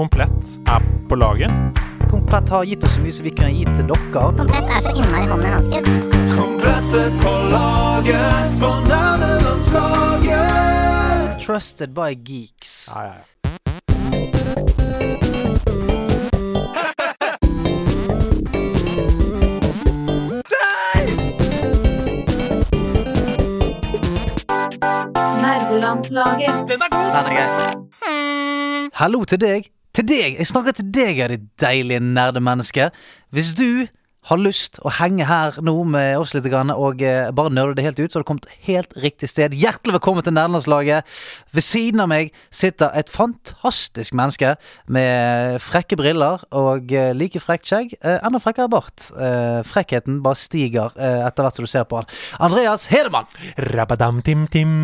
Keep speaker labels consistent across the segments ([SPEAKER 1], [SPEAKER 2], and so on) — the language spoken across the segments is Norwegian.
[SPEAKER 1] Komplett er på laget.
[SPEAKER 2] Komplett har gitt oss så mye som vi kunne gi til dere.
[SPEAKER 3] Komplett er så innmari hånd i hanske.
[SPEAKER 4] Komplettet på laget på nerdelandslaget.
[SPEAKER 2] Trusted by geeks.
[SPEAKER 1] Ja, ja, ja.
[SPEAKER 5] Nerdelandslaget.
[SPEAKER 4] Den er god! Den er grei.
[SPEAKER 2] Hallo til deg. Til deg! Jeg snakker til deg, ja, ditt deilige nerdemenneske. Hvis du har lyst å henge her nå med oss litt grann, og eh, bare nerde det helt ut, så har du kommet helt riktig sted. Hjertelig velkommen til Nerdelandslaget. Ved siden av meg sitter et fantastisk menneske med frekke briller og eh, like frekt skjegg. Eh, enda frekkere bart. Eh, frekkheten bare stiger eh, etter hvert som du ser på han. Andreas Hedemann!
[SPEAKER 1] Rabadam-tim-tim.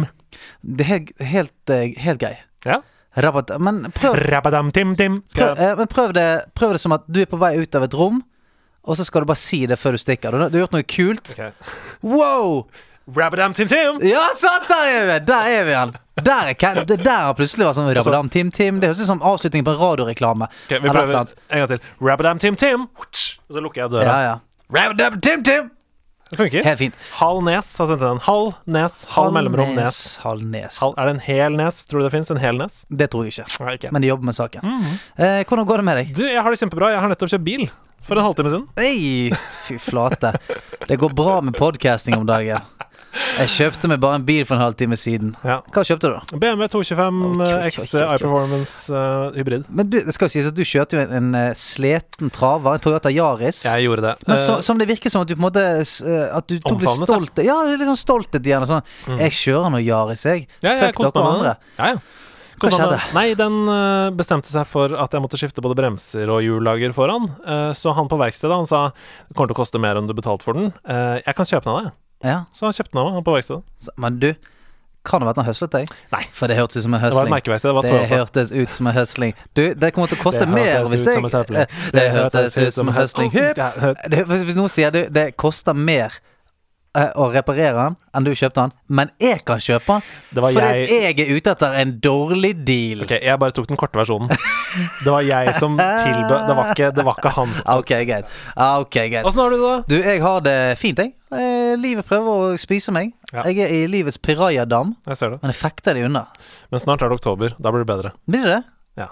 [SPEAKER 2] Det er helt, helt, eh, helt grei.
[SPEAKER 1] Ja.
[SPEAKER 2] Rabat, men prøv
[SPEAKER 1] Rabadam-tim-tim.
[SPEAKER 2] Prøv, eh, men prøv det, prøv det som at du er på vei ut av et rom, og så skal du bare si det før du stikker. Du, du har gjort noe kult. Wow!
[SPEAKER 1] Rabadam-tim-tim.
[SPEAKER 2] Ja, sant! Der er vi! Der er vi igjen. Der er Ken. Det der har plutselig vært sånn Rabadam Tim Tim. Det høres ut som avslutningen på en radioreklame.
[SPEAKER 1] Altså- Ok, vi
[SPEAKER 2] Eller
[SPEAKER 1] prøver
[SPEAKER 2] noe
[SPEAKER 1] en
[SPEAKER 2] sånt.
[SPEAKER 1] gang til. Rabadam-tim-tim. Og så lukker jeg døra.
[SPEAKER 2] Ja, ja. Rabadam Tim Tim!
[SPEAKER 1] Det funker.
[SPEAKER 2] Helt fint.
[SPEAKER 1] Halv nes har sendt den. Halv nes, halv mellomrom nes.
[SPEAKER 2] Halvnes.
[SPEAKER 1] Halv, er det en hel nes? Tror du det fins en hel nes?
[SPEAKER 2] Det tror jeg ikke.
[SPEAKER 1] Nei, ikke.
[SPEAKER 2] Men de jobber med saken.
[SPEAKER 1] Mhm.
[SPEAKER 2] eh, hvordan går det med deg?
[SPEAKER 1] Du, jeg har det kjempebra. Jeg har nettopp kjøpt bil. For en halvtime siden.
[SPEAKER 2] Ei, fy flate. Det går bra med podcasting om dagen. Jeg kjøpte meg bare en bil for en halvtime siden.
[SPEAKER 1] Ja.
[SPEAKER 2] Hva kjøpte du? da?
[SPEAKER 1] BMW 225
[SPEAKER 2] Oi, oi, oi,
[SPEAKER 1] eh,
[SPEAKER 2] oi,
[SPEAKER 1] XC
[SPEAKER 2] oi.
[SPEAKER 1] iPerformance eh, hybrid.
[SPEAKER 2] Men du, det skal jo sies at du kjørte jo en, en eh, sleten traver, en Toyota Yaris.
[SPEAKER 1] Jeg gjorde det.
[SPEAKER 2] Men så,
[SPEAKER 1] Eh,
[SPEAKER 2] som det virker som at du på en måte s- eh, At du tok litt
[SPEAKER 1] Omfavnet det.
[SPEAKER 2] stolthet Ja, det er litt sånn stolthet igjen. og Sånn. Jeg kjører nå Yaris, jeg.
[SPEAKER 1] ja, ja, jeg
[SPEAKER 2] Fuck
[SPEAKER 1] koste meg
[SPEAKER 2] dere
[SPEAKER 1] med
[SPEAKER 2] andre.
[SPEAKER 1] det. Ja, ja.
[SPEAKER 2] Hva
[SPEAKER 1] Koste meg med
[SPEAKER 2] skjedde?
[SPEAKER 1] det. Nei, den eh, bestemte seg for at jeg måtte skifte både bremser og hjullager foran. Eh, så han på verkstedet han sa det kommer til å koste mer enn du betalte for den. Eh, jeg kan kjøpe den av deg.
[SPEAKER 2] Ja.
[SPEAKER 1] Så han kjøpte den av meg, han på verkstedet.
[SPEAKER 2] Så, men du, kan det være at han høslet deg?
[SPEAKER 1] Nei.
[SPEAKER 2] For det hørtes ut som en
[SPEAKER 1] Det var et
[SPEAKER 2] høsling.
[SPEAKER 1] merkeverksted. Det var
[SPEAKER 2] Det
[SPEAKER 1] Toyota.
[SPEAKER 2] hørtes ut som en høsling. Du, det kommer til å koste
[SPEAKER 1] Det
[SPEAKER 2] mer
[SPEAKER 1] hørtes
[SPEAKER 2] hvis
[SPEAKER 1] ut
[SPEAKER 2] jeg
[SPEAKER 1] som en søppel.
[SPEAKER 2] Eh, Det hørtes ut som en høsling.
[SPEAKER 1] høsling.
[SPEAKER 2] Hypp. Det, hvis, hvis noen sier du, det koster mer eh, å reparere den enn du kjøpte den, men jeg kan kjøpe
[SPEAKER 1] Det
[SPEAKER 2] den
[SPEAKER 1] var
[SPEAKER 2] fordi
[SPEAKER 1] jeg-
[SPEAKER 2] at jeg er ute etter en dårlig deal.
[SPEAKER 1] Ok, jeg bare tok den korte versjonen. Det var jeg som tilbød Det var ikke, det var ikke han.
[SPEAKER 2] Ah, Ok, greit. Ah, Ok, greit.
[SPEAKER 1] Åssen har du det, da?
[SPEAKER 2] Du, jeg har det fint, jeg. Eh, livet prøver å spise meg.
[SPEAKER 1] Ja.
[SPEAKER 2] Jeg er i livets pirajadam,
[SPEAKER 1] Jeg ser det.
[SPEAKER 2] men jeg fekter det unna.
[SPEAKER 1] Men snart er det oktober. Da blir det bedre.
[SPEAKER 2] Blir det det?
[SPEAKER 1] Ja.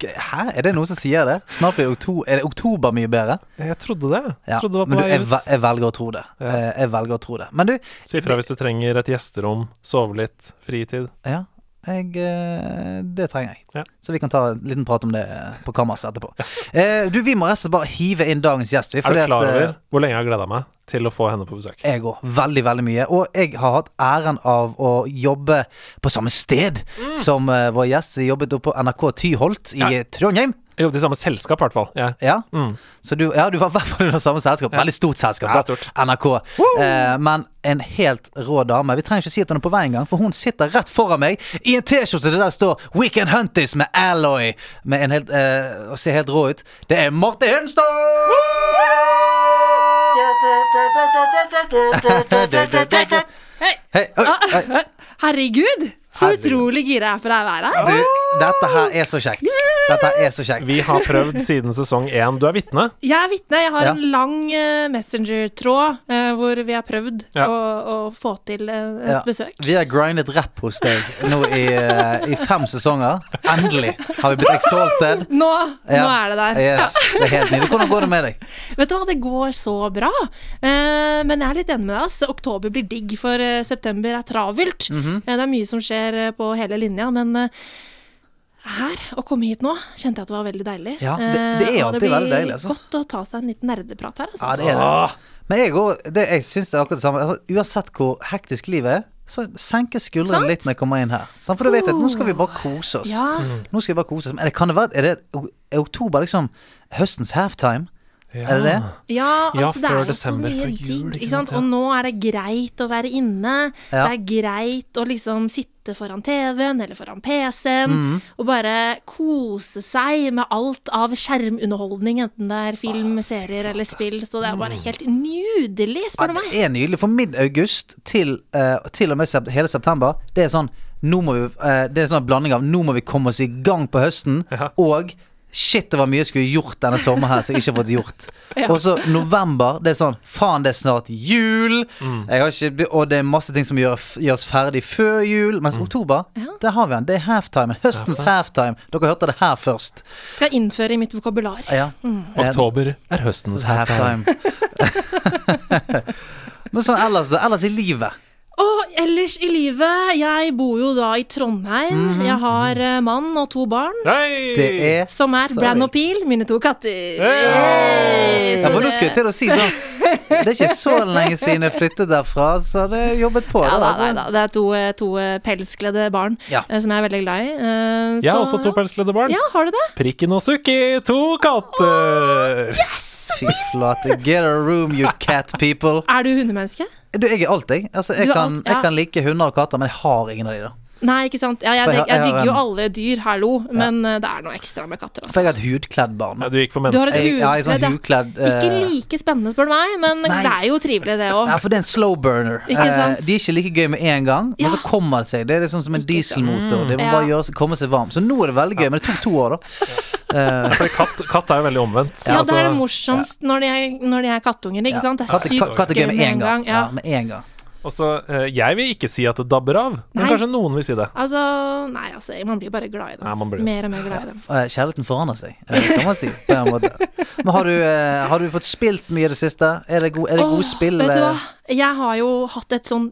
[SPEAKER 2] Hæ? Er det noen som sier det? Snart blir oktober, er det oktober mye bedre?
[SPEAKER 1] Jeg trodde det.
[SPEAKER 2] Ja,
[SPEAKER 1] Jeg trodde det var
[SPEAKER 2] men
[SPEAKER 1] på
[SPEAKER 2] du,
[SPEAKER 1] vei
[SPEAKER 2] jeg,
[SPEAKER 1] ut.
[SPEAKER 2] ve- jeg velger å tro det. Eh, Jeg velger å tro det. Men du
[SPEAKER 1] Si ifra hvis du trenger et gjesterom, sove litt, fritid.
[SPEAKER 2] Ja, jeg, eh, det trenger jeg.
[SPEAKER 1] Ja.
[SPEAKER 2] Så vi kan ta en liten prat om det eh, på kammerset etterpå. Eh, du, vi må rett og slett bare hive inn dagens gjest. vi,
[SPEAKER 1] Er
[SPEAKER 2] fordi
[SPEAKER 1] du
[SPEAKER 2] at,
[SPEAKER 1] klar
[SPEAKER 2] eh,
[SPEAKER 1] over hvor lenge jeg har gleda meg til å få henne på
[SPEAKER 6] Eh,
[SPEAKER 1] besøk?
[SPEAKER 2] Jeg òg. Veldig, veldig mye. Og jeg har hatt æren av å jobbe på samme sted som eh, vår gjest. Vi jobbet oppe på NRK Tyholt i
[SPEAKER 1] Mm. Ja.
[SPEAKER 2] Trondheim.
[SPEAKER 1] Jeg jobbet i samme selskap, i hvert fall. Jeg.
[SPEAKER 2] Ja.
[SPEAKER 1] Mm.
[SPEAKER 2] Så du, ja, du var i hvert fall under samme selskap. Veldig stort selskap.
[SPEAKER 1] Ja,
[SPEAKER 2] da.
[SPEAKER 1] stort.
[SPEAKER 2] NRK. Eh, men en helt rå dame. Vi trenger ikke si at hun er på vei engang, for hun sitter rett foran meg i en T-skjorte der det står 'We Can Hunt This' med Alloy. Med en helt, eh, å se helt rå ut. Det er Marte Hunstad!
[SPEAKER 6] Hei.
[SPEAKER 2] Hei, oi,
[SPEAKER 1] Ah.
[SPEAKER 2] hei.
[SPEAKER 6] Herregud, så
[SPEAKER 2] Herregud.
[SPEAKER 6] utrolig gira jeg er for å være her.
[SPEAKER 2] Du, dette her er så kjekt. Dette her er så kjekt.
[SPEAKER 1] Ah! Vi har prøvd siden sesong én. Du er vitne.
[SPEAKER 6] Jeg er vitne. Jeg har
[SPEAKER 2] Ja.
[SPEAKER 6] en lang eh, messenger-tråd eh, hvor vi har prøvd
[SPEAKER 1] Ja.
[SPEAKER 6] å, å få til eh, et
[SPEAKER 2] Ja.
[SPEAKER 6] besøk.
[SPEAKER 2] Vi har grindet rapp hos deg nå i, eh, i fem sesonger. Endelig har vi blitt exalted.
[SPEAKER 6] Nå, nå
[SPEAKER 2] Ja.
[SPEAKER 6] er det der.
[SPEAKER 2] Yes, det er helt nydelig. Hvordan går det med deg?
[SPEAKER 6] Vet du hva, det går så bra. Eh, men jeg er litt enig med deg. ass. Oktober blir digg, for eh, september er travelt.
[SPEAKER 2] Mhm.
[SPEAKER 6] Eh, det er mye som skjer eh, på hele linja, men eh, her, å komme hit nå, kjente jeg at det var veldig deilig.
[SPEAKER 2] Ja, det- det er
[SPEAKER 6] Eh, og
[SPEAKER 2] alltid veldig
[SPEAKER 6] blir
[SPEAKER 2] deilig, altså.
[SPEAKER 6] godt å ta seg en liten nerdeprat her. Altså.
[SPEAKER 2] Ja, det er
[SPEAKER 1] Ah.
[SPEAKER 2] det. Men jeg, går- det, jeg syns det er akkurat det samme. Altså, uansett hvor hektisk livet er, så senker skuldrene
[SPEAKER 6] Sant?
[SPEAKER 2] litt når jeg kommer inn her. Sant? For da vet jeg at nå skal vi bare kose oss.
[SPEAKER 6] Ja.
[SPEAKER 1] Mm.
[SPEAKER 2] Nå skal vi bare kose oss. Men det kan det være, er, det, er oktober liksom høstens halftime? Er det det?
[SPEAKER 6] Ja,
[SPEAKER 1] Ja,
[SPEAKER 6] altså det
[SPEAKER 1] før
[SPEAKER 6] er jo så
[SPEAKER 1] desember,
[SPEAKER 6] mye
[SPEAKER 1] før
[SPEAKER 6] digg,
[SPEAKER 1] jul, ikke
[SPEAKER 6] ikke
[SPEAKER 1] sant,
[SPEAKER 6] sant. Og
[SPEAKER 1] ja.
[SPEAKER 6] nå er det greit å være inne.
[SPEAKER 2] Ja.
[SPEAKER 6] Det er greit å liksom sitte foran TV-en eller foran PC-en
[SPEAKER 1] Mm.
[SPEAKER 6] og bare kose seg med alt av skjermunderholdning, enten det er film, serier eller spill. Så det er
[SPEAKER 1] Mm.
[SPEAKER 6] bare helt nydelig,
[SPEAKER 2] Ja,
[SPEAKER 6] spør du meg.
[SPEAKER 2] det er nydelig. For midt august til, eh, til og med sep hele september, det er sånn nå må vi, eh, det er en sånn blanding av nå må vi komme oss i gang på høsten,
[SPEAKER 1] Ja.
[SPEAKER 2] og shit, det var mye jeg skulle gjort denne sommeren her som jeg ikke har fått gjort.
[SPEAKER 6] Ja.
[SPEAKER 2] Og så november, det er sånn faen, det er snart jul, jeg har ikke, be- og det er masse ting som gjør, gjøres ferdig før jul, mens oktober,
[SPEAKER 6] Ja.
[SPEAKER 2] der har vi den. Det er halftime. Høstens halftime. Dere hørte det her først.
[SPEAKER 6] Skal innføre i mitt vokabular.
[SPEAKER 2] Ja. Eh,
[SPEAKER 1] Oktober er høstens halftime.
[SPEAKER 2] halftime. Men sånn ellers, da, ellers i livet.
[SPEAKER 6] Og ellers i livet Jeg bor jo da i Trondheim.
[SPEAKER 1] Mhm,
[SPEAKER 6] Jeg har eh, mann og to barn.
[SPEAKER 1] Hei!
[SPEAKER 2] Det er
[SPEAKER 6] Som er
[SPEAKER 2] Sorry.
[SPEAKER 6] Bran og Pil, mine to katter.
[SPEAKER 1] Hey!
[SPEAKER 6] Yay!
[SPEAKER 2] Ja,
[SPEAKER 6] Så
[SPEAKER 2] for nå
[SPEAKER 6] det-
[SPEAKER 2] skulle jeg til å si sånn Det er ikke så lenge siden jeg flyttet derfra, så det er jobbet på.
[SPEAKER 6] ja,
[SPEAKER 2] det,
[SPEAKER 6] da,
[SPEAKER 2] altså.
[SPEAKER 6] nei, da. Det er to, eh, to eh, pelskledde barn
[SPEAKER 2] Ja.
[SPEAKER 6] eh, som jeg er veldig glad i. eh,
[SPEAKER 1] Jeg har
[SPEAKER 6] så-
[SPEAKER 1] også to pelskledde barn.
[SPEAKER 6] Ja, har du det?
[SPEAKER 1] Prikken og Sukki, to katter!
[SPEAKER 2] Fy flate. Get a room, you cat people.
[SPEAKER 6] Er du hundemenneske?
[SPEAKER 2] Du, jeg er alt, jeg. Altså, jeg,
[SPEAKER 6] Du er
[SPEAKER 2] kan,
[SPEAKER 6] alt, ja.
[SPEAKER 2] jeg kan like hunder og katter, men jeg har ingen av de, da.
[SPEAKER 6] Nei, ikke sant. Ja, jeg,
[SPEAKER 2] For jeg-
[SPEAKER 6] jeg, jeg
[SPEAKER 2] jeg har
[SPEAKER 6] digger jo
[SPEAKER 2] en-
[SPEAKER 6] alle dyr, hallo, men eh, det er noe ekstra med katter. Altså.
[SPEAKER 2] For jeg har et hudkledd barn.
[SPEAKER 1] Ja, du gikk for
[SPEAKER 6] Du har
[SPEAKER 1] mennesker.
[SPEAKER 6] et
[SPEAKER 2] Jeg, jeg har et sånn
[SPEAKER 6] hudkledd,
[SPEAKER 2] hudkledd eh,
[SPEAKER 6] Ikke like spennende, spør du meg, men
[SPEAKER 2] Nei.
[SPEAKER 6] det er jo trivelig, det òg.
[SPEAKER 2] Ja, for det er en slow burner.
[SPEAKER 6] Ikke sant?
[SPEAKER 2] Eh, de er ikke like gøy med en gang,
[SPEAKER 6] Ja.
[SPEAKER 2] men så kommer det seg. Det er liksom som en
[SPEAKER 6] Ikke sant. Mm,
[SPEAKER 2] dieselmotor. Det må bare
[SPEAKER 6] Ja.
[SPEAKER 2] gjøre seg, komme seg varm. Så nå er det veldig gøy, men det tok to år, da. Eh,
[SPEAKER 1] For katt, katt er jo veldig omvendt.
[SPEAKER 6] Ja,
[SPEAKER 1] Altså,
[SPEAKER 6] det er det morsomst når, de er, når de er kattunger, ikke sant. Det er
[SPEAKER 2] katt, katt,
[SPEAKER 6] sykt
[SPEAKER 2] katt er gøy med en gang.
[SPEAKER 6] Ja.
[SPEAKER 2] Ja, med en gang.
[SPEAKER 1] og så, eh, jeg vil ikke si at det dabber av, men
[SPEAKER 6] Nei.
[SPEAKER 1] kanskje noen vil si det.
[SPEAKER 6] Altså, nei, altså, man blir bare glad i dem.
[SPEAKER 1] Nei, man blir det.
[SPEAKER 6] mer og mer glad i dem.
[SPEAKER 2] Eh, Kjærligheten forandrer seg, eh, kan man si. På en måte. Men har du, eh, har du fått spilt mye i det siste? Er det, god, er det
[SPEAKER 6] Åh,
[SPEAKER 2] gode spill?
[SPEAKER 6] Vet du hva?
[SPEAKER 2] eh,
[SPEAKER 6] Jeg har jo hatt et sånn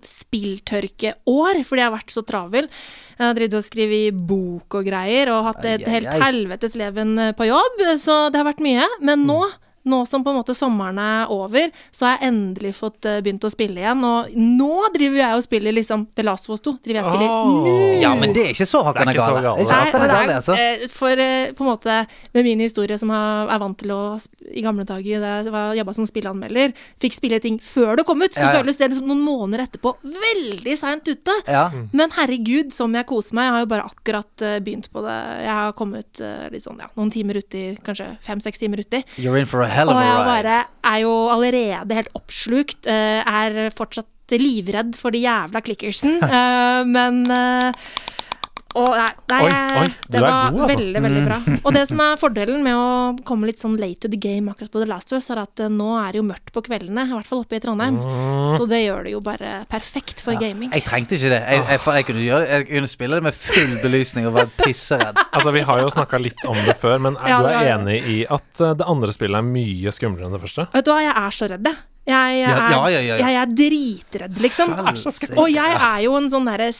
[SPEAKER 6] spilltørkeår, fordi jeg har vært så travel. Jeg har drevet og skrevet i bok og greier, og hatt et
[SPEAKER 2] Ai, ai,
[SPEAKER 6] helt
[SPEAKER 2] ai.
[SPEAKER 6] helvetes leven eh, på jobb, så det har vært mye. Men nå,
[SPEAKER 2] Mm.
[SPEAKER 6] nå som på en måte sommeren er over, så har jeg endelig fått eh, begynt å spille igjen. Og nå driver jeg og spiller liksom The Last of Us 2. Driver jeg og spiller
[SPEAKER 1] Åh.
[SPEAKER 6] nå.
[SPEAKER 2] Ja, men det er ikke så hakkende
[SPEAKER 1] Det er ikke så
[SPEAKER 2] gale. Det er ikke
[SPEAKER 6] Nei,
[SPEAKER 2] hakkende
[SPEAKER 6] og
[SPEAKER 2] gale,
[SPEAKER 6] det
[SPEAKER 2] altså.
[SPEAKER 6] er, eh, for eh, på en måte med min historie som har- er vant til å sp- I gamle dager da jeg jobba som spilleanmelder, fikk spille ting før det kom ut, så
[SPEAKER 2] Ja, ja.
[SPEAKER 6] føles det liksom noen måneder etterpå veldig seint ute.
[SPEAKER 2] Ja.
[SPEAKER 6] Men herregud, som jeg koser meg. Jeg har jo bare akkurat eh, begynt på det. Jeg har kommet eh, litt sånn, ja, noen timer uti, kanskje fem-seks timer uti.
[SPEAKER 2] You're in for a hell of
[SPEAKER 6] Og
[SPEAKER 2] a
[SPEAKER 6] jeg
[SPEAKER 2] ride.
[SPEAKER 6] bare er jo allerede helt oppslukt. eh, Er fortsatt livredd for de jævla klickersen. eh, Men eh, og nei, nei,
[SPEAKER 1] Oi, oi, du
[SPEAKER 6] det
[SPEAKER 1] er
[SPEAKER 6] var
[SPEAKER 1] god, altså.
[SPEAKER 6] veldig, veldig bra. Og det som er fordelen med å komme litt sånn late to the game akkurat på The Last of Us, er at eh, nå er det jo mørkt på kveldene, i hvert fall oppe i Trondheim. Så det gjør det jo bare perfekt for gaming.
[SPEAKER 2] Jeg trengte ikke det. Jeg, jeg, for jeg, kunne gjøre, jeg kunne spille det med full belysning og være pisseredd.
[SPEAKER 1] Altså, Vi har jo snakka litt om det før, men er
[SPEAKER 6] Ja,
[SPEAKER 1] du
[SPEAKER 6] det
[SPEAKER 1] er
[SPEAKER 6] var
[SPEAKER 1] enig i at eh, det andre spillet er mye skumlere enn det første?
[SPEAKER 6] Vet du hva, jeg er så redd, jeg. Jeg, jeg,
[SPEAKER 2] Ja,
[SPEAKER 6] er,
[SPEAKER 2] ja, ja, ja, ja.
[SPEAKER 6] jeg er dritredd, liksom.
[SPEAKER 2] Helsike.
[SPEAKER 6] Og jeg er jo en sånn derre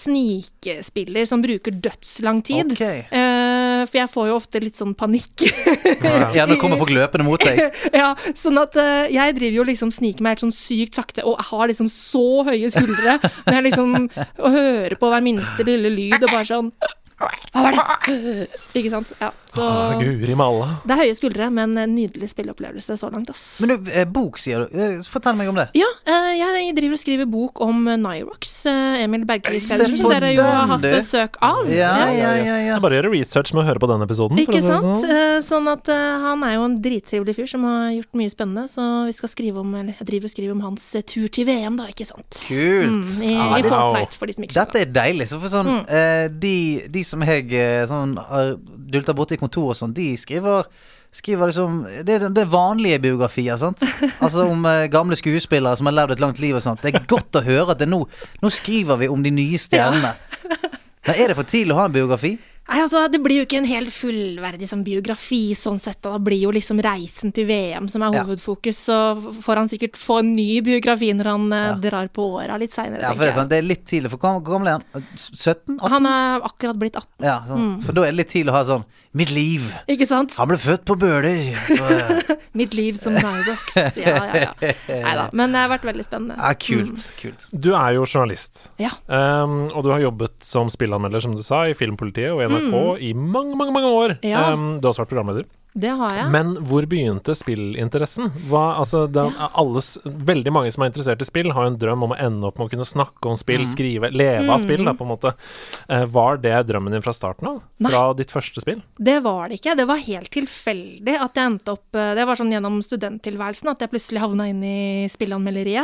[SPEAKER 6] snikespiller som bruker dødslang tid.
[SPEAKER 2] Ok.
[SPEAKER 6] Eh, for jeg får jo ofte litt sånn panikk.
[SPEAKER 2] Ja, nå kommer folk løpende mot deg.
[SPEAKER 6] ja, sånn at eh, jeg driver jo liksom sniker meg helt sånn sykt sakte, og har liksom så høye skuldre når jeg liksom og hører på hver minste lille lyd, og bare sånn Hva var det? Ikke sant? Ja, så
[SPEAKER 1] Ah, Guri malla.
[SPEAKER 6] det er høye skuldre, men en nydelig spilleopplevelse så langt, ass.
[SPEAKER 2] Men du, eh, bok, sier du. Eh, Fortell meg om det.
[SPEAKER 6] Ja, eh, jeg driver og skriver bok om eh, Nyrox, eh, Emil Berglis
[SPEAKER 2] Se
[SPEAKER 6] Pedersen,
[SPEAKER 2] på
[SPEAKER 6] dere jo har
[SPEAKER 2] den,
[SPEAKER 6] hatt
[SPEAKER 2] du.
[SPEAKER 6] besøk av.
[SPEAKER 2] Ja, ja, ja.
[SPEAKER 1] Det
[SPEAKER 2] ja.
[SPEAKER 1] er Bare å gjøre research med å høre på den episoden. for å
[SPEAKER 6] Ikke
[SPEAKER 1] si det
[SPEAKER 6] sant?
[SPEAKER 1] sånn.
[SPEAKER 6] Eh, Sånn at eh, han er jo en drittrivelig fyr som har gjort mye spennende, så vi skal skrive om, eller jeg driver og skriver om hans eh, tur til VM, da, ikke sant? Mm,
[SPEAKER 2] Kult.
[SPEAKER 6] I,
[SPEAKER 2] Ja,
[SPEAKER 6] i
[SPEAKER 2] det,
[SPEAKER 1] wow.
[SPEAKER 6] Fortnite, for de som ikke
[SPEAKER 2] dette
[SPEAKER 6] skjønner.
[SPEAKER 2] er deilig. Så for sånn,
[SPEAKER 6] Mm.
[SPEAKER 2] eh, de, de som jeg eh, sånn, har dulter borti i kontor og sånn, de skriver Skriver liksom, det, er- det er vanlige biografier, sant? Altså om eh, gamle skuespillere som har levd et langt liv og sånt. Det er godt å høre at det nå, nå skriver vi om de nye stjernene. Men er det for tidlig å ha en biografi?
[SPEAKER 6] Nei, altså, det blir jo ikke en helt fullverdig sånn biografi sånn sett, da Det blir jo liksom reisen til VM som er
[SPEAKER 2] Ja.
[SPEAKER 6] hovedfokus, så f- får han sikkert få en ny biografi når han eh, drar på åra litt seinere,
[SPEAKER 2] Ja, for det, er sånn, det er litt tidlig. For hvor gammel er han? Eh, 17? 18?
[SPEAKER 6] Han Mm. er akkurat blitt 18,
[SPEAKER 2] Ja, sånn. For da er det litt tidlig å ha sånn Mitt liv!
[SPEAKER 6] ikke sant?
[SPEAKER 2] Han ble født på Bøler! Og,
[SPEAKER 6] Mitt liv som Nyrox. Ja, ja, ja. Nei da. Men det har vært veldig spennende.
[SPEAKER 2] Ja, kult. Kult.
[SPEAKER 1] Du er jo journalist,
[SPEAKER 6] Ja.
[SPEAKER 1] um, og du har jobbet som spillanmelder, som du sa, i Filmpolitiet og NRK i mange, mange mange år.
[SPEAKER 6] Mm. Ja.
[SPEAKER 1] Um, du har også vært programleder.
[SPEAKER 6] Det har jeg.
[SPEAKER 1] Men hvor begynte spillinteressen? Hva, altså, det er alle, s- veldig mange som er interessert i spill, har jo en drøm om å ende opp med å kunne snakke om spill, skrive, leve av spill, da, på en måte. Eh, var det drømmen din fra starten av?
[SPEAKER 6] Nei.
[SPEAKER 1] Fra ditt første spill?
[SPEAKER 6] Det var det ikke. Det var helt tilfeldig at jeg endte opp eh, Det var sånn gjennom studenttilværelsen at jeg plutselig havna inn i spilleanmelderiet.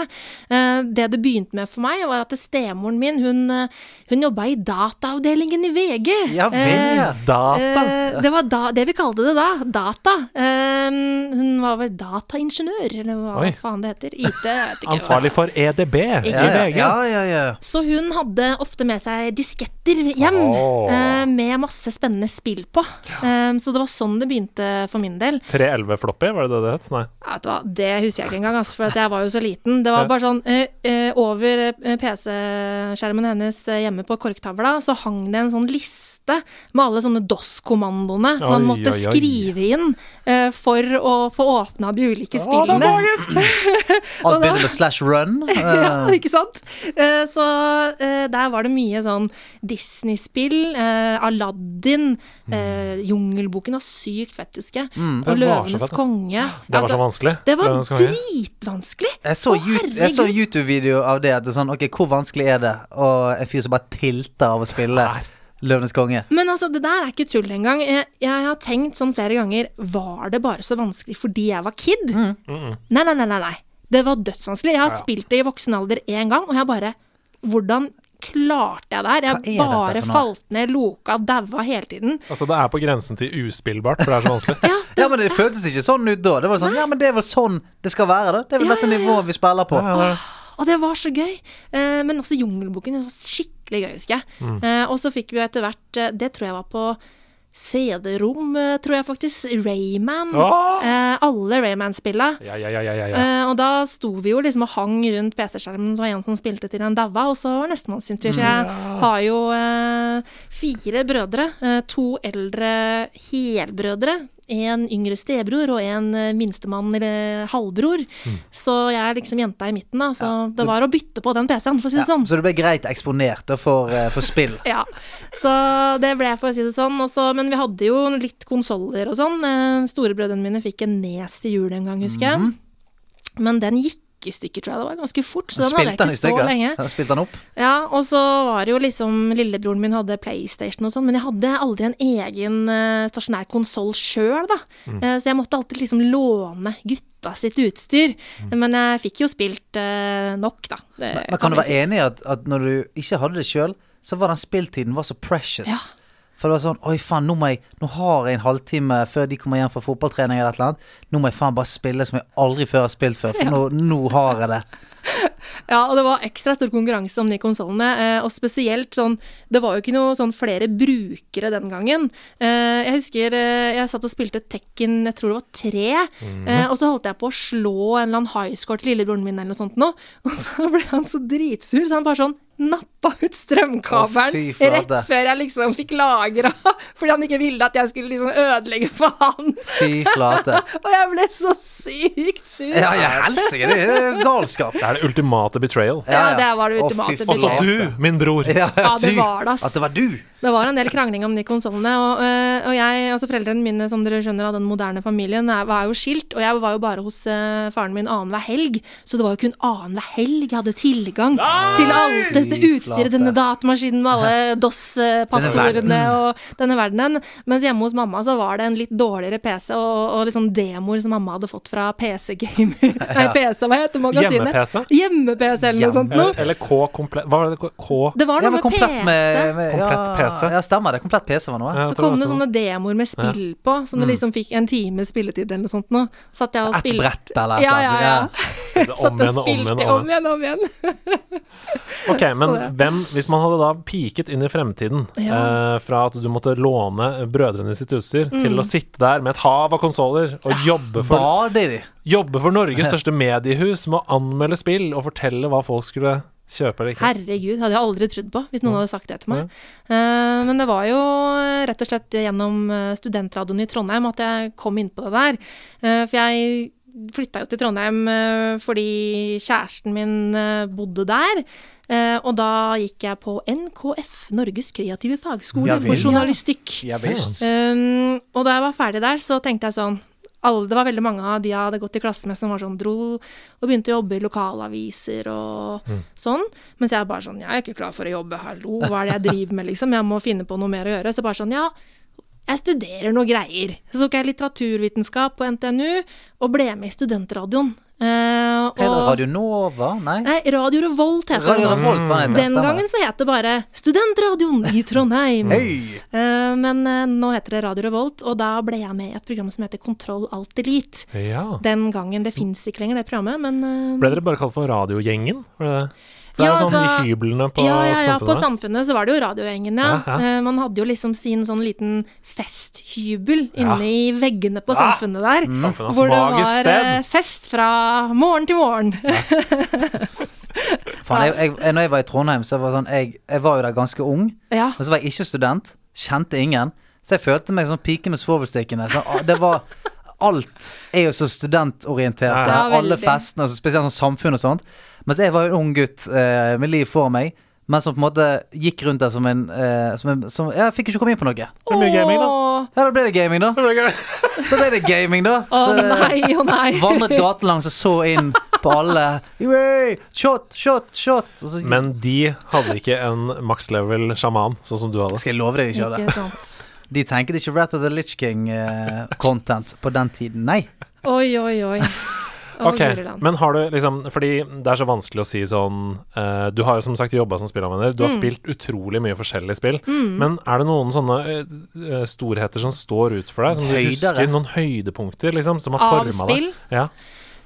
[SPEAKER 6] Eh, Det det begynte med for meg, var at stemoren min hun, eh, hun jobba i dataavdelingen i VG.
[SPEAKER 2] Ja vel, ja.
[SPEAKER 6] Eh,
[SPEAKER 1] Data!
[SPEAKER 6] eh, det var da, det vi kalte det da. Data. Eh, hun var vel dataingeniør, eller hva
[SPEAKER 1] Oi.
[SPEAKER 6] faen det heter. IT. Jeg vet ikke.
[SPEAKER 1] Ansvarlig for EDB i
[SPEAKER 6] Ikke sant?
[SPEAKER 1] VG.
[SPEAKER 2] ja, ja, ja.
[SPEAKER 6] Så hun hadde ofte med seg disketter hjem
[SPEAKER 1] Åh.
[SPEAKER 6] eh, med masse spennende spill på. Eh, så det var sånn det begynte for min del.
[SPEAKER 1] 311 Floppy, var det det det het? Nei.
[SPEAKER 6] Ja, Vet du hva, det husker jeg ikke engang, altså, for at jeg var jo så liten. Det var bare sånn eh, eh, Over eh, PC-skjermen hennes eh, hjemme på korktavla så hang det en sånn liste med alle sånne DOS-kommandoene man
[SPEAKER 1] Oi,
[SPEAKER 6] måtte
[SPEAKER 1] oi, oi.
[SPEAKER 6] skrive inn eh, for å få åpna de ulike spillene.
[SPEAKER 2] Alt begynner med slash run.
[SPEAKER 6] Ja,
[SPEAKER 2] eh,
[SPEAKER 6] ikke sant? Eh, Så eh, der var det mye sånn Disney-spill, eh, Aladdin, eh, Jungelboken var sykt fett, husker jeg. Og
[SPEAKER 1] Mm. Det var så
[SPEAKER 6] Løvenes
[SPEAKER 1] fett, da.
[SPEAKER 6] konge.
[SPEAKER 1] Det var så
[SPEAKER 6] Altså,
[SPEAKER 1] vanskelig.
[SPEAKER 6] det var
[SPEAKER 1] Løvenes konge.
[SPEAKER 6] dritvanskelig!
[SPEAKER 2] Jeg så,
[SPEAKER 6] Å,
[SPEAKER 2] you- jeg så
[SPEAKER 6] herregud.
[SPEAKER 2] YouTube-video av det. At det er sånn, ok, Hvor vanskelig er det? Og en fyr som bare tilter av å spille Løvenes konge.
[SPEAKER 6] Men altså, det der er ikke tull engang. Jeg, jeg har tenkt sånn flere ganger Var det bare så vanskelig fordi jeg var kid?
[SPEAKER 2] Mm.
[SPEAKER 6] Nei, nei, nei, nei, nei. Det var dødsvanskelig. Jeg har spilt det i voksen alder én gang, og jeg bare Hvordan klarte jeg det
[SPEAKER 2] Hva er
[SPEAKER 6] her? Jeg
[SPEAKER 2] dette
[SPEAKER 6] bare
[SPEAKER 2] for noe?
[SPEAKER 6] falt ned, loka, daua hele tiden.
[SPEAKER 1] Altså, det er på grensen til uspillbart, for det er så vanskelig.
[SPEAKER 6] Ja,
[SPEAKER 2] Ja, men Det føltes ikke sånn ut da. Det var sånn, ja, men det er vel sånn det skal være, da. Det er vel
[SPEAKER 6] Ja,
[SPEAKER 2] dette
[SPEAKER 6] ja, ja.
[SPEAKER 2] nivået vi spiller på.
[SPEAKER 1] Ja, det er det.
[SPEAKER 6] Og det var så gøy. Eh, men også Jungelboken det var skikkelig gøy, husker jeg. Eh, og så fikk vi jo etter hvert eh, Det tror jeg var på CD-rom, eh, tror jeg faktisk. Rayman.
[SPEAKER 1] Åh!
[SPEAKER 6] Eh, alle Rayman-spilla.
[SPEAKER 1] Ja, ja, ja, ja, ja, ja.
[SPEAKER 6] Eh, og da sto vi jo liksom og hang rundt PC-skjermen, så var det en som spilte til en daua, og så var nestemann sin tur.
[SPEAKER 1] Mm,
[SPEAKER 6] Jeg har jo eh, fire brødre. eh, to eldre helbrødre. En yngre stebror og en eh, minstemann eller eh, halvbror.
[SPEAKER 1] Mm.
[SPEAKER 6] Så jeg er liksom jenta i midten, da. Så det var å bytte på den PC-en, for å si det
[SPEAKER 2] Ja,
[SPEAKER 6] sånn.
[SPEAKER 2] så du ble greit eksponert da, for, eh, for spill.
[SPEAKER 6] Ja, så det ble jeg for å si det sånn. Og så- men vi hadde jo litt konsoller og sånn. Eh, Storebrødrene mine fikk en nes til jul en gang, husker jeg.
[SPEAKER 2] Mhm.
[SPEAKER 6] Men den gikk i stykker, tror jeg det var, ganske fort. Så den hadde jeg
[SPEAKER 2] Spilte han i
[SPEAKER 6] ikke så
[SPEAKER 2] stykker?
[SPEAKER 6] lenge.
[SPEAKER 2] Ja, Spilte han opp?
[SPEAKER 6] Ja, og så var det jo liksom Lillebroren min hadde PlayStation og sånn, men jeg hadde aldri en egen eh, stasjonær konsoll sjøl, da.
[SPEAKER 2] Mm.
[SPEAKER 6] Eh, Så jeg måtte alltid liksom låne gutta sitt utstyr. Men jeg fikk jo spilt eh, nok, da. Det
[SPEAKER 2] Mm. Men kan du
[SPEAKER 6] vi
[SPEAKER 2] være enig i at, at når du ikke hadde det sjøl, så var den spilltiden var så precious.
[SPEAKER 6] Ja.
[SPEAKER 2] For det var sånn Oi, faen, nå, må jeg, nå har jeg en halvtime før de kommer hjem fra fotballtrening eller et eller annet. Nå må jeg faen bare spille som jeg aldri før har spilt før, for nå, nå har jeg det.
[SPEAKER 6] Ja, og det var ekstra stor konkurranse om de konsollene. eh, Og spesielt sånn Det var jo ikke noe sånn flere brukere den gangen. Eh, Jeg husker eh, jeg satt og spilte Tekken, jeg tror det var tre.
[SPEAKER 2] Mhm.
[SPEAKER 6] eh, Og så holdt jeg på å slå en eller annen highscore til lillebroren min eller noe sånt nå. Og så ble han så dritsur, så han bare sånn nappa ut
[SPEAKER 2] Å,
[SPEAKER 6] strømkabelen
[SPEAKER 2] fy flate.
[SPEAKER 6] rett før jeg liksom fikk lagra, fordi han ikke ville at jeg skulle liksom ødelegge for han.
[SPEAKER 2] Fy flate.
[SPEAKER 6] Og jeg ble så sykt sur.
[SPEAKER 2] Ja, ja, helsike, det er jo galskap.
[SPEAKER 1] Det er det ultimate betrayal.
[SPEAKER 6] Ja, det var det
[SPEAKER 2] Å,
[SPEAKER 6] ultimate
[SPEAKER 2] fy
[SPEAKER 6] betrayal.
[SPEAKER 1] Også
[SPEAKER 2] flate.
[SPEAKER 1] du, min bror!
[SPEAKER 2] Ja,
[SPEAKER 6] Ja, det
[SPEAKER 2] du.
[SPEAKER 6] var det, ass.
[SPEAKER 2] At det var du.
[SPEAKER 6] Det var en del krangling om de konsollene. Og, øh, og jeg, altså foreldrene mine, som dere skjønner, av den moderne familien, er, var jo skilt. Og jeg var jo bare hos øh, faren min annenhver helg, så det var jo kun annenhver helg jeg hadde tilgang til alt dette
[SPEAKER 2] Fy flate.
[SPEAKER 6] utstyret, denne datamaskinen med alle DOS-passordene og denne verdenen. Mens hjemme hos mamma så var det en litt dårligere PC og, og liksom demoer som mamma hadde fått fra PC-gamer. Nei, PC, hva heter magasinet?
[SPEAKER 1] Hjemme-PC?
[SPEAKER 6] Hjemme-PC eller noe sånt noe.
[SPEAKER 1] Eller, eller K komplett Hva var det? K?
[SPEAKER 6] Det var
[SPEAKER 2] Ja, men
[SPEAKER 6] noe med
[SPEAKER 2] komplett
[SPEAKER 6] PC.
[SPEAKER 2] med, med
[SPEAKER 1] Komplett PC.
[SPEAKER 2] Ja, ja, stemmer det. Komplett PC var noe.
[SPEAKER 1] Ja, jeg
[SPEAKER 6] Så
[SPEAKER 1] tror
[SPEAKER 6] kom
[SPEAKER 1] det
[SPEAKER 6] det
[SPEAKER 1] var sånn.
[SPEAKER 6] sånne demoer med spill på, som du liksom fikk en times spilletid eller noe sånt nå. Satt jeg og
[SPEAKER 2] Et
[SPEAKER 6] spilte
[SPEAKER 2] brett eller et
[SPEAKER 6] Ja,
[SPEAKER 2] eller
[SPEAKER 6] ja,
[SPEAKER 2] annet,
[SPEAKER 6] ja.
[SPEAKER 2] ja.
[SPEAKER 1] Det er
[SPEAKER 6] Satt
[SPEAKER 1] Om
[SPEAKER 6] og
[SPEAKER 1] igjen og om igjen.
[SPEAKER 6] spilte
[SPEAKER 1] og om
[SPEAKER 6] om
[SPEAKER 1] igjen.
[SPEAKER 6] igjen, om igjen.
[SPEAKER 1] Ok, men
[SPEAKER 6] Så det-
[SPEAKER 1] hvem, hvis man hadde da piket inn i fremtiden
[SPEAKER 6] Ja.
[SPEAKER 1] eh, fra at du måtte låne brødrene sitt utstyr,
[SPEAKER 6] Mm.
[SPEAKER 1] til å sitte der med et hav av konsoller og jobbe for,
[SPEAKER 2] Bade i de.
[SPEAKER 1] jobbe for Norges største mediehus med å anmelde spill og fortelle hva folk skulle kjøpe eller ikke.
[SPEAKER 6] Herregud, hadde jeg aldri trodd på hvis noen hadde sagt det til meg. Eh, men det var jo eh, rett og slett gjennom eh, studentradioen i Trondheim at jeg kom inn på det der. Eh, for jeg flytta jo til Trondheim eh, fordi kjæresten min eh, bodde der. Eh, Og da gikk jeg på NKF, Norges kreative fagskole
[SPEAKER 2] Ja vel.
[SPEAKER 6] for journalistikk.
[SPEAKER 2] Ja visst.
[SPEAKER 6] Um, og da jeg var ferdig der, så tenkte jeg sånn alle, Det var veldig mange av de jeg hadde gått i klasse med, som var sånn, dro og begynte å jobbe i lokalaviser og
[SPEAKER 2] Mm.
[SPEAKER 6] sånn. Mens jeg bare sånn Jeg er ikke klar for å jobbe, hallo, hva er det jeg driver med, liksom? Jeg må finne på noe mer å gjøre. Så bare sånn, ja, jeg studerer noe greier. Så tok jeg litteraturvitenskap på NTNU og ble med i studentradioen. Eh,
[SPEAKER 2] Hva er det,
[SPEAKER 6] og-
[SPEAKER 2] Radio Nova? Nei?
[SPEAKER 6] Nei, Radio Revolt heter
[SPEAKER 2] Radio
[SPEAKER 6] den. nå.
[SPEAKER 2] Revolt, hva den heter.
[SPEAKER 6] Den gangen så het det bare Studentradioen i Trondheim.
[SPEAKER 2] Hei!
[SPEAKER 6] Eh, Men eh, nå heter det Radio Revolt, og da ble jeg med i et program som heter Kontroll alt elite.
[SPEAKER 1] Ja.
[SPEAKER 6] Den gangen. Det fins ikke lenger, det programmet, men eh,
[SPEAKER 1] Ble dere bare kalt for Radiogjengen? Var det det? For det
[SPEAKER 6] Ja,
[SPEAKER 1] er jo sånn
[SPEAKER 6] altså-
[SPEAKER 1] i hyblene på
[SPEAKER 6] ja, ja, ja, på
[SPEAKER 1] samfunnet.
[SPEAKER 6] Samfunnet så var det jo Radiogjengen, ja.
[SPEAKER 1] Ja, ja.
[SPEAKER 6] Eh, Man hadde jo liksom sin sånn liten festhybel
[SPEAKER 1] Ja.
[SPEAKER 6] inne i veggene på Samfunnet der.
[SPEAKER 1] Samfunnet er så
[SPEAKER 6] Hvor det
[SPEAKER 1] magisk
[SPEAKER 6] var eh,
[SPEAKER 1] sted.
[SPEAKER 6] fest fra morgen til morgen.
[SPEAKER 2] Faen, jeg, jeg, jeg, når jeg var i Trondheim, så var det sånn, jeg, jeg var jo der ganske ung.
[SPEAKER 6] Ja.
[SPEAKER 2] Men så var jeg ikke student. Kjente ingen. Så jeg følte meg som pike med svovelstikkene. Så, ah, det var Alt er jo så studentorientert.
[SPEAKER 1] Ja,
[SPEAKER 2] der,
[SPEAKER 6] veldig.
[SPEAKER 2] Alle festene, og så spesielt sånn samfunn og sånt. Mens jeg var jo en ung gutt eh, med liv for meg. Men som på en måte gikk rundt der som en, eh, som en som, ja, Jeg fikk ikke komme inn på noe. Ja,
[SPEAKER 1] Det er mye gaming, da.
[SPEAKER 6] Åh,
[SPEAKER 2] da ble det gaming, da.
[SPEAKER 1] Det ble gøy.
[SPEAKER 2] Da ble det gaming, da.
[SPEAKER 6] Å
[SPEAKER 2] Så- eh,
[SPEAKER 1] eh,
[SPEAKER 6] nei, å nei.
[SPEAKER 2] Vandret gatelangs og så inn på alle. Yay! Shot, shot, shot. Og så,
[SPEAKER 1] Men de hadde ikke en max level sjaman, sånn som du hadde.
[SPEAKER 2] skal jeg love deg de ikke hadde.
[SPEAKER 6] Ikke sant.
[SPEAKER 2] De tenkte ikke Wrath of the Litch King-content på den tiden, nei.
[SPEAKER 6] Oi, oi, oi. Å,
[SPEAKER 1] Ok,
[SPEAKER 6] Guriland.
[SPEAKER 1] men har du liksom Fordi det er så vanskelig å si sånn eh, Du har jo som sagt jobba som spillanvender. Du har
[SPEAKER 6] Mm.
[SPEAKER 1] spilt utrolig mye forskjellige spill. Men er det noen sånne eh, eh, storheter som står ut for deg? Som du
[SPEAKER 2] Høyder, ja.
[SPEAKER 1] husker? Noen høydepunkter, liksom? Som har
[SPEAKER 6] Av
[SPEAKER 1] forma deg?
[SPEAKER 6] spill?
[SPEAKER 1] Ja.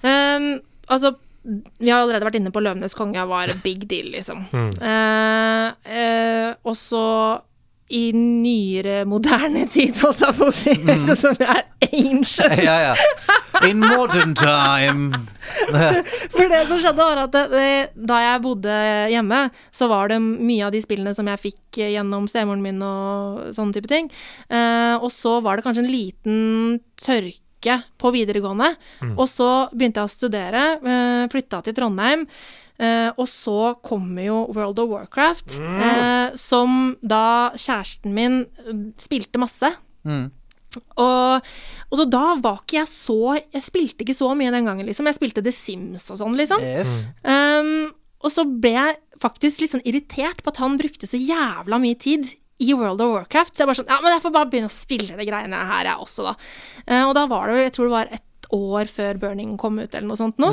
[SPEAKER 6] Ehm, altså, vi har allerede vært inne på Løvenes konge var en big deal, liksom. Eh, eh, og så i nyere, moderne tid, holdt jeg på å si, så som er ancient.
[SPEAKER 2] Ja, ja. In modern time.
[SPEAKER 6] For det som skjedde, var at eh, da jeg bodde hjemme, så var det mye av de spillene som jeg fikk eh, gjennom stemoren min og sånne type ting. Eh, og så var det kanskje en liten tørke på videregående. Og så begynte jeg å studere, eh, flytta til Trondheim. Eh, og så kommer jo World of Warcraft, eh, som da kjæresten min eh, spilte masse.
[SPEAKER 2] Mm.
[SPEAKER 6] Og, og så da var ikke jeg så Jeg spilte ikke så mye den gangen, liksom. Jeg spilte The Sims og sånn, liksom.
[SPEAKER 2] Yes.
[SPEAKER 6] Um, og så ble jeg faktisk litt sånn irritert på at han brukte så jævla mye tid i World of Warcraft. Så jeg bare sånn Ja, men jeg får bare begynne å spille de greiene her, jeg også, da. Eh, og da var det jo Jeg tror det var ett år før Burning kom ut, eller noe sånt nå.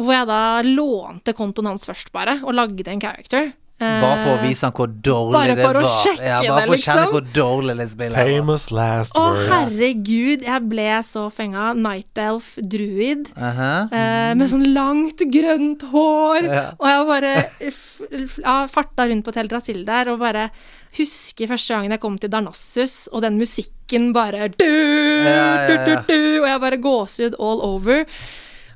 [SPEAKER 6] Hvor jeg da lånte kontoen hans først, bare, og lagde en character. Eh,
[SPEAKER 2] Bare for å vise han hvor dårlig
[SPEAKER 6] Bare
[SPEAKER 2] det
[SPEAKER 6] for
[SPEAKER 2] var.
[SPEAKER 6] å sjekke
[SPEAKER 2] ja, bare for å
[SPEAKER 6] det,
[SPEAKER 2] kjenne
[SPEAKER 6] liksom.
[SPEAKER 2] hvor dårlig det spillet var.
[SPEAKER 1] Famous last
[SPEAKER 6] Å,
[SPEAKER 1] words.
[SPEAKER 6] herregud, jeg ble så fenga. Night Elf, druid.
[SPEAKER 2] Aha.
[SPEAKER 6] Eh, med sånn langt, grønt hår. Og jeg bare f f ja, farta rundt på Teldrasil der og bare husker første gangen jeg kom til Darnassus, og den musikken bare du,
[SPEAKER 2] ja, ja.
[SPEAKER 6] Du, du, du, Og jeg bare gåsehud all over.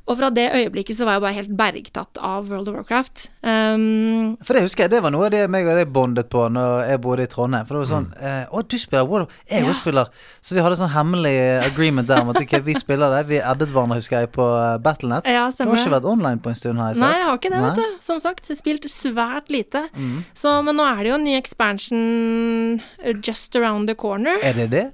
[SPEAKER 6] Og fra det øyeblikket så var jeg bare helt bergtatt av World of Warcraft. Um,
[SPEAKER 2] For det husker jeg, det var noe av det meg og deg bondet på Når jeg bodde i Trondheim. For det var sånn eh, Å, du spiller World of Jeg òg spiller. Så vi hadde sånn hemmelig agreement der om at ok, vi spiller det. Vi addet hverandre, husker jeg, på eh, Battlenet.
[SPEAKER 6] ja,
[SPEAKER 2] Du
[SPEAKER 6] stemmer
[SPEAKER 2] har ikke vært online på en stund, har jeg sett.
[SPEAKER 6] Nei, jeg har ikke det,
[SPEAKER 2] Nei. Mm.
[SPEAKER 6] vet du. Som sagt, spilt svært lite. Så, men nå er det jo en ny expansion uh, just around the corner.
[SPEAKER 2] Er det det?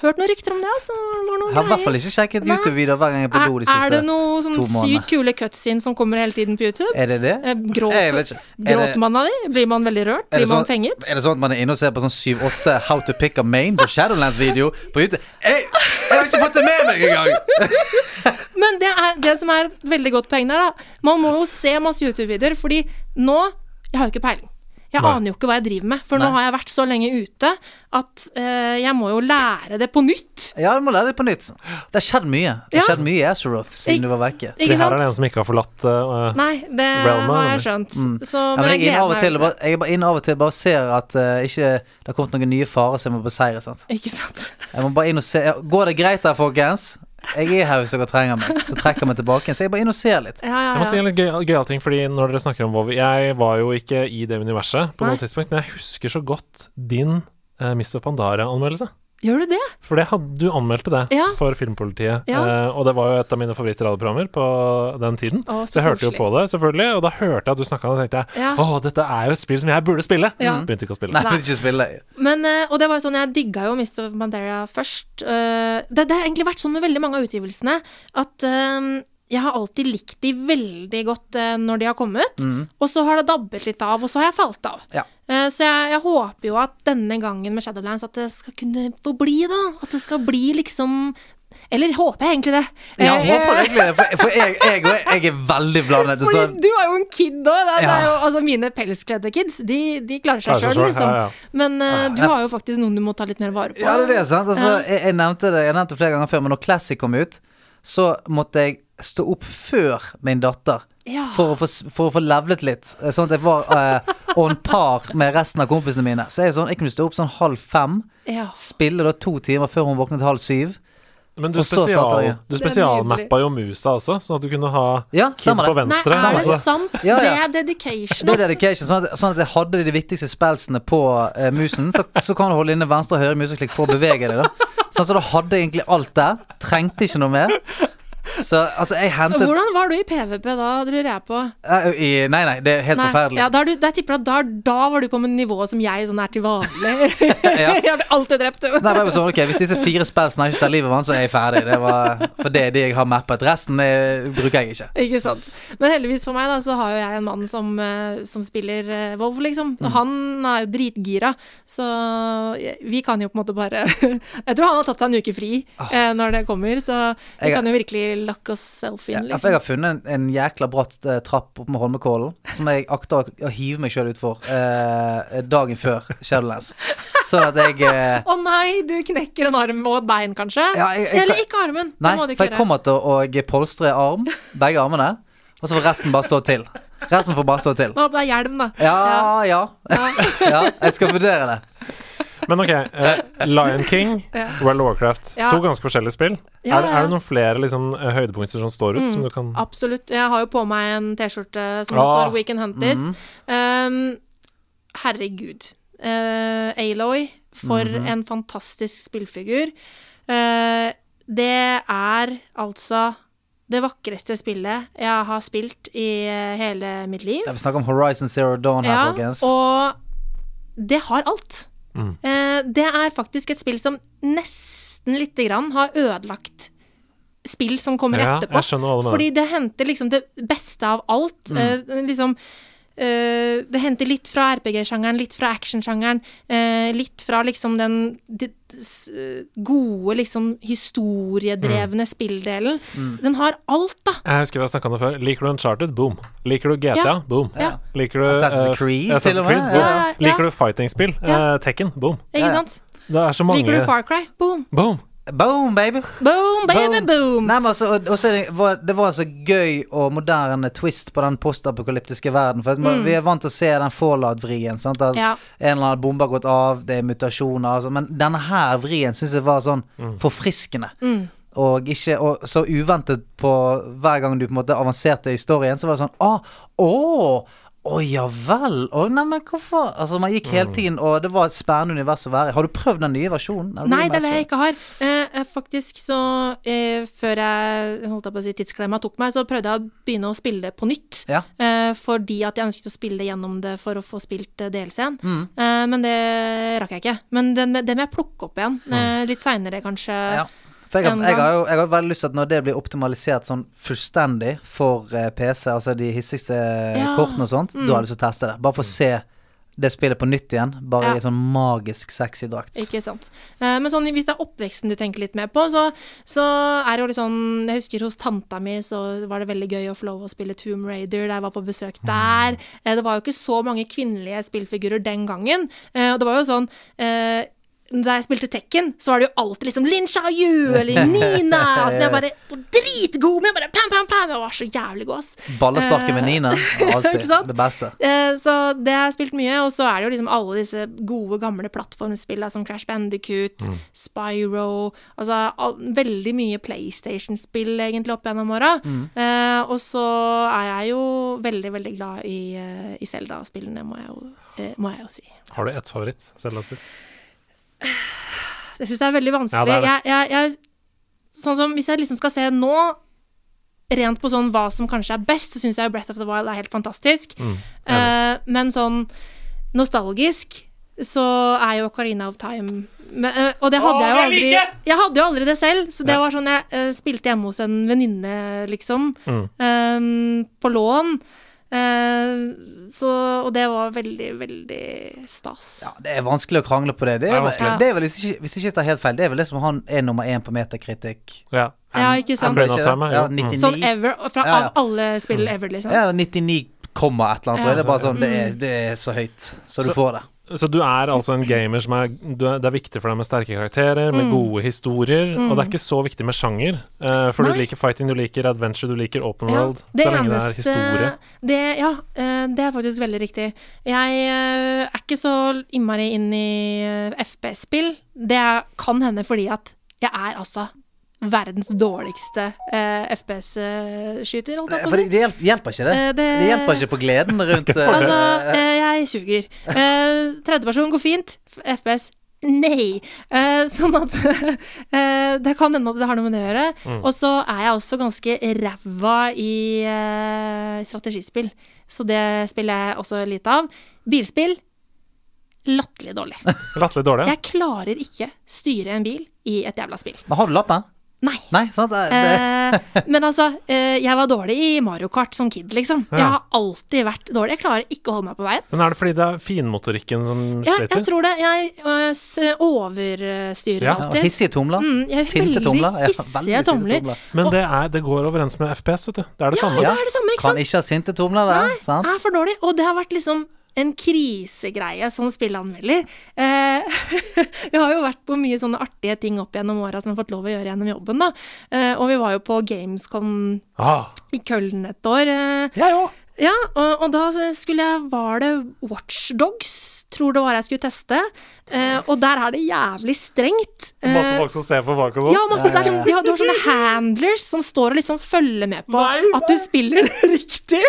[SPEAKER 6] Hørt noen rykter om det, altså. Det var noen
[SPEAKER 2] Jeg har i hvert fall
[SPEAKER 6] greier.
[SPEAKER 2] ikke sjekket
[SPEAKER 6] Nei.
[SPEAKER 2] YouTube-videoer hver gang jeg er på
[SPEAKER 6] Er,
[SPEAKER 2] do de
[SPEAKER 6] er
[SPEAKER 2] siste
[SPEAKER 6] det noen sånn
[SPEAKER 2] to månedene.
[SPEAKER 6] sykt kule cutscenes som kommer hele tiden på YouTube?
[SPEAKER 2] Er det det?
[SPEAKER 6] Eh, Gråt,
[SPEAKER 2] Jeg vet ikke. Er det-
[SPEAKER 6] gråter man av de? Blir man veldig rørt?
[SPEAKER 2] Er
[SPEAKER 6] Blir
[SPEAKER 2] det, sånn,
[SPEAKER 6] man fenget?
[SPEAKER 2] er det sånn at man er inne og ser på sånn 7-8 How to pick a main på Shadowlands-video på YouTube? Jeg, jeg har ikke fått det med meg engang!
[SPEAKER 6] Men det, er, det som er et veldig godt poeng der, da Man må jo se masse YouTube-videoer, fordi nå Jeg har jo ikke peiling. Jeg
[SPEAKER 1] Nei.
[SPEAKER 6] aner jo ikke hva jeg driver med, for
[SPEAKER 2] Nei.
[SPEAKER 6] nå har jeg vært så lenge ute at eh, jeg må jo lære det på nytt.
[SPEAKER 2] Ja, du må lære det på nytt. Det har skjedd mye. Det har
[SPEAKER 6] Ja.
[SPEAKER 2] skjedd mye i Azeroth siden du var vekke.
[SPEAKER 1] Fordi
[SPEAKER 6] Ikke
[SPEAKER 1] her er det en
[SPEAKER 6] sant?
[SPEAKER 1] som ikke har forlatt eh,
[SPEAKER 6] Nei, det
[SPEAKER 1] Realm,
[SPEAKER 6] har
[SPEAKER 1] eller?
[SPEAKER 6] jeg skjønt. Så,
[SPEAKER 2] Mm. Ja,
[SPEAKER 6] men,
[SPEAKER 2] men jeg, er
[SPEAKER 6] jeg
[SPEAKER 2] inne av og til
[SPEAKER 6] gleder meg
[SPEAKER 2] og
[SPEAKER 6] til det.
[SPEAKER 2] bare, jeg er bare inne av og til bare ser at eh, ikke, det har kommet noen nye farer som jeg må beseire. Sant?
[SPEAKER 6] Ikke sant?
[SPEAKER 2] Jeg må bare inn og se ja, Går det greit der, folkens? Jeg er her hvis dere trenger meg. Så trekker jeg meg tilbake igjen. Så jeg bare inn og ser litt.
[SPEAKER 6] Ja, ja,
[SPEAKER 1] Jeg må si
[SPEAKER 6] ja.
[SPEAKER 1] en litt gøyal gøy gøyal ting, fordi når dere snakker om WoW Jeg var jo ikke i det universet på
[SPEAKER 6] Nei.
[SPEAKER 1] noe tidspunkt, men jeg husker så godt din uh, Mr. eh, Pandara-anmeldelse.
[SPEAKER 6] Gjør du det?
[SPEAKER 1] For det hadde, du anmeldte det
[SPEAKER 6] Ja.
[SPEAKER 1] for Filmpolitiet,
[SPEAKER 6] Ja.
[SPEAKER 1] eh, og det var jo et av mine favorittradioprogrammer på den tiden.
[SPEAKER 6] Å,
[SPEAKER 1] så jeg hørte jo
[SPEAKER 6] koselig.
[SPEAKER 1] på det, selvfølgelig, og da hørte jeg at du snakka om det, og tenkte jeg
[SPEAKER 6] Ja.
[SPEAKER 1] å, dette er jo et spill som jeg burde spille. Mm.
[SPEAKER 6] Ja.
[SPEAKER 1] Begynte ikke å spille.
[SPEAKER 2] Nei, jeg vil ikke spille.
[SPEAKER 6] Men, eh, og det var jo sånn, jeg digga jo Mist of Mandela først. Eh, Det, det har egentlig vært sånn med veldig mange av utgivelsene at eh, jeg har alltid likt de veldig godt eh, når de har kommet, og så har det dabbet litt av, og så har jeg falt av.
[SPEAKER 2] Mm. Ja.
[SPEAKER 6] Eh, Så jeg, jeg håper jo at denne gangen med Shadowlands at det skal kunne få bli, da. At det skal bli liksom Eller håper jeg egentlig det.
[SPEAKER 2] Ja,
[SPEAKER 6] Eh,
[SPEAKER 2] jeg håper egentlig det, for, for jeg, jeg, og jeg, jeg er veldig blandet. Så,
[SPEAKER 6] fordi du er jo en kid òg. Det, er- det er
[SPEAKER 2] Ja.
[SPEAKER 6] jo, altså, mine pelskledde kids, de, de klarer seg
[SPEAKER 1] Klarer seg
[SPEAKER 6] sjøl,
[SPEAKER 1] selv,
[SPEAKER 6] liksom.
[SPEAKER 1] ja, ja.
[SPEAKER 6] Men eh, du
[SPEAKER 2] nei.
[SPEAKER 6] har jo faktisk noen du må ta litt mer vare på.
[SPEAKER 2] ja, det er det, sant? Altså, jeg, jeg nevnte det jeg nevnte det flere ganger før, men når Classic kom ut, så måtte jeg stå opp før min datter.
[SPEAKER 6] Ja.
[SPEAKER 2] For, å få, s- for å få levlet litt, eh, sånn at jeg var eh, on par med resten av kompisene mine. Så jeg, er sånn, jeg kunne stå opp sånn halv fem,
[SPEAKER 6] Ja.
[SPEAKER 2] spille da to timer før hun våknet halv syv.
[SPEAKER 1] Men du,
[SPEAKER 2] Og så startet
[SPEAKER 1] spesial,
[SPEAKER 2] jeg.
[SPEAKER 1] du
[SPEAKER 6] Det er
[SPEAKER 1] spesialmappa jo musa også, sånn at du kunne ha
[SPEAKER 2] Ja,
[SPEAKER 1] kid
[SPEAKER 2] stemmer
[SPEAKER 1] på
[SPEAKER 2] det.
[SPEAKER 6] Nei,
[SPEAKER 1] venstre.
[SPEAKER 6] er det
[SPEAKER 1] altså.
[SPEAKER 6] sant?
[SPEAKER 2] Ja, ja.
[SPEAKER 6] Det er dedication.
[SPEAKER 2] Det er
[SPEAKER 6] ass.
[SPEAKER 2] dedication, sånn at, sånn at jeg hadde de viktigste spelsene på eh, musen. Så, så kan du holde inne venstre og høyre museklikk for å bevege deg. da sånn, Så da hadde jeg egentlig alt der. Trengte ikke noe mer. Så altså, jeg hentet
[SPEAKER 6] Hvordan var du i PVP da? Dere er på
[SPEAKER 2] Eh, i, Nei, nei, det er helt
[SPEAKER 6] Nei,
[SPEAKER 2] forferdelig.
[SPEAKER 6] ja, da, er du, da tipper jeg at da, da var du på med nivået som jeg sånn er til vanlig. jeg ble alltid drept.
[SPEAKER 2] Nei, det var sånn, ok, Hvis disse fire spillene ikke tar livet av han, så er jeg ferdig. Det var, for det er de jeg har mappet. Resten eh, bruker jeg ikke.
[SPEAKER 6] Ikke sant. Men heldigvis for meg, da, så har jo jeg en mann som, eh, som spiller eh, WoW, liksom.
[SPEAKER 2] Mm.
[SPEAKER 6] Og han er jo dritgira, så jeg- vi kan jo på en måte bare Jeg tror han har tatt seg en uke fri eh, når det kommer, så vi
[SPEAKER 2] Ah. Jeg-
[SPEAKER 6] kan jo virkelig lock oss self in,
[SPEAKER 2] Ja, for jeg
[SPEAKER 6] liksom.
[SPEAKER 2] har funnet en, en jækla bratt eh, trapp opp med Holmenkollen som jeg akter å, å hive meg sjøl utfor eh, dagen før Shadowlands. Så at jeg eh,
[SPEAKER 6] Å nei, du knekker en arm og et bein, kanskje?
[SPEAKER 2] Ja, jeg- jeg-
[SPEAKER 6] Eller ikke armen.
[SPEAKER 2] Nei,
[SPEAKER 6] det må du ikke
[SPEAKER 2] for jeg
[SPEAKER 6] gjøre.
[SPEAKER 2] kommer til å polstre arm, begge armene, og så får resten bare stå til. Resten får bare stå til.
[SPEAKER 6] Nå ble det hjelm, da.
[SPEAKER 2] Ja, ja. ja jeg skal vurdere det.
[SPEAKER 1] Men ok, eh, Lion King,
[SPEAKER 6] Ja.
[SPEAKER 1] World of Warcraft.
[SPEAKER 6] Ja.
[SPEAKER 1] To ganske forskjellige spill. er, det- er
[SPEAKER 6] Ja, ja. Mm.
[SPEAKER 1] det noen flere liksom, eh, høydepunkter som står ut, som du kan
[SPEAKER 6] Absolutt. Jeg har jo på meg en T-skjorte som det
[SPEAKER 1] Mm. Ah.
[SPEAKER 6] står Weekend Hunters. Um, herregud. Eh, Aloy, for
[SPEAKER 1] Mhm.
[SPEAKER 6] en fantastisk spillfigur. Eh, det er altså det vakreste spillet jeg har spilt i eh, hele mitt liv.
[SPEAKER 2] Ja, Vi snakker om Horizon Zero Dawn her, folkens.
[SPEAKER 6] Og det har alt.
[SPEAKER 1] Mm.
[SPEAKER 6] Eh, det er faktisk et spill som nesten lite grann har ødelagt spill som kommer
[SPEAKER 1] Ja,
[SPEAKER 6] etterpå.
[SPEAKER 1] jeg skjønner hva du mener.
[SPEAKER 6] Fordi det henter liksom det beste av alt. Eh, liksom eh, Det henter litt fra RPG-sjangeren, litt fra actionsjangeren, eh, litt fra liksom den det, s- eh, gode, liksom historiedrevne spilldelen. Den har alt, da.
[SPEAKER 1] Jeg husker vi har snakka om det før. Liker du Uncharted? Boom. Liker du GTA?
[SPEAKER 6] Ja.
[SPEAKER 1] Boom.
[SPEAKER 6] Ja.
[SPEAKER 1] Liker du
[SPEAKER 2] Assassin's
[SPEAKER 1] eh,
[SPEAKER 2] Creed,
[SPEAKER 1] Assassin's
[SPEAKER 2] til og
[SPEAKER 1] Creed?
[SPEAKER 2] med.
[SPEAKER 1] Boom.
[SPEAKER 6] Ja, ja, ja.
[SPEAKER 1] Liker du fightingspill?
[SPEAKER 6] Ja.
[SPEAKER 1] Eh, Tekken? Boom.
[SPEAKER 6] Ikke
[SPEAKER 2] Ja, ja.
[SPEAKER 6] sant?
[SPEAKER 1] Det er så mange
[SPEAKER 6] Liker du Far Cry? Boom!
[SPEAKER 1] Boom.
[SPEAKER 2] Boom, baby!
[SPEAKER 6] Boom, baby, boom!
[SPEAKER 2] Nei, men altså, og, og så er det, var, det var en så gøy og moderne twist på den postapokalyptiske verden. For at man, Vi er vant til å se den Fallout-vrien. sant? At
[SPEAKER 6] Mm. Ja.
[SPEAKER 2] En eller annen bombe har gått av, det er mutasjoner. Altså, men denne her vrien syns jeg var sånn forfriskende.
[SPEAKER 6] Mm.
[SPEAKER 2] Og, ikke, og så uventet på hver gang du på en måte avanserte i historien, så var det sånn ah, Å! Å ja vel! Å nei, men hvorfor Altså, man gikk hele tiden, og det var et spennende univers å være i. Har du prøvd den nye versjonen? Eller
[SPEAKER 6] Nei, det er det
[SPEAKER 2] remasteren?
[SPEAKER 6] jeg ikke har. Eh, eh, faktisk så eh, Før jeg holdt jeg på å si tidsklemma tok meg, så prøvde jeg å begynne å spille det på nytt.
[SPEAKER 2] Ja.
[SPEAKER 6] Eh, fordi at jeg ønsket å spille gjennom det for å få spilt eh, DLC-en.
[SPEAKER 2] Mm.
[SPEAKER 6] Eh, men det rakk jeg ikke. Men den, det må jeg plukke opp igjen. Eh, litt seinere, kanskje.
[SPEAKER 2] Mm. Ja. For jeg,
[SPEAKER 6] en
[SPEAKER 2] har, jeg,
[SPEAKER 6] gang.
[SPEAKER 2] har jo, jeg har veldig lyst til at når det blir optimalisert sånn fullstendig for eh, PC, altså de hissigste
[SPEAKER 6] Ja.
[SPEAKER 2] kortene og sånt, da har jeg lyst til å teste det.
[SPEAKER 1] Mm.
[SPEAKER 2] Bare for å se det spillet på nytt igjen, bare
[SPEAKER 6] Ja.
[SPEAKER 2] i sånn magisk sexy drakt.
[SPEAKER 6] Ikke sant. Eh, men sånn, hvis det er oppveksten du tenker litt mer på, så, så er det jo litt sånn Jeg husker hos tanta mi så var det veldig gøy å få lov å spille Tomb Raider da jeg var på besøk der. Eh, det var jo ikke så mange kvinnelige spillfigurer den gangen. Eh, og det var jo sånn eh, da jeg spilte Tekken, så var det jo alltid liksom Lin Xiaoyu eller Nina. Som jeg bare var dritgod med! Bare pam, pam, pam! Jeg var så jævlig god, ass.
[SPEAKER 2] Mm. Ballesparket med
[SPEAKER 6] Eh,
[SPEAKER 2] Nina, alltid
[SPEAKER 6] ikke sant?
[SPEAKER 2] det beste.
[SPEAKER 6] Eh, Så det har jeg spilt mye, og så er det jo liksom alle disse gode, gamle plattformspillene som Crash Bandicoot, Spyro Altså all, veldig mye PlayStation-spill egentlig opp gjennom åra. Eh, og så er jeg jo veldig, veldig glad i, eh, i Zelda-spillene, må, jeg jo- eh, må jeg jo si.
[SPEAKER 1] Har du ett favoritt? Zelda-spill?
[SPEAKER 6] Jeg syns det er veldig
[SPEAKER 1] Ja,
[SPEAKER 6] vanskelig.
[SPEAKER 1] det er det.
[SPEAKER 6] Jeg, jeg, jeg, sånn som Hvis jeg liksom skal se nå, rent på sånn hva som kanskje er best, så syns jeg jo Breath of the Wild er helt fantastisk.
[SPEAKER 1] Mm.
[SPEAKER 6] Eh, men sånn nostalgisk så er jo Ocarina of Time men, eh, Og det hadde jeg jo aldri Jeg hadde jo aldri det selv, så det
[SPEAKER 1] Ja.
[SPEAKER 6] var sånn jeg eh, spilte hjemme hos en venninne, liksom.
[SPEAKER 1] Mm.
[SPEAKER 6] eh, på lån. Eh, så, og det var veldig, veldig stas.
[SPEAKER 2] Ja, det er vanskelig å krangle på det. Det
[SPEAKER 1] Det
[SPEAKER 2] er,
[SPEAKER 1] er
[SPEAKER 2] vel-
[SPEAKER 1] vanskelig.
[SPEAKER 2] det er vel, hvis ikke- hvis ikke jeg tar helt feil, det er vel det som han er nummer én på meterkritikk.
[SPEAKER 1] Ja.
[SPEAKER 6] Ja, ikke sant?
[SPEAKER 2] Er det ikke
[SPEAKER 1] Ocarina of
[SPEAKER 2] det?
[SPEAKER 1] Time, ja.
[SPEAKER 2] Ja,
[SPEAKER 1] Mm.
[SPEAKER 2] 99,
[SPEAKER 6] Sånn ever, fra,
[SPEAKER 2] Ja, ja.
[SPEAKER 6] av alle spill ever, liksom.
[SPEAKER 2] ja, 99 komma et eller annet. tror jeg. Det er bare
[SPEAKER 1] Ja.
[SPEAKER 2] sånn, det er,
[SPEAKER 6] Mm.
[SPEAKER 2] det er så høyt, så du
[SPEAKER 1] Så-
[SPEAKER 2] får det.
[SPEAKER 1] Så du er altså en gamer som er, du er Det er viktig for deg med sterke karakterer,
[SPEAKER 6] Mm.
[SPEAKER 1] med gode historier, og det er ikke så viktig med sjanger. eh, for
[SPEAKER 6] Nei.
[SPEAKER 1] du liker fighting, du liker adventure, du liker open
[SPEAKER 6] Ja,
[SPEAKER 1] world, så lenge det er historie.
[SPEAKER 6] det, ja, eh, det er faktisk veldig riktig. Jeg eh, er ikke så innmari inn i eh, FPS-spill. Det er- kan hende fordi at jeg er altså verdens dårligste eh, FPS-skyter, holdt jeg på å
[SPEAKER 2] For
[SPEAKER 6] si.
[SPEAKER 2] det, det hjel- hjelper ikke, det.
[SPEAKER 6] Eh, det-
[SPEAKER 2] Det hjelper ikke på gleden rundt eh,
[SPEAKER 6] Altså, eh, jeg suger. Eh, Tredjeperson går fint. F- FPS nei. Eh, sånn at eh, Det kan hende at det har noe med det å gjøre. Og så er jeg også ganske ræva i eh, strategispill, så det spiller jeg også lite av. Bilspill latterlig dårlig.
[SPEAKER 1] Latterlig dårlig.
[SPEAKER 6] Jeg klarer ikke styre en bil i et jævla spill.
[SPEAKER 2] Men har du lappen?
[SPEAKER 6] Nei.
[SPEAKER 2] Nei, sant? Det, det,
[SPEAKER 6] Eh, men altså, eh, jeg var dårlig i Mario Kart som kid, liksom. Jeg har alltid vært dårlig. Jeg klarer ikke å holde meg på veien.
[SPEAKER 1] Men er det fordi det er finmotorikken som
[SPEAKER 6] Ja, jeg
[SPEAKER 1] sliter?
[SPEAKER 6] tror det. Jeg øh, s- overstyrer
[SPEAKER 1] Ja,
[SPEAKER 2] ja,
[SPEAKER 6] alltid.
[SPEAKER 2] hissige tomler.
[SPEAKER 6] Mm, jeg er
[SPEAKER 2] Sinte
[SPEAKER 6] veldig
[SPEAKER 2] tomler. Ja,
[SPEAKER 6] hissige
[SPEAKER 2] veldig sinte
[SPEAKER 6] tomler.
[SPEAKER 1] Men det, er, det går overens med FPS, vet du. Det er det samme.
[SPEAKER 6] Ja, det er det samme, ikke
[SPEAKER 2] Kan
[SPEAKER 6] sant? Ah,
[SPEAKER 2] ikke ha sinte tomler der, sant?
[SPEAKER 6] Jeg er for dårlig. Og det har vært liksom en krisegreie som spilleanmelder. Eh, jeg har jo vært på mye sånne artige ting opp gjennom åra som jeg har fått lov å gjøre gjennom jobben, da. Eh, og vi var jo på Gamescom
[SPEAKER 1] Ah,
[SPEAKER 6] i Køln et år. Eh,
[SPEAKER 1] jeg òg.
[SPEAKER 6] Ja, og, og da skulle jeg Var det Watchdogs? Tror det var jeg skulle teste. Eh, og der er det jævlig strengt.
[SPEAKER 1] Masse
[SPEAKER 6] Eh,
[SPEAKER 1] folk som ser på bak og sånn.
[SPEAKER 6] Ja, masse, det er
[SPEAKER 2] Eh.
[SPEAKER 6] sånn, de har, du har sånne handlers som står og liksom følger med på at du spiller det riktig.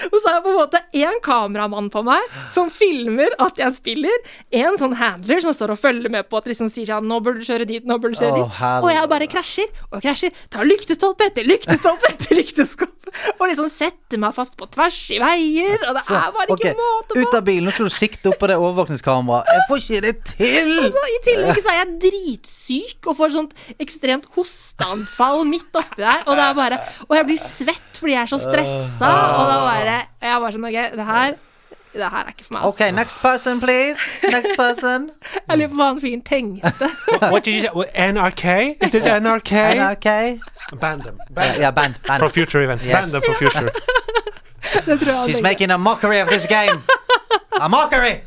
[SPEAKER 6] og så er det på en måte én kameramann på meg som filmer at jeg spiller. En sånn handler som står og følger med på at liksom sier sånn 'Nå burde du kjøre dit, nå burde du kjøre
[SPEAKER 2] Å,
[SPEAKER 6] dit'. og jeg bare krasjer og krasjer. Tar lyktestolpe etter lyktestolpe etter lyktestolpe. Og liksom setter meg fast på tvers i veier. Og det er bare
[SPEAKER 2] ok,
[SPEAKER 6] ikke måte på.
[SPEAKER 2] Ut av bilen, nå skal du sikte opp på det overvåkningskameraet. Jeg får ikke det til!
[SPEAKER 6] Altså, I tillegg så er jeg dritsyk og får sånt ekstremt hosteanfall midt oppi der. Og, det er bare, og jeg blir svett fordi jeg er så stressa. Og da bare, og jeg er bare sånn OK, det her, det her er ikke for meg.
[SPEAKER 2] Ok,
[SPEAKER 6] Altså.
[SPEAKER 2] next person, please. Next person.
[SPEAKER 6] Jeg lurer på hva han fyren tenkte.
[SPEAKER 1] What did you say? NRK? Is it NRK?
[SPEAKER 2] Ok.
[SPEAKER 1] Ban them.
[SPEAKER 2] Ja, ja, band. band.
[SPEAKER 1] For future events.
[SPEAKER 2] Yes.
[SPEAKER 1] Ban them for future.
[SPEAKER 6] Det tror jeg han
[SPEAKER 2] She's
[SPEAKER 6] tenkte.
[SPEAKER 2] making a mockery of this game. A mockery!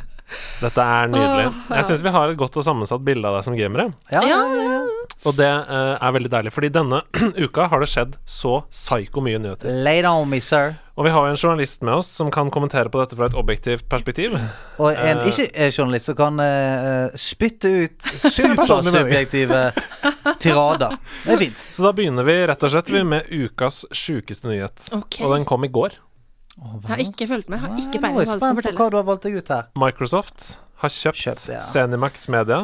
[SPEAKER 1] Dette er nydelig. Jeg syns vi har et godt og sammensatt bilde av deg som gamere.
[SPEAKER 2] Ja, ja,
[SPEAKER 6] Ja,
[SPEAKER 2] ja. ja.
[SPEAKER 1] Og det eh, er veldig deilig, fordi denne uka har det skjedd så psyko mye nyheter.
[SPEAKER 2] Lay it on me, sir.
[SPEAKER 1] Og vi har jo en journalist med oss som kan kommentere på dette fra et objektivt perspektiv.
[SPEAKER 2] Og en
[SPEAKER 1] Eh.
[SPEAKER 2] ikke-journalist som kan eh, spytte ut supersubjektive tirader. Det er fint.
[SPEAKER 1] Så da begynner vi rett og slett vi med ukas sjukeste nyhet.
[SPEAKER 6] Ok.
[SPEAKER 1] Og den kom i går.
[SPEAKER 6] Jeg har ikke fulgt med. Jeg har
[SPEAKER 2] Nå
[SPEAKER 6] ikke
[SPEAKER 2] er
[SPEAKER 6] peiling på
[SPEAKER 2] jeg
[SPEAKER 6] hva du skal
[SPEAKER 2] spent på
[SPEAKER 6] fortelle.
[SPEAKER 2] hva du har valgt deg ut her.
[SPEAKER 1] Microsoft har kjøpt,
[SPEAKER 2] Kjøpt, ja.
[SPEAKER 1] Zenimax Media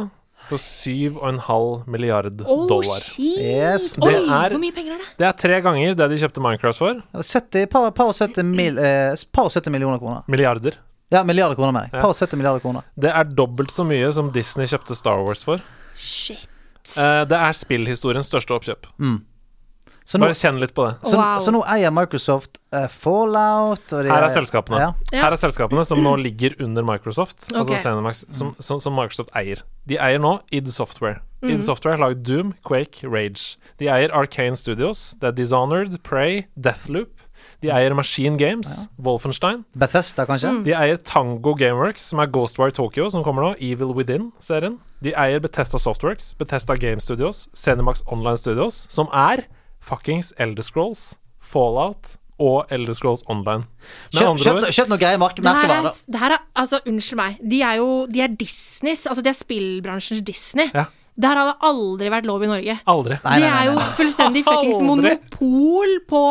[SPEAKER 1] for 7,5 milliard
[SPEAKER 6] Oh,
[SPEAKER 1] dollar.
[SPEAKER 6] shit.
[SPEAKER 2] Yes,
[SPEAKER 6] Oi,
[SPEAKER 1] det er-
[SPEAKER 6] hvor mye penger er det?
[SPEAKER 1] Det er tre ganger det de kjøpte Minecraft for.
[SPEAKER 2] Det var 70, par, par, og 70 mil, eh, par og 70 millioner kroner.
[SPEAKER 1] Milliarder.
[SPEAKER 2] Ja, milliarder kroner, mener jeg. Par og 70 milliarder kroner.
[SPEAKER 1] Det er dobbelt så mye som Disney kjøpte Star Wars for.
[SPEAKER 6] Shit.
[SPEAKER 1] Eh, det er spillhistoriens største oppkjøp.
[SPEAKER 2] Mm. Så nå,
[SPEAKER 1] Bare kjenn litt på det.
[SPEAKER 2] så,
[SPEAKER 6] Wow.
[SPEAKER 2] så nå eier Microsoft eh, Fallout og de,
[SPEAKER 1] Her er selskapene.
[SPEAKER 2] Ja.
[SPEAKER 6] Ja.
[SPEAKER 1] Her er selskapene som nå ligger under Microsoft, altså
[SPEAKER 6] Ok.
[SPEAKER 1] Cinemax, som, som, som Microsoft eier. De eier nå id Software.
[SPEAKER 6] Mhm.
[SPEAKER 1] id Software har laget Doom, Quake, Rage. De eier Arcane Studios, det er Dishonored, Prey, Deathloop. De eier Machine Games, Wolfenstein.
[SPEAKER 2] Bethesda, kanskje?
[SPEAKER 6] Mm.
[SPEAKER 1] De eier Tango Gameworks, som er Ghostwire Tokyo, som kommer nå. Evil Within-serien. De eier Bethesda Softworks, Bethesda Game Studios, Cinemax Online Studios, som er fuckings Elder Scrolls, Fallout og Elder Scrolls Online. Med
[SPEAKER 2] Kjøp,
[SPEAKER 1] andre
[SPEAKER 2] kjøp,
[SPEAKER 1] ord-
[SPEAKER 2] no- kjøp noe greie merke-
[SPEAKER 6] Det her,
[SPEAKER 2] merkevare,
[SPEAKER 6] er,
[SPEAKER 2] da.
[SPEAKER 6] det her er Altså, unnskyld meg. De er jo De er Disneys. Altså, de er spillbransjens Disney.
[SPEAKER 1] Ja.
[SPEAKER 6] Det her hadde aldri vært lov i Norge.
[SPEAKER 1] Aldri.
[SPEAKER 2] Nei, nei,
[SPEAKER 6] det
[SPEAKER 2] nei,
[SPEAKER 6] er jo
[SPEAKER 2] nei,
[SPEAKER 6] fullstendig fuckings
[SPEAKER 1] Aldri.
[SPEAKER 6] monopol på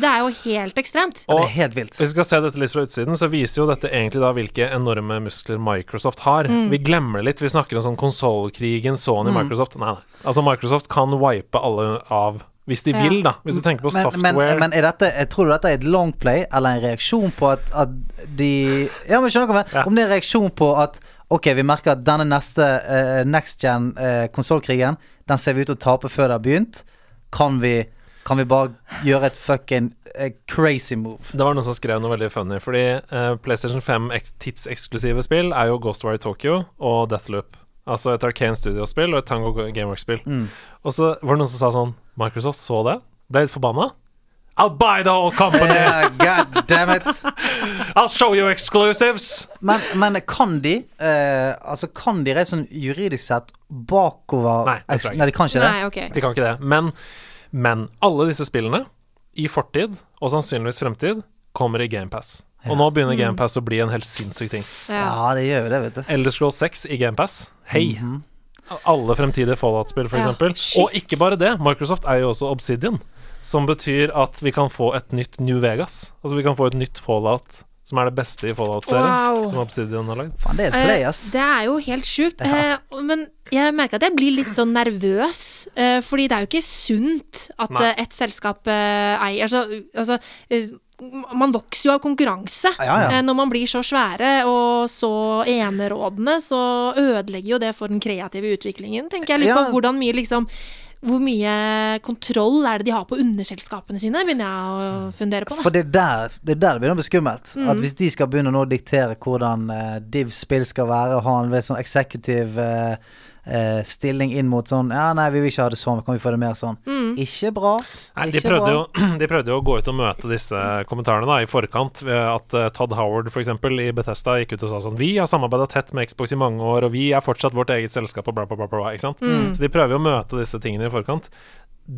[SPEAKER 6] Det er jo helt ekstremt.
[SPEAKER 2] Det
[SPEAKER 1] Og
[SPEAKER 2] er helt vilt.
[SPEAKER 1] hvis vi skal se dette litt fra utsiden, så viser jo dette egentlig da hvilke enorme muskler Microsoft har.
[SPEAKER 2] Mm.
[SPEAKER 1] Vi glemmer det litt. Vi snakker om sånn konsollkrigen, Sony, Microsoft. Nei, nei. Altså, Microsoft kan wipe alle av hvis de
[SPEAKER 6] Ja.
[SPEAKER 1] vil, da. Hvis du tenker på
[SPEAKER 2] Men, men,
[SPEAKER 1] software
[SPEAKER 2] men er dette, jeg tror du dette er et longplay eller en reaksjon på at, at de Ja, men skjønner du hva jeg mener?
[SPEAKER 1] Ja.
[SPEAKER 2] Om det er en reaksjon på at Ok, vi merker at denne neste eh, next gen uh, konsollkrigen, den ser vi ut til å tape før det har begynt. Kan vi, kan vi bare gjøre et fucking eh, crazy move?
[SPEAKER 1] Det var noen som skrev noe veldig funny, fordi eh, PlayStation 5 eks tidseksklusive spill er jo Ghostwire Tokyo og Deathloop. Altså et Arcane Studio-spill og et Tango Gameworks-spill.
[SPEAKER 2] Mm.
[SPEAKER 1] Og så var det noen som sa sånn Microsoft så det, ble litt forbanna. I'll buy the whole company!
[SPEAKER 2] Yeah, God damn it.
[SPEAKER 1] I'll show you exclusives!
[SPEAKER 2] Men, men kan de eh, Altså kan de rett sånn juridisk sett bakover
[SPEAKER 1] Nei, det tror jeg ikke.
[SPEAKER 2] Nei, de kan ikke det?
[SPEAKER 6] Nei, ok.
[SPEAKER 1] De kan ikke det. Men, men alle disse spillene, i fortid og sannsynligvis fremtid, kommer i GamePass. Og nå begynner GamePass å bli en helt sinnssyk ting.
[SPEAKER 6] Ja.
[SPEAKER 2] Ja, det gjør jo det, vet du.
[SPEAKER 1] Elder Scrolls 6 i GamePass. Hei! Alle fremtidige Fallout-spill,
[SPEAKER 6] Ja,
[SPEAKER 1] f.eks. eksempel
[SPEAKER 6] shit.
[SPEAKER 1] og ikke bare det, Microsoft er jo også Obsidian, som betyr at vi kan få et nytt New Vegas. Altså vi kan få et nytt Fallout, som er det beste i Fallout-serien,
[SPEAKER 6] Wow.
[SPEAKER 1] som Obsidian har lagd.
[SPEAKER 2] Faen, det er et
[SPEAKER 6] Eh,
[SPEAKER 2] play, ass.
[SPEAKER 6] Det er jo helt sjukt. eh, og- Men jeg merker at jeg blir litt sånn nervøs. eh, Fordi det er jo ikke sunt at
[SPEAKER 1] Nei.
[SPEAKER 6] eh, et selskap eh, eier Altså, altså eh, m- man vokser jo av konkurranse.
[SPEAKER 2] Ja, ja.
[SPEAKER 6] Eh, Når man blir så svære og så enerådende, så ødelegger jo det for den kreative utviklingen. Tenker jeg litt
[SPEAKER 2] Ja.
[SPEAKER 6] på hvordan mye liksom hvor mye kontroll er det de har på underselskapene sine, begynner jeg å fundere på.
[SPEAKER 2] Mm.
[SPEAKER 6] Mm.
[SPEAKER 2] For
[SPEAKER 6] Da.
[SPEAKER 2] det er der det, er der det begynner å bli skummelt. At hvis de skal begynne nå å diktere hvordan eh, Divs spill skal være, og ha en veldig sånn eksekutiv eh, eh, stilling inn mot sånn Ja, nei, vi vil ikke ha det sånn, kan vi få det mer sånn?
[SPEAKER 6] Mm.
[SPEAKER 2] Ikke bra.
[SPEAKER 1] Nei, de,
[SPEAKER 2] ikke
[SPEAKER 1] prøvde
[SPEAKER 2] bra.
[SPEAKER 1] jo, de prøvde jo å gå ut og møte disse kommentarene da, i forkant. Ved at eh, Todd Howard for eksempel, i Bethesda gikk ut og sa sånn Vi har samarbeida tett med Xbox i mange år, og vi er fortsatt vårt eget selskap, og bla, bla, bla. bla ikke sant?
[SPEAKER 2] Mm.
[SPEAKER 1] Så de prøver jo å møte disse tingene i forkant.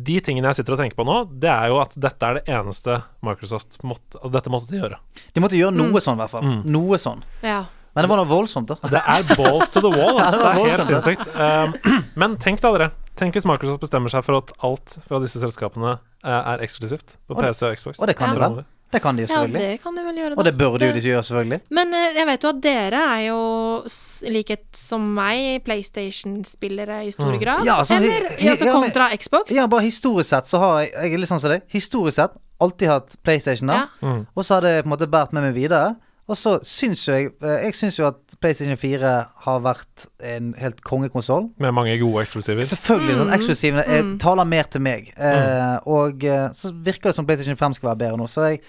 [SPEAKER 1] De tingene jeg sitter og tenker på nå, det er jo at dette er det eneste Microsoft måtte Altså, dette måtte de gjøre.
[SPEAKER 2] De måtte gjøre
[SPEAKER 6] Mm.
[SPEAKER 2] noe sånn, i hvert
[SPEAKER 1] Mm.
[SPEAKER 2] fall. Noe sånn.
[SPEAKER 6] Ja.
[SPEAKER 2] Men det var noe voldsomt, da.
[SPEAKER 1] Det er balls to the wall, ass.
[SPEAKER 2] Ja, det
[SPEAKER 1] Det
[SPEAKER 2] er
[SPEAKER 1] er helt
[SPEAKER 2] balls,
[SPEAKER 1] sinnssykt. Um, men tenk da, dere. Tenk hvis Microsoft bestemmer seg for at alt fra disse selskapene eh, er eksklusivt på
[SPEAKER 2] Og det-
[SPEAKER 1] PC og Xbox.
[SPEAKER 2] Og det kan de
[SPEAKER 1] Fremover.
[SPEAKER 2] vel? Det kan de jo,
[SPEAKER 6] ja,
[SPEAKER 2] selvfølgelig.
[SPEAKER 6] det kan de vel gjøre.
[SPEAKER 2] Og det
[SPEAKER 6] da.
[SPEAKER 2] burde jo de gjøre, selvfølgelig.
[SPEAKER 6] Men eh, jeg vet jo at dere er jo, s- i likhet som meg, PlayStation-spillere i stor grad.
[SPEAKER 2] Ja, sånn-
[SPEAKER 6] Eller
[SPEAKER 2] ja,
[SPEAKER 6] ja, så
[SPEAKER 2] ja, men-
[SPEAKER 6] kontra Xbox.
[SPEAKER 2] Ja, bare historisk sett så har jeg, jeg er litt sånn som deg. Historisk sett alltid hatt PlayStation da. Og så har det på en måte båret med meg videre. Og så syns jo jeg eh, Jeg syns jo at PlayStation 4 har vært en helt kongekonsoll.
[SPEAKER 1] Med mange gode eksklusiver.
[SPEAKER 2] Selvfølgelig. sånn
[SPEAKER 6] Mm.
[SPEAKER 2] Eksklusivene eh, taler mer til meg. Eh,
[SPEAKER 1] Mm.
[SPEAKER 2] og eh, så virker det som PlayStation 5 skal være bedre nå. Så jeg,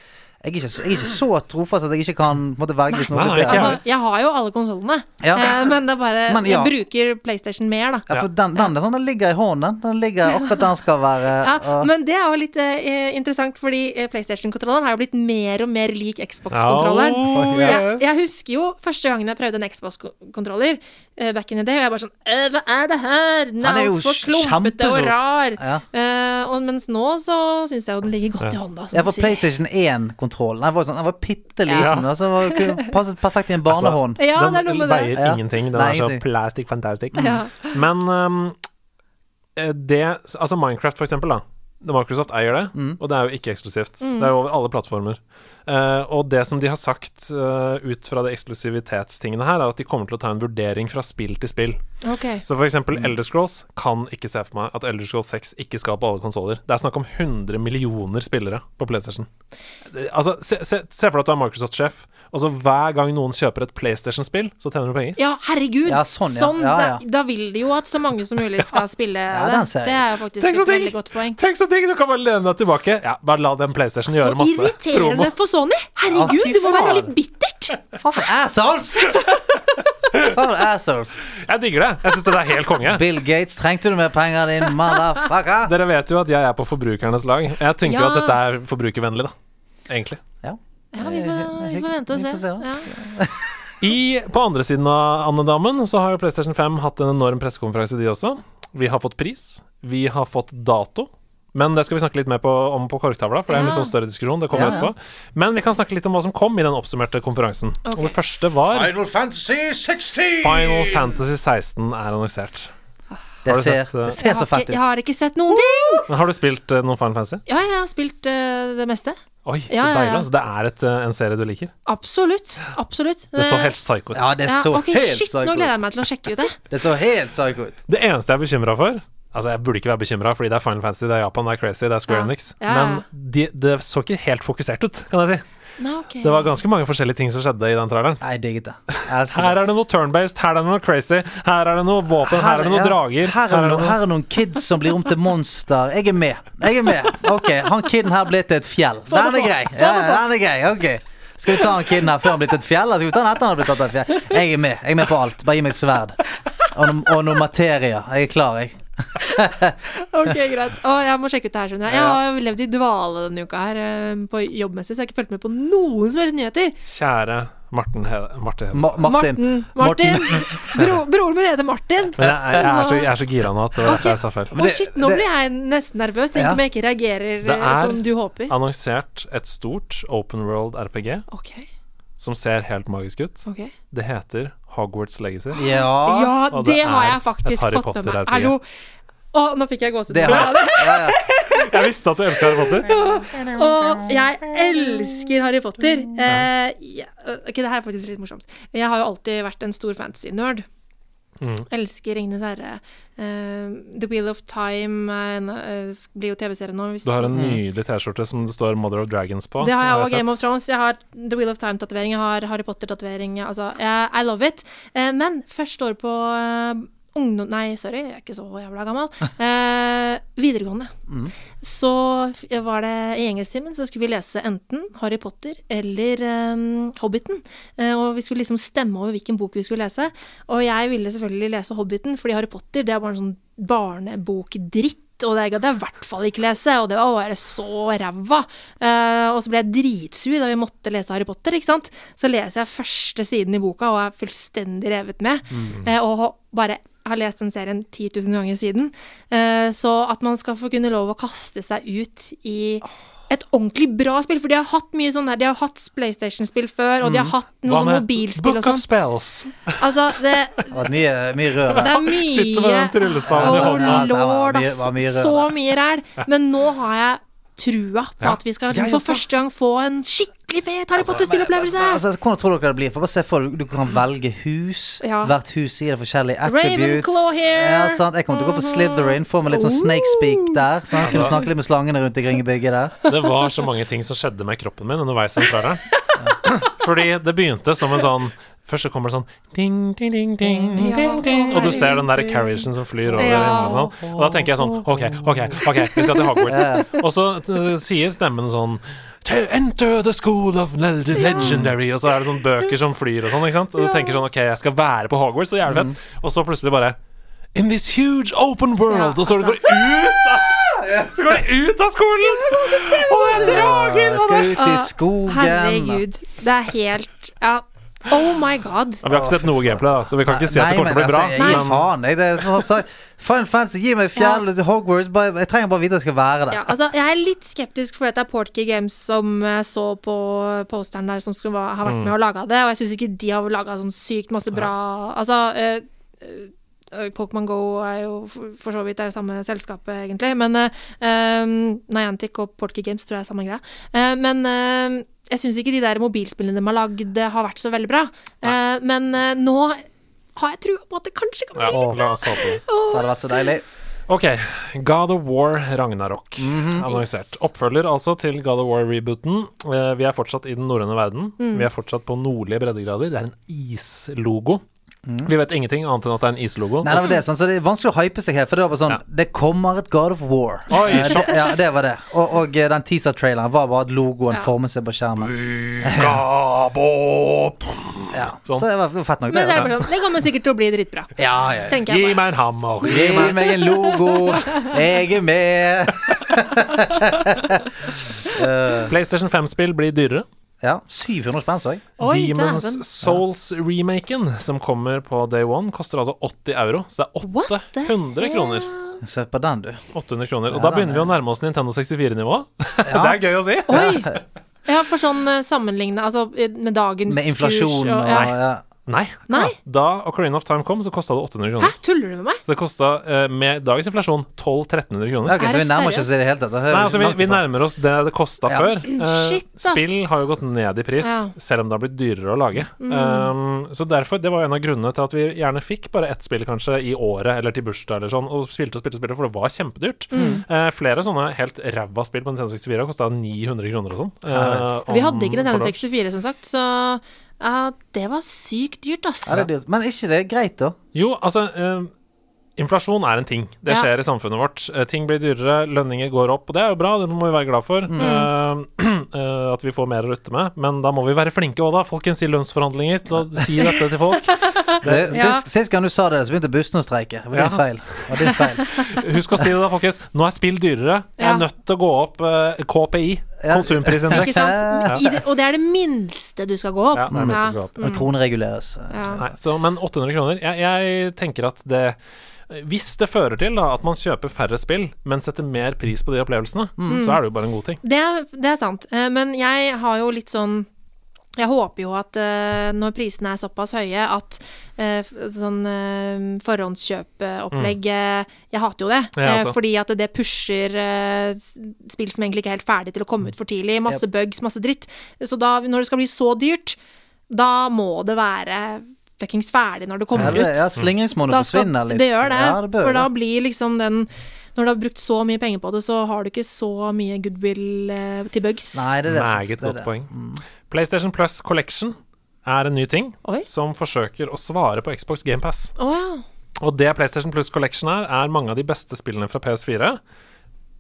[SPEAKER 2] jeg, er, ikke så, jeg er ikke så trofast at jeg ikke kan på en måte, velge hvis noe
[SPEAKER 1] Nei,
[SPEAKER 2] er bedre.
[SPEAKER 6] Altså, jeg har jo alle konsollene,
[SPEAKER 2] Ja.
[SPEAKER 6] eh, men det er bare
[SPEAKER 2] Men ja.
[SPEAKER 6] Jeg bruker PlayStation mer, da.
[SPEAKER 2] Ja, for den, den, er sånn, den ligger i hånden. Den ligger akkurat der den skal være.
[SPEAKER 6] Ja,
[SPEAKER 2] og-
[SPEAKER 6] men det er jo litt eh, interessant, fordi eh, PlayStation-kontrolleren har jo blitt mer og mer lik Xbox-kontrolleren.
[SPEAKER 1] Oh,
[SPEAKER 6] Jeg,
[SPEAKER 1] yes.
[SPEAKER 6] jeg husker jo første gangen jeg prøvde en Xbox-kontroller, eh, back in the day, og jeg bare sånn «Øh, Hva er det her? Den
[SPEAKER 2] Han
[SPEAKER 6] er
[SPEAKER 2] er jo
[SPEAKER 6] altfor klumpete
[SPEAKER 2] kjempestor.
[SPEAKER 6] og rar.
[SPEAKER 2] Ja.
[SPEAKER 6] Eh, og, mens nå så syns jeg jo den ligger godt i hånda. som
[SPEAKER 2] Ja, for
[SPEAKER 6] du sier.
[SPEAKER 2] PlayStation 1-kontrollen Den var sånn, den var bitte liten.
[SPEAKER 1] Ja.
[SPEAKER 2] Altså, var- kunne passet perfekt
[SPEAKER 1] Altså,
[SPEAKER 2] i en barnehånd.
[SPEAKER 6] Ja, det er
[SPEAKER 1] den
[SPEAKER 6] noe med
[SPEAKER 1] veier
[SPEAKER 6] det.
[SPEAKER 2] Ja.
[SPEAKER 1] ingenting. Den
[SPEAKER 2] Nei,
[SPEAKER 1] er så
[SPEAKER 2] ingenting.
[SPEAKER 1] plastic fantastic.
[SPEAKER 6] Ja.
[SPEAKER 1] Men um, eh, det Altså Minecraft, for eksempel, da. Microsoft eier det,
[SPEAKER 2] Mm.
[SPEAKER 1] og det er jo ikke eksklusivt.
[SPEAKER 6] Mm.
[SPEAKER 1] Det er jo over alle plattformer. Eh, og det som de har sagt eh, ut fra de eksklusivitetstingene her, er at de kommer til å ta en vurdering fra spill til spill.
[SPEAKER 6] Ok.
[SPEAKER 1] Så for eksempel
[SPEAKER 6] Mm.
[SPEAKER 1] Elder Scrolls kan ikke se for meg at Elder Scrolls 6 ikke skal på alle konsoller. Det er snakk om 100 millioner spillere på PlayStation. Det- Altså, se, se, se for deg at du er Microsoft-sjef, og så hver gang noen kjøper et PlayStation-spill, så tjener du penger.
[SPEAKER 6] Ja, herregud!
[SPEAKER 2] Ja, sånn, ja. Ja, ja.
[SPEAKER 6] Da, da vil de jo at så mange som mulig skal spille
[SPEAKER 2] den
[SPEAKER 6] det.
[SPEAKER 2] ser jeg.
[SPEAKER 6] Det er jo faktisk
[SPEAKER 1] Tenk
[SPEAKER 6] et
[SPEAKER 1] så digg!
[SPEAKER 6] veldig godt poeng.
[SPEAKER 1] Tenk så digg! Du kan bare lene deg tilbake. Ja, bare la den PlayStation
[SPEAKER 6] Så
[SPEAKER 1] gjøre masse promo.
[SPEAKER 6] irriterende for Sony! Herregud,
[SPEAKER 2] Ja, fy
[SPEAKER 6] det må være
[SPEAKER 2] faen.
[SPEAKER 6] litt bittert!
[SPEAKER 2] Faen for assholes! Faen for assholes.
[SPEAKER 1] Jeg digger det. Jeg syns det er helt konge.
[SPEAKER 2] Bill Gates, trengte du mer penger, din motherfucker?
[SPEAKER 1] Dere vet jo at jeg er på forbrukernes lag. Jeg tenker jo
[SPEAKER 6] Ja.
[SPEAKER 1] at dette er forbrukervennlig, da. Egentlig.
[SPEAKER 2] Ja.
[SPEAKER 6] Ja, vi får, vi får vente og
[SPEAKER 2] Vi får se
[SPEAKER 6] se.
[SPEAKER 2] da.
[SPEAKER 6] Ja.
[SPEAKER 1] I, på andre siden av andedammen så har jo PlayStation 5 hatt en enorm pressekonferanse, de også. Vi har fått pris. Vi har fått dato. Men det skal vi snakke litt mer på, om på korktavla, for det er en litt
[SPEAKER 6] Ja.
[SPEAKER 1] sånn større diskusjon. Det kommer
[SPEAKER 2] Ja, ja.
[SPEAKER 1] etterpå. Men vi kan snakke litt om hva som kom i den oppsummerte konferansen. Og det første var
[SPEAKER 5] Final Fantasy 16!
[SPEAKER 1] Final Fantasy 16 er annonsert.
[SPEAKER 2] Det
[SPEAKER 1] Har du
[SPEAKER 2] ser,
[SPEAKER 1] sett, eh,
[SPEAKER 2] det
[SPEAKER 6] Jeg
[SPEAKER 2] ser så
[SPEAKER 6] har,
[SPEAKER 2] fett
[SPEAKER 6] ikke,
[SPEAKER 2] ut.
[SPEAKER 6] jeg har ikke sett noen ting!
[SPEAKER 1] Men har du spilt eh, noen Final Fantasy?
[SPEAKER 6] Ja, jeg har spilt eh, det meste.
[SPEAKER 1] Oi, så
[SPEAKER 6] Ja, ja,
[SPEAKER 1] deilig.
[SPEAKER 6] ja.
[SPEAKER 1] Altså, det er et, eh, en serie du liker.
[SPEAKER 6] Absolutt. Absolutt. Eh,
[SPEAKER 1] Det så helt psycho ut.
[SPEAKER 2] Ja, det
[SPEAKER 6] ja,
[SPEAKER 2] så
[SPEAKER 6] ok,
[SPEAKER 2] helt
[SPEAKER 6] Shit, nå
[SPEAKER 2] psyko
[SPEAKER 6] gleder jeg
[SPEAKER 2] ut.
[SPEAKER 6] meg til å sjekke ut det.
[SPEAKER 2] Det så helt psyko ut.
[SPEAKER 1] Det eneste jeg er bekymra for Altså, jeg burde ikke være bekymra, fordi det er Final Fantasy, det er Japan, det er crazy, det er Square
[SPEAKER 6] Ja.
[SPEAKER 1] Enix.
[SPEAKER 6] Ja, ja.
[SPEAKER 1] Men de, det så ikke helt fokusert ut, kan jeg si.
[SPEAKER 6] Nei, ok.
[SPEAKER 1] Det var ganske mange forskjellige ting som skjedde i den traileren.
[SPEAKER 2] Nei, jeg digget det. Jeg elsker det.
[SPEAKER 1] Her er det noe turn-based, her er det noe crazy, her er det noe våpen, her er det
[SPEAKER 2] ja.
[SPEAKER 1] noen drager.
[SPEAKER 2] Her er, det noen, her er noen kids som blir om til monster. Jeg er med. Jeg er med. Ok, Han kiden her blir til et fjell. Den er grei. Ja, den er grei. Ok. Skal vi ta han kiden her før han blir til et fjell, eller skal vi ta han etter han har blitt til et fjell? Jeg er med. Jeg er med på alt. Bare gi meg et sverd. Og noen, og noen materia. Jeg er klar, jeg.
[SPEAKER 6] Ok, greit. Å, jeg må sjekke ut det her, skjønner jeg. Jeg har jo levd i dvale denne uka her eh, på jobbmessig, så jeg har ikke fulgt med på noen som helst nyheter.
[SPEAKER 1] Kjære Marten Hede... Marte Hede.
[SPEAKER 2] Ma Martin.
[SPEAKER 6] Martin. Bro, broren min heter Martin.
[SPEAKER 1] Men jeg, jeg, er så, jeg er så gira nå at det var
[SPEAKER 6] Ok.
[SPEAKER 1] derfor jeg sa feil.
[SPEAKER 2] Men
[SPEAKER 6] Å,
[SPEAKER 2] det-
[SPEAKER 6] shit, nå
[SPEAKER 2] det-
[SPEAKER 6] blir jeg nesten nervøs. Tenk
[SPEAKER 2] Ja.
[SPEAKER 6] om jeg ikke reagerer
[SPEAKER 1] Det
[SPEAKER 6] eh,
[SPEAKER 1] er-
[SPEAKER 6] som du håper.
[SPEAKER 1] Annonsert et stort open world RPG
[SPEAKER 6] Ok,
[SPEAKER 1] som ser helt magisk ut.
[SPEAKER 6] ok.
[SPEAKER 1] Det heter Hogwarts Legacy.
[SPEAKER 2] Ja.
[SPEAKER 6] Ja,
[SPEAKER 1] Og
[SPEAKER 6] det,
[SPEAKER 1] det
[SPEAKER 6] har
[SPEAKER 1] er
[SPEAKER 6] jeg faktisk
[SPEAKER 1] et Harry
[SPEAKER 6] fått med
[SPEAKER 1] Potter
[SPEAKER 6] meg.
[SPEAKER 1] RPG.
[SPEAKER 6] Hallo. Å, nå fikk jeg gåsehud.
[SPEAKER 2] Det har jeg. Ja, ja.
[SPEAKER 1] Jeg visste at du elska Harry Potter.
[SPEAKER 6] Og jeg elsker Harry Potter. Eh, ja, ok, det her er faktisk litt morsomt. Jeg har jo alltid vært en stor fantasy-nerd.
[SPEAKER 1] Mm.
[SPEAKER 6] Elsker Ringenes herre. Eh, The Wheel of Time er en, eh, s- blir jo TV-serie nå. Hvis
[SPEAKER 1] Du har en nydelig T-skjorte som det står Mother of Dragons på.
[SPEAKER 6] Mhm. det har jeg og
[SPEAKER 1] sett.
[SPEAKER 6] Game of Thrones. Jeg har The Wheel of Time-tatovering, jeg har Harry Potter-tatovering. Altså, jeg- I love it. Eh, men første år på eh, ungdom... Nei, sorry, jeg er ikke så jævla gammel. Eh, videregående. Så f- var det i engelsktimen, så skulle vi lese enten Harry Potter eller eh, Hobbiten. Eh, og vi skulle liksom stemme over hvilken bok vi skulle lese. Og jeg ville selvfølgelig lese Hobbiten, fordi Harry Potter det er bare en sånn barnebokdritt. Og det gadd jeg i hvert fall ikke lese, og det var bare så ræva. Eh, og så ble jeg dritsur da vi måtte lese Harry Potter, ikke sant. Så leser jeg første siden i boka og er fullstendig revet med. eh, og bare har lest den serien 10 000 ganger siden. Eh, så at man skal få kunne lov å kaste seg ut i et ordentlig bra spill, for de har hatt mye sånn der, de har hatt PlayStation-spill før, og de har hatt noe sånn mobilspill og
[SPEAKER 1] Book of
[SPEAKER 6] sånn.
[SPEAKER 1] Spells?
[SPEAKER 6] Altså, det,
[SPEAKER 2] Det var mye, mye rør der.
[SPEAKER 6] det er mye
[SPEAKER 1] Sitter med den tryllestaven i
[SPEAKER 6] Åh,
[SPEAKER 1] hånda.
[SPEAKER 2] Ja, det var
[SPEAKER 6] lord,
[SPEAKER 2] mye-
[SPEAKER 6] ass.
[SPEAKER 2] var mye rør,
[SPEAKER 6] Så mye ræl. Men nå har jeg trua på at vi skal for første gang få en skikkelig fet Harry Potter-spillopplevelse.
[SPEAKER 2] Altså, altså, hvordan tror dere det blir? For bare se for deg, Du kan velge hus.
[SPEAKER 6] Ja.
[SPEAKER 2] Hvert hus gir deg forskjellige attributes.
[SPEAKER 6] Ravenclaw here.
[SPEAKER 2] Ja, sant? Jeg kommer til å gå for Slytherin. Få meg litt sånn snakespeak der. Sant? Kunne snakke litt med slangene rundt omkring i bygget der.
[SPEAKER 1] Det var så mange ting som skjedde med kroppen min underveis. i den traileren. Fordi det begynte som en sånn Først så kommer det sånn ding, ding, ding, ding,
[SPEAKER 6] Mm,
[SPEAKER 1] ding, ding, Og du ser den der carriagen som flyr over.
[SPEAKER 6] Ja.
[SPEAKER 1] Og, sånn. og da tenker jeg sånn OK, OK, ok, vi skal til Hogwarts. Og så eh, sier stemmen sånn "To Enter the school of le- legendary. Og så er det sånn bøker som flyr og sånn. ikke sant? Og du tenker sånn OK, jeg skal være på Hogwarts, så jævlig fett. Og så plutselig bare In this huge open world.
[SPEAKER 6] Ja,
[SPEAKER 1] og så
[SPEAKER 6] altså.
[SPEAKER 1] går det ut av så går det ut av skolen! Og det er drager!
[SPEAKER 2] Jeg skal ut i
[SPEAKER 6] Å,
[SPEAKER 2] skogen.
[SPEAKER 6] Herregud. Det er helt Ja. Oh my god.
[SPEAKER 1] Ja, vi har ikke sett noe gameplay, da, så vi kan ikke si at det
[SPEAKER 2] Nei,
[SPEAKER 1] kommer til å
[SPEAKER 2] men
[SPEAKER 1] bli bra.
[SPEAKER 2] altså, jeg gir
[SPEAKER 1] men
[SPEAKER 2] faen. Jeg, det er sånn sagt, Final Fantasy, gi meg fjell til Hogwarts. Bare, jeg trenger bare vite at jeg skal være der.
[SPEAKER 6] Ja, altså, jeg er litt skeptisk fordi det er Portkey Games som eh, så på posteren der, som skulle va- ha vært med og laga det, og jeg syns ikke de har laga sånn sykt masse bra Altså, eh, eh, Pokémon Go er jo for for så vidt det er jo samme selskap, eh, egentlig, men eh, eh, Niantic og Portkey Games tror jeg er samme greia. Eh, men eh, jeg syns ikke de der mobilspillene de har lagd, eh, har vært så veldig bra. Eh, men eh, nå har jeg trua på at det kanskje kan bli
[SPEAKER 1] ja, la oss håpe det.
[SPEAKER 2] Det hadde vært så deilig.
[SPEAKER 1] Ok, God of War Ragnarok
[SPEAKER 2] Mhm.
[SPEAKER 1] annonsert. Oppfølger altså til God of War-rebooten. Eh, Vi er fortsatt i den norrøne verden. Vi er fortsatt på nordlige breddegrader. Det er en islogo. Vi vet ingenting annet enn at det er en islogo.
[SPEAKER 2] Mm. Nei, det var det, sånn, så det er vanskelig å hype seg her, for det var bare sånn
[SPEAKER 1] Ja.
[SPEAKER 2] Det kommer et God of War.
[SPEAKER 1] Oi,
[SPEAKER 2] Eh, det,
[SPEAKER 1] sjokk.
[SPEAKER 2] ja, det var det. Og, og eh, den teaser-traileren var bare at logoen
[SPEAKER 6] Ja.
[SPEAKER 2] formet seg på skjermen.
[SPEAKER 1] Gabo-
[SPEAKER 2] Ja.
[SPEAKER 1] Sånn.
[SPEAKER 2] Så det var fett nok, det.
[SPEAKER 6] Men det,
[SPEAKER 2] da.
[SPEAKER 6] er bare sånn, det kommer sikkert til å bli dritbra,
[SPEAKER 2] Ja, ja, ja.
[SPEAKER 6] tenker
[SPEAKER 1] Gi
[SPEAKER 6] jeg. bare.
[SPEAKER 1] meg en hammer!
[SPEAKER 2] Gi meg en logo, jeg er med.
[SPEAKER 1] PlayStation 5-spill blir dyrere.
[SPEAKER 2] Ja, 700 spenn, så jeg.
[SPEAKER 6] Oi, dæven.
[SPEAKER 1] Demons Souls-remaken, som kommer på day one, koster altså 80 euro. Så det
[SPEAKER 6] What
[SPEAKER 1] er
[SPEAKER 6] the
[SPEAKER 1] 800 kroner.
[SPEAKER 2] Se på den, du.
[SPEAKER 1] 800 kroner. Og
[SPEAKER 2] Ja,
[SPEAKER 1] da begynner
[SPEAKER 2] den
[SPEAKER 1] vi å
[SPEAKER 2] er-
[SPEAKER 1] nærme oss Nintendo 64-nivå. det er gøy å si.
[SPEAKER 6] Oi! Ja, for sånn eh, sammenligne Altså eh, med dagens
[SPEAKER 2] Med inflasjon og
[SPEAKER 6] kurs ja.
[SPEAKER 2] ja.
[SPEAKER 1] Nei.
[SPEAKER 6] Nei.
[SPEAKER 1] Da Ocarina of Time kom, så kosta det 800
[SPEAKER 6] Hæ,
[SPEAKER 1] kroner.
[SPEAKER 6] tuller du med meg?
[SPEAKER 1] Så det kosta eh, med dagens inflasjon 1200-1300 kroner.
[SPEAKER 2] Ok,
[SPEAKER 6] Er
[SPEAKER 2] så vi
[SPEAKER 6] det
[SPEAKER 2] nærmer oss
[SPEAKER 6] seriøst?
[SPEAKER 2] ikke i det hele tatt. Det er liksom
[SPEAKER 1] Nei, altså vi,
[SPEAKER 2] langt
[SPEAKER 1] vi
[SPEAKER 2] ifra.
[SPEAKER 1] nærmer oss det det kosta
[SPEAKER 2] Ja.
[SPEAKER 1] før. Eh,
[SPEAKER 6] Mm, Shit, ass.
[SPEAKER 1] spill har jo gått ned i pris,
[SPEAKER 6] Ja. Mm.
[SPEAKER 1] selv om det har blitt dyrere å lage. Um, så derfor, det var jo en av grunnene til at vi gjerne fikk bare ett spill kanskje i året, eller til bursdag eller sånn, og spilte og spilte og spilte, for det var kjempedyrt.
[SPEAKER 6] Mm.
[SPEAKER 1] Eh, flere sånne helt ræva spill på Nintendo 64 kosta 900 kroner og sånn. eh,
[SPEAKER 6] Vi
[SPEAKER 1] om-
[SPEAKER 6] hadde ikke Nintendo
[SPEAKER 1] for da-
[SPEAKER 6] 64, som sagt, så ja, det var sykt dyrt, ass.
[SPEAKER 2] Ja, det er dyrt. Men er ikke det greit, da?
[SPEAKER 1] Jo, altså eh, Inflasjon er en ting. Det
[SPEAKER 6] Ja.
[SPEAKER 1] skjer i samfunnet vårt. Eh, ting blir dyrere, lønninger går opp, og det er jo bra, det må vi være glad for.
[SPEAKER 6] Mm.
[SPEAKER 1] Eh, eh, at vi får mer å rutte med. Men da må vi være flinke òg, da. Folkens, i lønnsforhandlinger, til å si dette til folk.
[SPEAKER 2] Det-
[SPEAKER 6] Ja.
[SPEAKER 2] Sist, sist gang du sa det, så begynte bussen å streike. Det var
[SPEAKER 1] Ja.
[SPEAKER 2] din feil. Det var din feil.
[SPEAKER 1] Husk å si det, da, folkens. Nå er spill dyrere. Jeg
[SPEAKER 6] Ja.
[SPEAKER 1] er nødt til å gå opp eh, KPI,
[SPEAKER 2] Ja.
[SPEAKER 6] Ikke
[SPEAKER 1] konsumprisindeks.
[SPEAKER 6] sant? I det, og det er det minste du skal gå opp.
[SPEAKER 1] Ja, det er det minste du skal gå opp.
[SPEAKER 2] Men kronereguleres.
[SPEAKER 6] Ja.
[SPEAKER 1] Nei, så, men 800 kroner jeg, jeg tenker at det Hvis det fører til da, at man kjøper færre spill, men setter mer pris på de opplevelsene,
[SPEAKER 6] Mm.
[SPEAKER 1] så er det jo bare en god ting.
[SPEAKER 6] Det, er- det er sant. Eh, Men jeg har jo litt sånn jeg håper jo at eh, når prisene er såpass høye at eh, f- sånn eh, forhåndskjøpeopplegg eh, Jeg hater jo det.
[SPEAKER 1] Ja,
[SPEAKER 6] eh,
[SPEAKER 1] altså.
[SPEAKER 6] fordi at det pusher eh, s- spill som egentlig ikke er helt ferdig til å komme ut for tidlig. Masse bugs, masse dritt. Så da, når det skal bli så dyrt, da må det være fuckings ferdig når det
[SPEAKER 2] Ja,
[SPEAKER 6] kommer
[SPEAKER 2] det-
[SPEAKER 6] ut.
[SPEAKER 2] ja, slingringsmonnet
[SPEAKER 6] Da skal-
[SPEAKER 2] forsvinner litt.
[SPEAKER 6] Det gjør det.
[SPEAKER 2] Ja, det bør
[SPEAKER 6] for da
[SPEAKER 2] det.
[SPEAKER 6] blir liksom den Når du har brukt så mye penger på det, så har du ikke så mye goodwill eh, til bugs.
[SPEAKER 2] Nei, det er det. sant.
[SPEAKER 1] Meget
[SPEAKER 2] Det er
[SPEAKER 1] godt
[SPEAKER 2] det. Mm.
[SPEAKER 1] poeng. PlayStation Plus Collection er en ny ting
[SPEAKER 6] Oi.
[SPEAKER 1] som forsøker å svare på Xbox GamePass.
[SPEAKER 6] Å ja.
[SPEAKER 1] Og det PlayStation Plus Collection er, er mange av de beste spillene fra PS4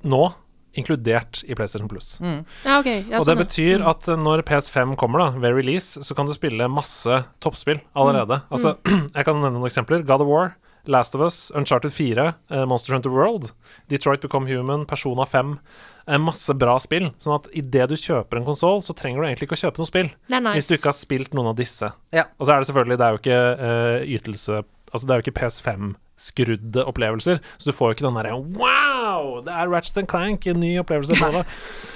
[SPEAKER 1] nå inkludert i PlayStation Plus.
[SPEAKER 6] ja. Ok. Ja,
[SPEAKER 1] Og det
[SPEAKER 6] sånn, ja.
[SPEAKER 1] betyr at når PS5 kommer, da, ved release, så kan du spille masse toppspill
[SPEAKER 6] Mm.
[SPEAKER 1] allerede. Altså, jeg kan nevne noen eksempler. God of War, Last of Us, Uncharted 4, eh, Monster Hunter World, Detroit Become Human, Persona 5. eh, Masse bra spill. Sånn at idet du kjøper en konsoll, så trenger du egentlig ikke å kjøpe noe spill.
[SPEAKER 6] Det er nice.
[SPEAKER 1] Hvis du ikke har spilt noen av disse.
[SPEAKER 2] Ja.
[SPEAKER 1] Og så er det selvfølgelig Det er jo ikke eh, ytelse Altså det er jo ikke PS5-skrudde opplevelser, så du får jo ikke den derre Wow! Det er Ratchet and Clank, en ny opplevelse på det.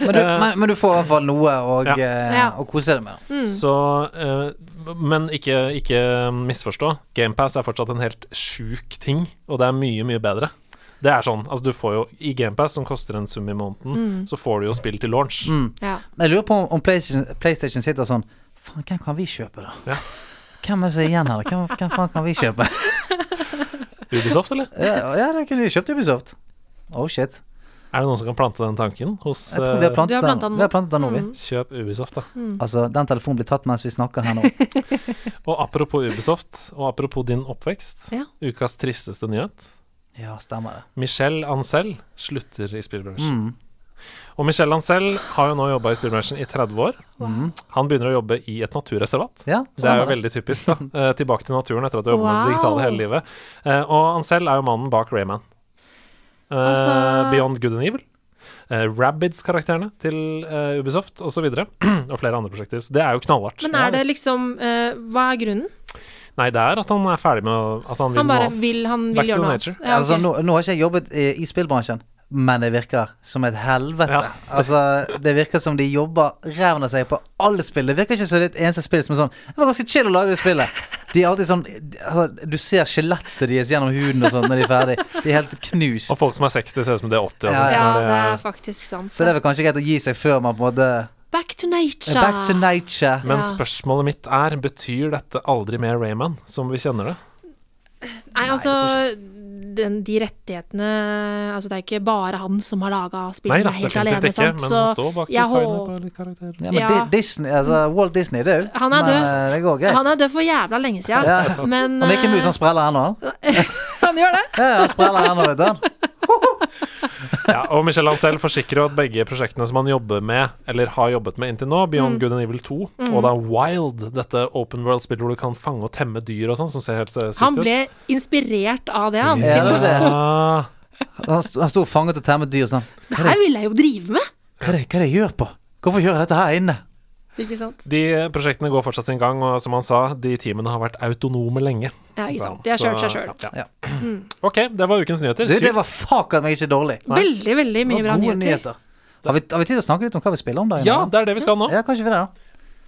[SPEAKER 2] Men, du, men, men du får i hvert fall noe å,
[SPEAKER 1] Ja.
[SPEAKER 2] eh,
[SPEAKER 6] Eh. Ja.
[SPEAKER 2] å kose deg med.
[SPEAKER 1] Så eh, Men ikke, ikke misforstå. GamePass er fortsatt en helt sjuk ting, og det er mye, mye bedre. Det er sånn, altså du får jo I GamePass, som koster en sum i måneden, så får du jo spill til launch.
[SPEAKER 2] Mm.
[SPEAKER 6] ja.
[SPEAKER 2] Men jeg lurer på om- om PlayStation, PlayStation sitter sånn Faen, hvem kan vi kjøpe, da?
[SPEAKER 1] Ja.
[SPEAKER 2] Hvem er det som er igjen her? da? Hvem, hvem faen kan vi kjøpe?
[SPEAKER 1] Ubisoft, eller?
[SPEAKER 2] Ja, ja det kunne vi kjøpt Ubisoft. Oh shit.
[SPEAKER 1] Er det noen som kan plante den tanken hos
[SPEAKER 2] Jeg tror vi har
[SPEAKER 1] eh,
[SPEAKER 2] plantet,
[SPEAKER 6] Du har plantet
[SPEAKER 2] den.
[SPEAKER 6] den Mm.
[SPEAKER 2] Vi har plantet den nå, vi.
[SPEAKER 1] Kjøp Ubisoft, da.
[SPEAKER 2] Altså, den telefonen blir tatt mens vi snakker her nå.
[SPEAKER 1] Og apropos Ubisoft, og apropos din oppvekst,
[SPEAKER 6] Ja.
[SPEAKER 1] ukas tristeste nyhet.
[SPEAKER 2] Ja, stemmer det.
[SPEAKER 1] Michelle Ancel slutter i spillbransjen.
[SPEAKER 2] Mm.
[SPEAKER 1] Og Michelle Ancel har jo nå jobba i spillbransjen i 30 år.
[SPEAKER 2] Mm.
[SPEAKER 1] Han begynner å jobbe i et naturreservat.
[SPEAKER 2] Ja,
[SPEAKER 1] Det er jo
[SPEAKER 2] stemmer det.
[SPEAKER 1] veldig typisk. da Eh, Tilbake til naturen etter at du har jobbet med det
[SPEAKER 6] Wow.
[SPEAKER 1] digitale hele livet. Eh, Og Ancel er jo mannen bak Rayman. Eh,
[SPEAKER 6] Altså-
[SPEAKER 1] Beyond Good and Evil. Uh, Rabbids-karakterene til eh, Ubisoft osv. Og, så videre. og flere andre prosjekter. Så det er jo knallhardt.
[SPEAKER 6] Men er det liksom eh, Hva er grunnen?
[SPEAKER 1] Nei, det er at han er ferdig med å Altså, han vil
[SPEAKER 6] Han bare
[SPEAKER 1] noe annet.
[SPEAKER 6] vil, han
[SPEAKER 1] Back
[SPEAKER 6] vil
[SPEAKER 1] to
[SPEAKER 6] gjøre noe
[SPEAKER 1] nature.
[SPEAKER 6] annet. Ja,
[SPEAKER 2] altså,
[SPEAKER 6] ok.
[SPEAKER 2] nå, nå har ikke jeg jobbet i, i spillbransjen, men det virker som et helvete.
[SPEAKER 1] Ja.
[SPEAKER 2] altså, det virker som de jobber ræven av seg på alle spill. Det virker ikke som det er et eneste spill som er sånn Det var ganske chill å lage det spillet. De er alltid sånn altså, Du ser skjelettet deres gjennom huden og sånn når de er ferdig. De er helt knust.
[SPEAKER 1] Og folk som er 60, ser ut som de er altså. 80.
[SPEAKER 2] Ja,
[SPEAKER 6] ja,
[SPEAKER 1] Når
[SPEAKER 6] det er faktisk sant.
[SPEAKER 2] Så det er vel kanskje greit å gi seg før man på en måte eh,
[SPEAKER 6] Back to nature.
[SPEAKER 2] Back to nature.
[SPEAKER 1] Men
[SPEAKER 6] Ja.
[SPEAKER 1] spørsmålet mitt er, betyr dette aldri mer Rayman, som vi kjenner det?
[SPEAKER 6] Nei, altså den, de rettighetene Altså, det er ikke bare han som har laga
[SPEAKER 1] Nei
[SPEAKER 6] spillet
[SPEAKER 1] da,
[SPEAKER 6] helt alene,
[SPEAKER 1] definitivt ikke,
[SPEAKER 6] sant?
[SPEAKER 1] men han
[SPEAKER 6] Så
[SPEAKER 1] står bak
[SPEAKER 6] jeg
[SPEAKER 1] designet
[SPEAKER 6] håper-
[SPEAKER 1] på litt karakterer.
[SPEAKER 2] Ja, men
[SPEAKER 6] Ja.
[SPEAKER 2] Di- Disney, altså, Walt Disney er død.
[SPEAKER 6] Han er
[SPEAKER 2] men,
[SPEAKER 6] død.
[SPEAKER 2] eh, Det går greit.
[SPEAKER 6] han er død for jævla lenge siden.
[SPEAKER 2] Ja, det er sant.
[SPEAKER 6] Men
[SPEAKER 2] Han virker mye
[SPEAKER 6] eh,
[SPEAKER 2] som spreller her nå. han.
[SPEAKER 6] han gjør det.
[SPEAKER 2] Ja, ja, han spreller her nå, vet du. han.
[SPEAKER 1] Ja, og Michel Ancel forsikrer jo at begge prosjektene som han jobber med, eller har jobbet med inntil nå,
[SPEAKER 6] Mm.
[SPEAKER 1] Beyond Good and Evil 2 og da Wild, dette open world-spillet hvor du kan fange og temme dyr og sånn, som ser helt eh, sykt
[SPEAKER 6] Han
[SPEAKER 1] ut.
[SPEAKER 6] ble inspirert av det, han.
[SPEAKER 2] Ja,
[SPEAKER 6] Til,
[SPEAKER 2] det er det.
[SPEAKER 1] Ah,
[SPEAKER 2] Han sto- han sto fanget og temmet dyr sånn.
[SPEAKER 6] det her vil jeg jo drive med!
[SPEAKER 2] Hva er det, hva er det jeg gjør på? Hvorfor gjør jeg dette her inne?
[SPEAKER 6] Ikke sant?
[SPEAKER 1] de prosjektene går fortsatt sin gang, og som han sa, de teamene har vært autonome lenge.
[SPEAKER 6] Ja, ikke sant.
[SPEAKER 1] Så-
[SPEAKER 6] De har kjørt seg Mm.
[SPEAKER 1] så-
[SPEAKER 6] sjøl.
[SPEAKER 1] ja. OK, det var ukens nyheter.
[SPEAKER 2] Du, det
[SPEAKER 1] Sykt.
[SPEAKER 2] var fuck at meg ikke dårlig. Det
[SPEAKER 6] Veldig, veldig
[SPEAKER 2] var
[SPEAKER 6] mye bra
[SPEAKER 2] gode
[SPEAKER 6] nyheter.
[SPEAKER 2] Har vi, har vi tid til å snakke litt om hva vi spiller om da?
[SPEAKER 1] Ja, det er det vi skal nå.
[SPEAKER 2] Ja, kanskje vi det, da.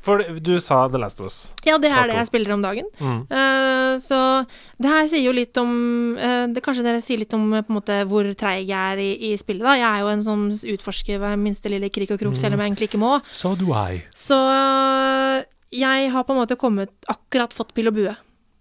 [SPEAKER 1] For du sa The Last of Us.
[SPEAKER 6] Ja, det er
[SPEAKER 1] Taco.
[SPEAKER 6] det jeg spiller om dagen.
[SPEAKER 1] Mm.
[SPEAKER 6] Eh, så det her sier jo litt om eh, det, Kanskje dere sier litt om eh, på en måte, hvor treig jeg er i, i spillet. da. Jeg er jo en som utforsker hver minste lille krik og krok,
[SPEAKER 1] Mm.
[SPEAKER 6] selv om jeg egentlig ikke må.
[SPEAKER 1] So do I.
[SPEAKER 6] Så eh, jeg har på en måte kommet Akkurat fått pil og bue.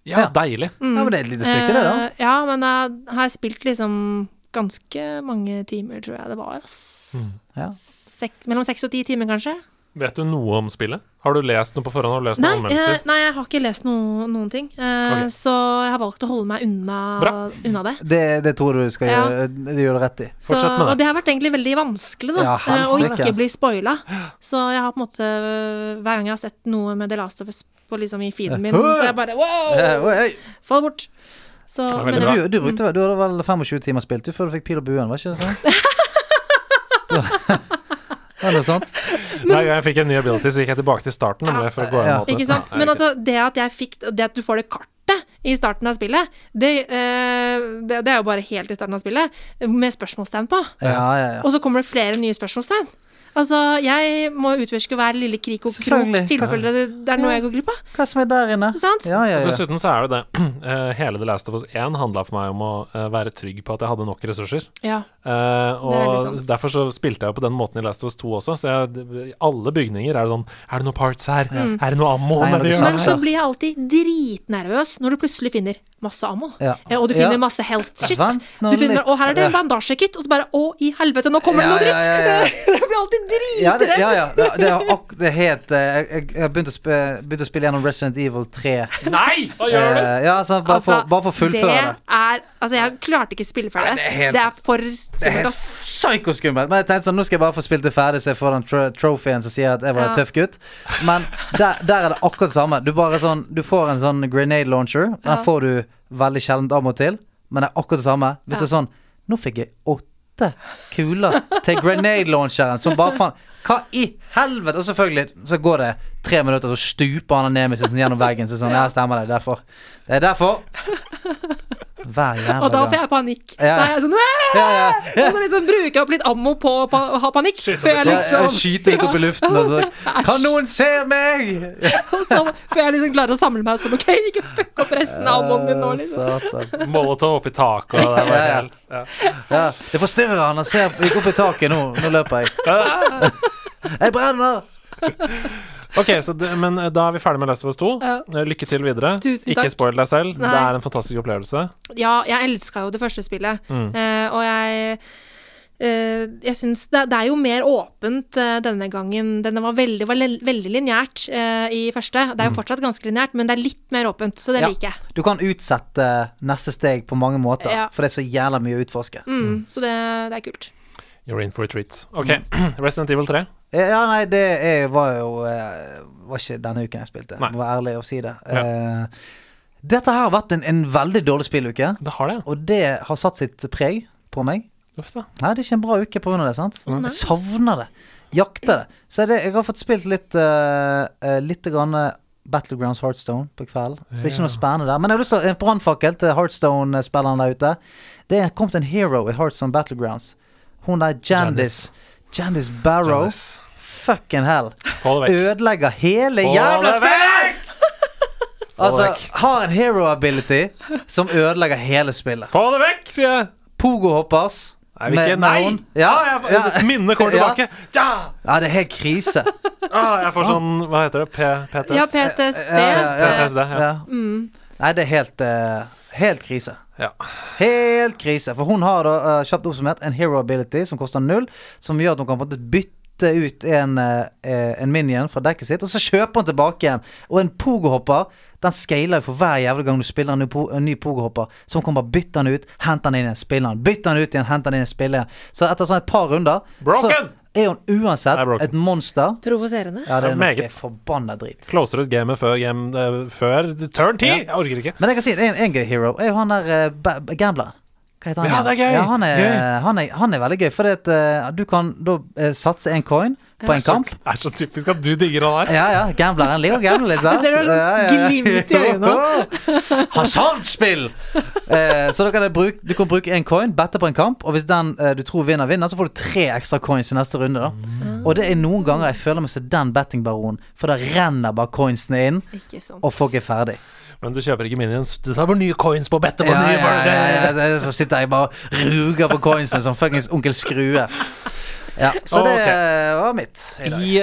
[SPEAKER 1] Ja,
[SPEAKER 2] Ja.
[SPEAKER 1] deilig.
[SPEAKER 6] Mm.
[SPEAKER 2] Ja, men det er et lite stykke, det, da.
[SPEAKER 6] Eh, ja, men jeg har spilt liksom ganske mange timer, tror jeg det var. Ass.
[SPEAKER 1] Mm.
[SPEAKER 2] Ja.
[SPEAKER 6] Sek, mellom seks og ti timer, kanskje.
[SPEAKER 1] Vet du noe om spillet? Har du lest noe på forhånd? Har du lest
[SPEAKER 6] Nei,
[SPEAKER 1] noen
[SPEAKER 6] eh,
[SPEAKER 1] anmeldelser?
[SPEAKER 6] nei, jeg har ikke lest no, noen ting. eh,
[SPEAKER 1] Ok.
[SPEAKER 6] Så jeg har valgt å holde meg unna,
[SPEAKER 1] Bra.
[SPEAKER 6] unna det.
[SPEAKER 2] Det, det tror du skal
[SPEAKER 6] Ja.
[SPEAKER 2] gjøre, eh, du gjør det rett i.
[SPEAKER 6] Så,
[SPEAKER 1] Fortsett med det.
[SPEAKER 6] Og det har vært egentlig veldig vanskelig da,
[SPEAKER 2] Ja,
[SPEAKER 6] eh, å
[SPEAKER 2] helsike.
[SPEAKER 6] ikke bli spoila. Så jeg har på en måte eh, Hver gang jeg har sett noe med The Last of Us på, liksom, i feeden min, så jeg
[SPEAKER 2] Eh,
[SPEAKER 6] bare wow!
[SPEAKER 2] oi, oi.
[SPEAKER 6] Fall bort. Så,
[SPEAKER 1] var
[SPEAKER 6] Oh. men
[SPEAKER 1] veldig bra.
[SPEAKER 2] Du, du, brukte, du hadde vel 25 timer spilt du, før du fikk pil og buen, var ikke det sånn? Det var- det var noe sånt.
[SPEAKER 1] Hver gang jeg fikk en ny ability, så gikk jeg tilbake til starten. nemlig, for å gå
[SPEAKER 2] Ja.
[SPEAKER 1] gjennom alt det.
[SPEAKER 6] Ikke sant?
[SPEAKER 1] Ja,
[SPEAKER 6] Men
[SPEAKER 1] ok.
[SPEAKER 6] altså, det at jeg fikk Det at du får det kartet i starten av spillet, det, eh, det, det er jo bare helt i starten av spillet, med spørsmålstegn på.
[SPEAKER 2] Ja, ja, ja.
[SPEAKER 6] Og så kommer det flere nye spørsmålstegn. Altså, jeg må utforske hver lille krik og krok
[SPEAKER 2] Selvfølgelig.
[SPEAKER 6] tilfelle det, det er noe
[SPEAKER 2] Ja.
[SPEAKER 6] jeg går glipp av.
[SPEAKER 2] Hva som er der inne?
[SPEAKER 6] Sant?
[SPEAKER 2] Ja, ja, ja.
[SPEAKER 1] Dessuten så er det det. eh, Hele The Last of Us 1 handla for meg om å eh, være trygg på at jeg hadde nok ressurser.
[SPEAKER 6] Ja.
[SPEAKER 1] Eh, og
[SPEAKER 6] veldig sant.
[SPEAKER 1] derfor så spilte jeg jo på den måten i Last of Us 2 også. Så jeg, i alle bygninger er det sånn Er det noen parts her?
[SPEAKER 6] Mm.
[SPEAKER 1] Er det noe ammo?
[SPEAKER 2] Tegner
[SPEAKER 1] nedi
[SPEAKER 2] du
[SPEAKER 1] hjørnet?
[SPEAKER 6] Men så sånn. blir jeg alltid dritnervøs når du plutselig finner masse ammo.
[SPEAKER 2] Ja.
[SPEAKER 6] Eh, Og du
[SPEAKER 2] Ja.
[SPEAKER 6] finner masse health shit.
[SPEAKER 2] Vent nå
[SPEAKER 6] Du finner,
[SPEAKER 2] litt.
[SPEAKER 6] og her er det en
[SPEAKER 2] Ja.
[SPEAKER 6] bandasjekit, og så bare Å, i helvete, nå kommer det
[SPEAKER 2] Ja,
[SPEAKER 6] noe
[SPEAKER 2] ja, ja, ja, ja.
[SPEAKER 6] dritt! Jeg blir alltid
[SPEAKER 2] Ja, det,
[SPEAKER 6] dritredd.
[SPEAKER 2] ja, ja. Det, det, er ak det er helt eh, Jeg, jeg, jeg begynte å, sp begynte å spille gjennom Resident Evil 3.
[SPEAKER 1] Nei! Hva
[SPEAKER 2] Eh,
[SPEAKER 1] gjør du?
[SPEAKER 2] ja, sant, bare, for, bare for å fullføre det.
[SPEAKER 6] Altså, det. Er, altså, jeg klarte ikke å spille
[SPEAKER 2] det
[SPEAKER 6] ferdig. det,
[SPEAKER 2] er helt-
[SPEAKER 6] er for
[SPEAKER 2] Det er
[SPEAKER 6] skummelt,
[SPEAKER 2] helt
[SPEAKER 6] ass.
[SPEAKER 2] psykoskummelt. Men jeg tenkte sånn, nå skal jeg bare få spilt det ferdig, så jeg får den tro trofeen som sier at jeg var en
[SPEAKER 6] Ja.
[SPEAKER 2] tøff gutt. Men der, der er det akkurat det samme. Du, bare sånn, du får en sånn grenade launcher. Den
[SPEAKER 6] Ja.
[SPEAKER 2] får du veldig sjeldent av og til, men det er akkurat det samme. Hvis det er sånn Nå fikk jeg åtte kuler til grenade launcheren, som bare faen Hva i helvete? Og selvfølgelig så går det tre minutter, så stuper han nemesisen gjennom veggen. Så sånn, ja, stemmer det. Derfor. Det er derfor. Hver jævla
[SPEAKER 6] Og da får
[SPEAKER 2] gang.
[SPEAKER 6] jeg panikk.
[SPEAKER 2] Ja.
[SPEAKER 6] Da er jeg sånn «Åh!»
[SPEAKER 2] Ja, ja.
[SPEAKER 6] Og så liksom bruker jeg opp litt ammo på å pa- ha panikk. Før jeg
[SPEAKER 2] Ja,
[SPEAKER 6] liksom
[SPEAKER 2] jeg skyter litt opp i luften og så
[SPEAKER 6] Æsj.
[SPEAKER 2] Kan noen se meg?!
[SPEAKER 6] Og så før jeg liksom klarer å samle meg og spørre OK, ikke fuck opp resten av ammoen min nå, liksom.
[SPEAKER 2] Satan.
[SPEAKER 1] Molotov oppi taket og det var
[SPEAKER 2] Ja, ja.
[SPEAKER 1] helt ja.
[SPEAKER 2] Ja, det forstyrrer han. Han ser gikk opp i taket nå. Nå løper jeg. Jeg brenner!
[SPEAKER 1] Eh, Ok, så du, men eh, da er vi ferdig med Last of Us 2.
[SPEAKER 6] Ja.
[SPEAKER 1] Eh, Lykke til videre.
[SPEAKER 6] Tusen
[SPEAKER 1] Ikke
[SPEAKER 6] takk.
[SPEAKER 1] spoil deg selv. Det
[SPEAKER 6] Nei.
[SPEAKER 1] er en fantastisk opplevelse.
[SPEAKER 6] Ja, jeg elska jo det første spillet, eh, og jeg eh, jeg synes det, det er jo mer åpent eh, denne gangen. Denne var veldig, var le- veldig lineært eh, i første. Det er jo fortsatt ganske lineært, men det er litt mer åpent, så det
[SPEAKER 2] Ja.
[SPEAKER 6] liker jeg.
[SPEAKER 2] Du kan utsette neste steg på mange måter,
[SPEAKER 6] Ja.
[SPEAKER 2] for det er så jævla mye å utforske.
[SPEAKER 6] Mm, Så det, det er kult.
[SPEAKER 1] You're in for a treat. Ok, Resident Evil 3.
[SPEAKER 2] Eh, Ja, nei, det er, var jo eh, Var ikke denne uken jeg spilte.
[SPEAKER 1] Nei.
[SPEAKER 2] Må være ærlig og si det. Eh, Dette her har vært en, en veldig dårlig spilluke,
[SPEAKER 1] Det har det.
[SPEAKER 2] og det har satt sitt preg på meg.
[SPEAKER 1] Uff da.
[SPEAKER 2] Nei, det er ikke en bra uke pga. det. sant? Jeg savner det. Jakter det. Så er det, jeg har fått spilt litt eh, eh, Litt grann eh, Battlegrounds Heartstone på kvelden. Så det er ikke noe spennende der. Men jeg har lyst til å- en brannfakkel til Heartstone-spillerne der ute. Det er kommet en hero i Heartstone Battlegrounds. Hun der Jandis. Jandis Barrow.
[SPEAKER 1] Janice.
[SPEAKER 2] Fucking hell.
[SPEAKER 1] Få det vekk.
[SPEAKER 2] Ødelegger hele
[SPEAKER 1] Få
[SPEAKER 2] jævla
[SPEAKER 1] det
[SPEAKER 2] spillet! Altså,
[SPEAKER 1] vekk.
[SPEAKER 2] har en hero ability som ødelegger hele spillet.
[SPEAKER 1] Få det vekk, sier jeg!
[SPEAKER 2] Pogo hoppers.
[SPEAKER 1] Nei, vi ikke, nei!
[SPEAKER 2] Ja,
[SPEAKER 1] Ah, jeg, får- Minnet kommer
[SPEAKER 2] Ja.
[SPEAKER 1] tilbake. Ja!
[SPEAKER 2] Ja, det er helt krise.
[SPEAKER 1] Ah, jeg får sånn, hva heter det, P PTS?
[SPEAKER 6] Ja, PTSD.
[SPEAKER 2] Ja, ja, ja.
[SPEAKER 6] eh,
[SPEAKER 1] PTSD, ja.
[SPEAKER 2] Ja. Nei, det er helt, eh, helt krise.
[SPEAKER 1] ja.
[SPEAKER 2] Helt krise. For hun har da, eh, kjapt oppsummert, en hero ability som koster null, som gjør at hun kan på en måte bytte ut en, eh, eh, en minion fra dekket sitt, og så kjøper hun tilbake igjen. Og en pogohopper, den scaler jo for hver jævla gang du spiller en ny, po en ny pogohopper. Så hun kan bare bytte den ut, hente den inn igjen, spille den. Bytte den ut igjen, hente den inn igjen, spille igjen. Så etter sånn et par runder, så
[SPEAKER 1] Broken!
[SPEAKER 2] er hun uansett
[SPEAKER 1] Er broken.
[SPEAKER 2] et monster.
[SPEAKER 6] Provoserende.
[SPEAKER 2] Ja, det er noe
[SPEAKER 1] Meget.
[SPEAKER 2] forbanna drit.
[SPEAKER 1] Closer ut gamet før, game, eh, før turn 10. Jeg orker ikke.
[SPEAKER 2] Men jeg kan si en, en gøy hero er jo han der eh, ba- ba- gambleren. Hva heter han?
[SPEAKER 1] Ja,
[SPEAKER 2] igjen?
[SPEAKER 1] det er gøy.
[SPEAKER 2] Ja, han, er,
[SPEAKER 1] Gøy.
[SPEAKER 2] Han, er, han er veldig gøy, fordi at eh, du kan da eh, satse en coin, på en kamp.
[SPEAKER 1] Det er så typisk at du digger han her.
[SPEAKER 2] Ja, ja. Gambler. Han liker å gamble litt. sant?
[SPEAKER 6] Jeg ser det var sånn
[SPEAKER 2] Ja, ja, ja.
[SPEAKER 6] glimt i øynene.
[SPEAKER 2] Hasardspill! Eh, så da kan jeg bruke, du kan bruke en coin, bette på en kamp, og hvis den eh, du tror vinner, vinner, så får du tre ekstra coins i neste runde. da
[SPEAKER 6] Mm.
[SPEAKER 2] Og det er noen ganger jeg føler meg som den bettingbaronen, for da renner bare coinsene inn,
[SPEAKER 6] Ikke sant.
[SPEAKER 2] og folk er ferdig.
[SPEAKER 1] Men du kjøper ikke minions. Du tar bare nye coins på bettet.
[SPEAKER 2] Ja, ja, ja, ja, ja. Så sitter jeg bare og ruger på coinsene som fuckings onkel Skrue. Ja, så det
[SPEAKER 1] Ok.
[SPEAKER 2] eh, var mitt. i dag.
[SPEAKER 1] I,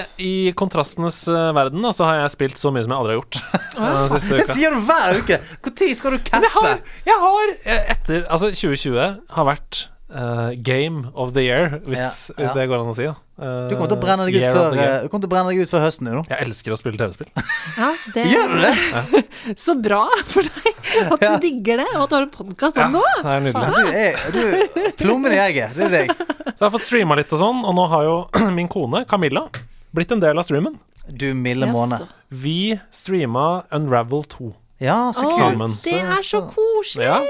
[SPEAKER 1] I kontrastenes eh, verden da, så har jeg spilt så mye som jeg aldri har gjort eh, den siste
[SPEAKER 2] Det
[SPEAKER 1] uka.
[SPEAKER 2] sier du hver uke! Når skal du
[SPEAKER 1] Men jeg
[SPEAKER 2] cappe?
[SPEAKER 1] har, jeg har eh, etter, Altså, 2020 har vært eh, game of the year, hvis,
[SPEAKER 2] Ja, ja.
[SPEAKER 1] hvis det går an å si. Da. Eh,
[SPEAKER 2] Du kommer til å brenne deg ut
[SPEAKER 1] year of
[SPEAKER 2] før,
[SPEAKER 1] the game.
[SPEAKER 2] eh, du kommer til å brenne deg ut før høsten, du nå.
[SPEAKER 1] Jeg elsker å spille TV-spill.
[SPEAKER 6] Ja, det
[SPEAKER 2] Gjør du det?
[SPEAKER 6] Så bra for deg at
[SPEAKER 2] Ja.
[SPEAKER 6] du digger det, og at du har en podkast
[SPEAKER 1] Ja,
[SPEAKER 6] om det òg.
[SPEAKER 1] det er nydelig.
[SPEAKER 2] Du er, du er plommen i egget. Det er deg.
[SPEAKER 1] Så jeg har fått streama litt og sånn, og nå har jo min kone, Camilla, blitt en del av streamen.
[SPEAKER 2] Du milde måne.
[SPEAKER 1] Vi streama Unravel 2.
[SPEAKER 2] Ja, så
[SPEAKER 1] Sammen.
[SPEAKER 2] kult.
[SPEAKER 6] Det er så koselig.
[SPEAKER 1] Ja,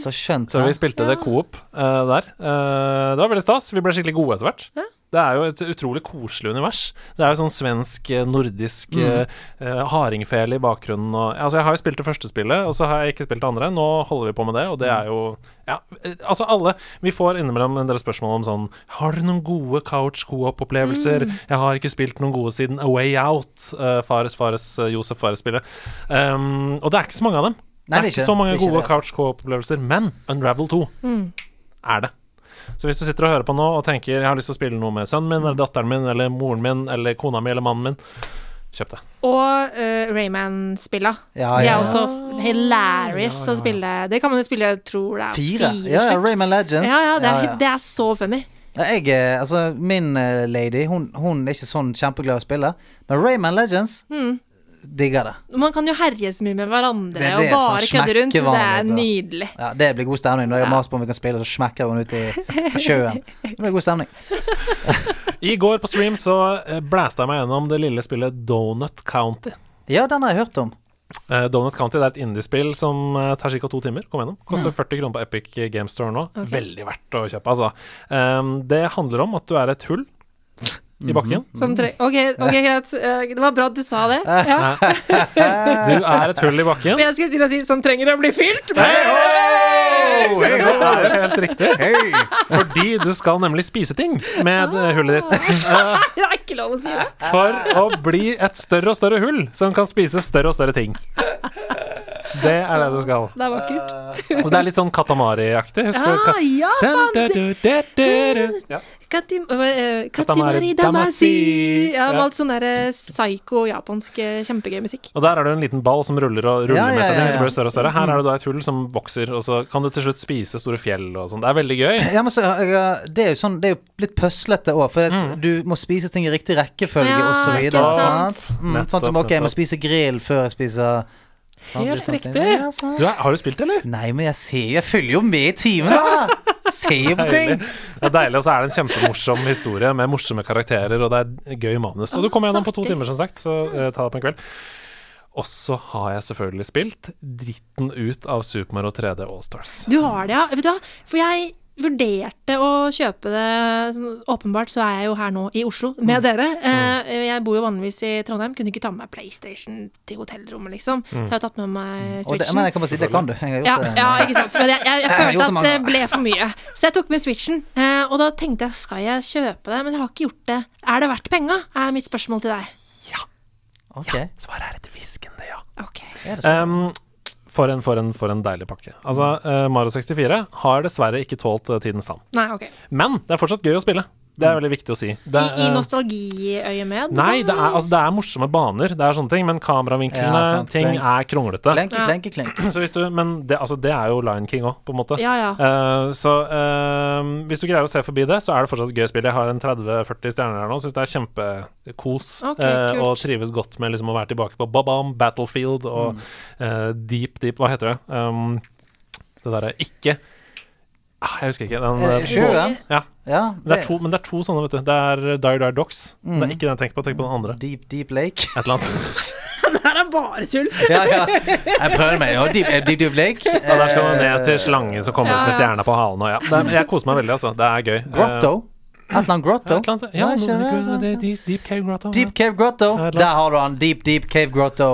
[SPEAKER 2] Så skjønt.
[SPEAKER 1] så vi
[SPEAKER 2] hæ?
[SPEAKER 1] spilte det coop eh, der. Eh, det var veldig stas. Vi ble skikkelig gode etter hvert. Det er jo et utrolig koselig univers. Det er jo sånn svensk, eh, nordisk mm. hardingfele i bakgrunnen og Altså, jeg har jo spilt det første spillet, og så har jeg ikke spilt det andre. Nå holder vi på med det, og det er jo Ja, eh, altså alle Vi får innimellom en del spørsmål om sånn Har du noen gode couch co-op-opplevelser? Jeg har ikke spilt noen gode siden A Way Out, eh, Fares Fares eh, Josef Fares-spillet. Um, og det er ikke så mange av dem.
[SPEAKER 2] Nei,
[SPEAKER 1] det er
[SPEAKER 2] det er
[SPEAKER 1] ikke
[SPEAKER 2] ikke-
[SPEAKER 1] så mange
[SPEAKER 2] det er ikke
[SPEAKER 1] gode
[SPEAKER 2] det, altså.
[SPEAKER 1] couch co-op-opplevelser, men Unravel 2 er det. Så hvis du sitter og hører på nå og tenker jeg har lyst til å spille noe med sønnen min, eller datteren min, eller moren min, eller kona mi, eller mannen min, kjøp det.
[SPEAKER 6] Og eh, Rayman-spilla.
[SPEAKER 2] Ja,
[SPEAKER 6] Det
[SPEAKER 2] ja, ja.
[SPEAKER 6] er også f- hilarious å spille. Det kan man jo spille, jeg tror det er
[SPEAKER 2] Fire. Ja, ja,
[SPEAKER 6] stykk.
[SPEAKER 2] Rayman Legends.
[SPEAKER 6] Ja, ja, det er,
[SPEAKER 2] Ja, ja.
[SPEAKER 6] det er så funny.
[SPEAKER 2] Ja, Jeg, eh, altså, min eh, lady hun, hun er ikke sånn kjempeglad i å spille, men Rayman Legends digger det.
[SPEAKER 6] Man kan jo herje så mye med hverandre
[SPEAKER 2] Det er
[SPEAKER 6] og
[SPEAKER 2] det som
[SPEAKER 6] bare kødde rundt. så Det
[SPEAKER 2] smekkevanlig,
[SPEAKER 6] er
[SPEAKER 2] da.
[SPEAKER 6] nydelig.
[SPEAKER 2] Ja, Det blir god stemning. Når jeg maser på om vi kan spille, så smekker hun ut i sjøen. Det blir god stemning.
[SPEAKER 1] I går på stream så eh, blæste jeg meg gjennom det lille spillet Donut County.
[SPEAKER 2] Ja, den har jeg hørt om.
[SPEAKER 1] Eh, Donut County det er et indiespill som eh, tar ca. to timer. Kom gjennom. Koster 40 kroner på Epic Game Store nå. Veldig verdt å kjøpe, altså. Ehm, det handler om at du er et hull i
[SPEAKER 2] Mm.
[SPEAKER 1] bakken.
[SPEAKER 6] Som tre ok, ok, greit. Eh, Det var bra at du sa det. Ja.
[SPEAKER 1] Du er et hull i bakken.
[SPEAKER 6] For jeg skulle til å si 'som trenger å bli fylt'. Men
[SPEAKER 1] Det er jo helt riktig. Fordi du skal nemlig spise ting med eh, hullet ditt.
[SPEAKER 6] det er ikke lov å si det.
[SPEAKER 1] For å bli et større og større hull som kan spise større og større ting. Det er det du skal.
[SPEAKER 6] Det er vakkert.
[SPEAKER 2] Eh,
[SPEAKER 1] Og det er litt sånn Katamari-aktig. Husker du?
[SPEAKER 6] Ah,
[SPEAKER 1] ka-
[SPEAKER 6] ja,
[SPEAKER 1] Dun,
[SPEAKER 6] faen!
[SPEAKER 1] dun,
[SPEAKER 6] det-
[SPEAKER 1] dun, dun, dun, dun. Ja.
[SPEAKER 6] Katim, eh,
[SPEAKER 1] Katamari
[SPEAKER 6] Katimari
[SPEAKER 1] Damacy.
[SPEAKER 6] Damasi. Ja,
[SPEAKER 1] Ja.
[SPEAKER 6] med alt sånn derre psycho japansk eh, kjempegøy musikk.
[SPEAKER 1] Og der er det en liten ball som ruller og ruller
[SPEAKER 2] Ja, ja,
[SPEAKER 1] med seg
[SPEAKER 2] ja,
[SPEAKER 1] ting, og så
[SPEAKER 2] ja.
[SPEAKER 1] blir det større og større. Her er det da et hull som vokser, og så kan du til slutt spise store fjell og sånn. Det er veldig gøy.
[SPEAKER 2] Ja, men så, eh, det er jo sånn, det er jo litt pøslete òg, for at
[SPEAKER 1] Mm.
[SPEAKER 2] du må spise ting i riktig rekkefølge
[SPEAKER 6] Ja,
[SPEAKER 2] og så
[SPEAKER 6] ikke
[SPEAKER 2] videre.
[SPEAKER 6] sant?
[SPEAKER 2] Sant? Mm, sånn at du
[SPEAKER 1] Nettopp,
[SPEAKER 2] må, ok, jeg må
[SPEAKER 1] nettopp.
[SPEAKER 2] spise grill før jeg spiser sant,
[SPEAKER 1] Helt
[SPEAKER 2] litt sånne ting.
[SPEAKER 1] riktig.
[SPEAKER 2] Ja,
[SPEAKER 6] Ah.
[SPEAKER 2] sant.
[SPEAKER 1] Du er, har du spilt, eller?
[SPEAKER 2] Nei, men jeg ser jo Jeg følger jo med i timen, da! Ser jo på ting.
[SPEAKER 1] Deilig. Det er deilig, og så er det en kjempemorsom historie med morsomme karakterer, og det er gøy manus. Og du kommer gjennom på to
[SPEAKER 6] artig.
[SPEAKER 1] timer, som sagt, så eh, ta det på en kveld. Og så har jeg selvfølgelig spilt dritten ut av Super Mario 3D Allstars.
[SPEAKER 6] Du har det, ja. Vet du hva? For jeg vurderte å kjøpe det sånn, Åpenbart så er jeg jo her nå i Oslo
[SPEAKER 2] Mm.
[SPEAKER 6] med dere. Eh, jeg bor jo vanligvis i Trondheim, kunne ikke ta med meg PlayStation til hotellrommet, liksom. Så jeg har tatt med meg
[SPEAKER 2] Mm. Og det,
[SPEAKER 6] Switchen.
[SPEAKER 2] men jeg kan bare si, det kan du. Jeg har
[SPEAKER 6] ja,
[SPEAKER 2] gjort det.
[SPEAKER 6] ja, ikke sant. Men jeg, jeg, jeg
[SPEAKER 2] har gjort
[SPEAKER 6] følte
[SPEAKER 2] det
[SPEAKER 6] at
[SPEAKER 2] mange
[SPEAKER 6] det ble for mye. Så jeg tok med Switchen. Eh, og da tenkte jeg skal jeg kjøpe det, men jeg har ikke gjort det. Er det verdt penga? Er mitt spørsmål til deg.
[SPEAKER 2] Ok,
[SPEAKER 1] Svaret er et hviskende ja.
[SPEAKER 6] Ok.
[SPEAKER 2] er det sånn?
[SPEAKER 1] Um, for, en, for, en, for en deilig pakke. Altså, eh, Mario 64 har dessverre ikke tålt eh, tidens tann.
[SPEAKER 6] Nei, ok.
[SPEAKER 1] Men det er fortsatt gøy å spille. Det er veldig viktig å si.
[SPEAKER 6] I,
[SPEAKER 1] Mm. Det,
[SPEAKER 6] i
[SPEAKER 1] eh,
[SPEAKER 6] nostalgiøyemed?
[SPEAKER 1] Nei, det
[SPEAKER 6] da?
[SPEAKER 1] er, altså, det er morsomme baner, det er sånne ting, men kameravinklene,
[SPEAKER 2] Ja, sant.
[SPEAKER 1] ting er kronglete.
[SPEAKER 2] Klenke, klenke, klenke.
[SPEAKER 1] Så hvis du, men det, altså det er jo Lion King òg, på en måte.
[SPEAKER 6] Ja, ja.
[SPEAKER 1] Eh, så eh, hvis du greier å se forbi det, så er det fortsatt et gøy spill. Jeg har en 30-40 stjerner her nå, syns det er kjempekos.
[SPEAKER 6] Ok,
[SPEAKER 1] eh,
[SPEAKER 6] kult.
[SPEAKER 1] og trives godt med liksom å være tilbake på Babam, Battlefield og
[SPEAKER 6] Mm.
[SPEAKER 1] eh, Deep Deep Hva heter det? Um, det derre ikke ah, Jeg husker ikke. Den,
[SPEAKER 2] Er det
[SPEAKER 1] eh,
[SPEAKER 2] sjøen?
[SPEAKER 1] ja.
[SPEAKER 2] Ja.
[SPEAKER 1] Det er to, men det er to sånne, vet du. Det er Dire Dire Dogs. Det er ikke den jeg tenker på, tenk på den andre.
[SPEAKER 2] Deep, deep lake.
[SPEAKER 1] Et eller annet.
[SPEAKER 6] Det her er bare tull.
[SPEAKER 2] Ja, ja. Jeg prøver meg. Ja, deep, eh, deep, deep lake.
[SPEAKER 1] Ja, der skal man ned til slangen som kommer
[SPEAKER 6] Ja,
[SPEAKER 1] ut med
[SPEAKER 6] ja.
[SPEAKER 1] stjerna på halen. Og ja. det, er- jeg koser meg veldig, altså. Det er gøy. Eh,
[SPEAKER 2] Grotto. Et eller annet
[SPEAKER 1] Et
[SPEAKER 2] grotto.
[SPEAKER 1] eller annet. Ja,
[SPEAKER 2] Nei,
[SPEAKER 1] noe-
[SPEAKER 2] ikke det, sant,
[SPEAKER 1] det-
[SPEAKER 2] sant.
[SPEAKER 1] deep, deep Cave Grotto.
[SPEAKER 2] Deep Cave Grotto.
[SPEAKER 1] Ja, et eller
[SPEAKER 2] Der har du han. Deep, deep Cave Grotto.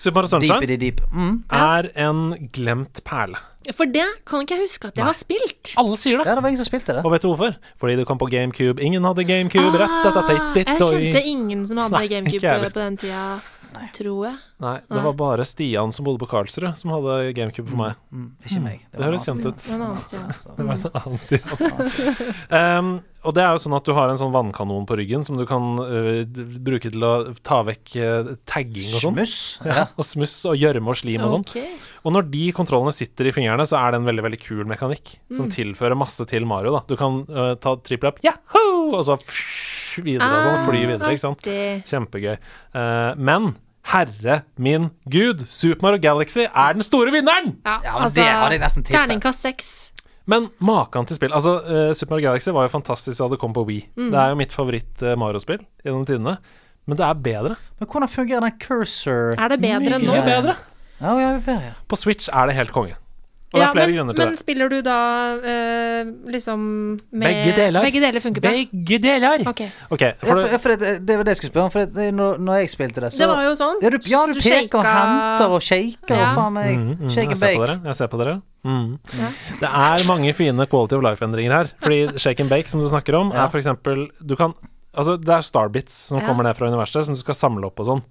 [SPEAKER 1] Super Mario Sunshine
[SPEAKER 2] Deepity deep. Mm.
[SPEAKER 1] er en glemt perle.
[SPEAKER 6] For det kan ikke jeg huske at jeg har spilt.
[SPEAKER 1] Alle sier det!
[SPEAKER 2] Ja, det var ingen som spilte det.
[SPEAKER 1] Og vet du hvorfor? Fordi det kom på GameCube. Ingen hadde GameCube. Rett etter
[SPEAKER 6] Ah, jeg kjente ingen som hadde
[SPEAKER 1] Nei, ikke jeg
[SPEAKER 6] GameCube
[SPEAKER 1] heller.
[SPEAKER 6] på den tida, tror jeg.
[SPEAKER 1] Nei, det var bare Stian som bodde på Karlsrud, som hadde GameCube for meg.
[SPEAKER 2] Ikke meg.
[SPEAKER 1] Det høres kjent ut.
[SPEAKER 6] En annen sted.
[SPEAKER 1] Det var en annen Stian. um, og det er jo sånn at du har en sånn vannkanon på ryggen som du kan øh, d- bruke til å ta vekk øh, tagging og sånn.
[SPEAKER 2] Smuss. Ja.
[SPEAKER 1] Og smuss og gjørme og slim og sånn.
[SPEAKER 6] Ok.
[SPEAKER 1] Og når de kontrollene sitter i fingrene, så er det en veldig veldig kul mekanikk som
[SPEAKER 6] Mm.
[SPEAKER 1] tilfører masse til Mario. da Du kan øh, ta trippel opp, Yahoo! og så fsh, videre og sånn. Fly videre, ikke sant.
[SPEAKER 6] Ah, Artig.
[SPEAKER 1] Kjempegøy. Eh, men herre min gud, Super Mario Galaxy er den store vinneren!
[SPEAKER 2] Ja, men det hadde jeg nesten tippet.
[SPEAKER 6] Terningkast seks.
[SPEAKER 1] Men maken til spill. Altså, eh, Super Mario Galaxy var jo fantastisk da det kom på Wii.
[SPEAKER 6] Mm.
[SPEAKER 1] Det er jo mitt favoritt-Mario-spill gjennom tidene. Men det er bedre.
[SPEAKER 2] Men hvordan fungerer den cursor?
[SPEAKER 6] Er det bedre nå?
[SPEAKER 1] Mye bedre.
[SPEAKER 2] Ja, ja, ja, ja.
[SPEAKER 1] På Switch er det helt konge. Og det er flere
[SPEAKER 6] men,
[SPEAKER 1] grunner til
[SPEAKER 6] men spiller du da eh, liksom med
[SPEAKER 1] Begge deler.
[SPEAKER 6] Begge deler funker bra?
[SPEAKER 1] det. Begge deler!
[SPEAKER 6] Ok.
[SPEAKER 1] Ok, for
[SPEAKER 2] for,
[SPEAKER 1] det,
[SPEAKER 2] ja, for det, det var det jeg skulle spørre om. For det, når, når jeg spilte det, så
[SPEAKER 6] Det var jo sånn.
[SPEAKER 2] Ja, du, ja, du peker og
[SPEAKER 6] shaket-
[SPEAKER 2] henter og shaker og
[SPEAKER 6] Ja.
[SPEAKER 2] faen meg. Shake
[SPEAKER 1] Mm, jeg
[SPEAKER 2] and
[SPEAKER 1] ser på
[SPEAKER 2] bake.
[SPEAKER 1] dere. Jeg ser på dere. Mm. Det er mange fine quality of life-endringer her. Fordi shake and bake, som du snakker om,
[SPEAKER 2] Ja.
[SPEAKER 1] er for eksempel Du kan Altså, det er starbits som
[SPEAKER 6] Ja.
[SPEAKER 1] kommer ned fra universet, som du skal samle opp og sånn.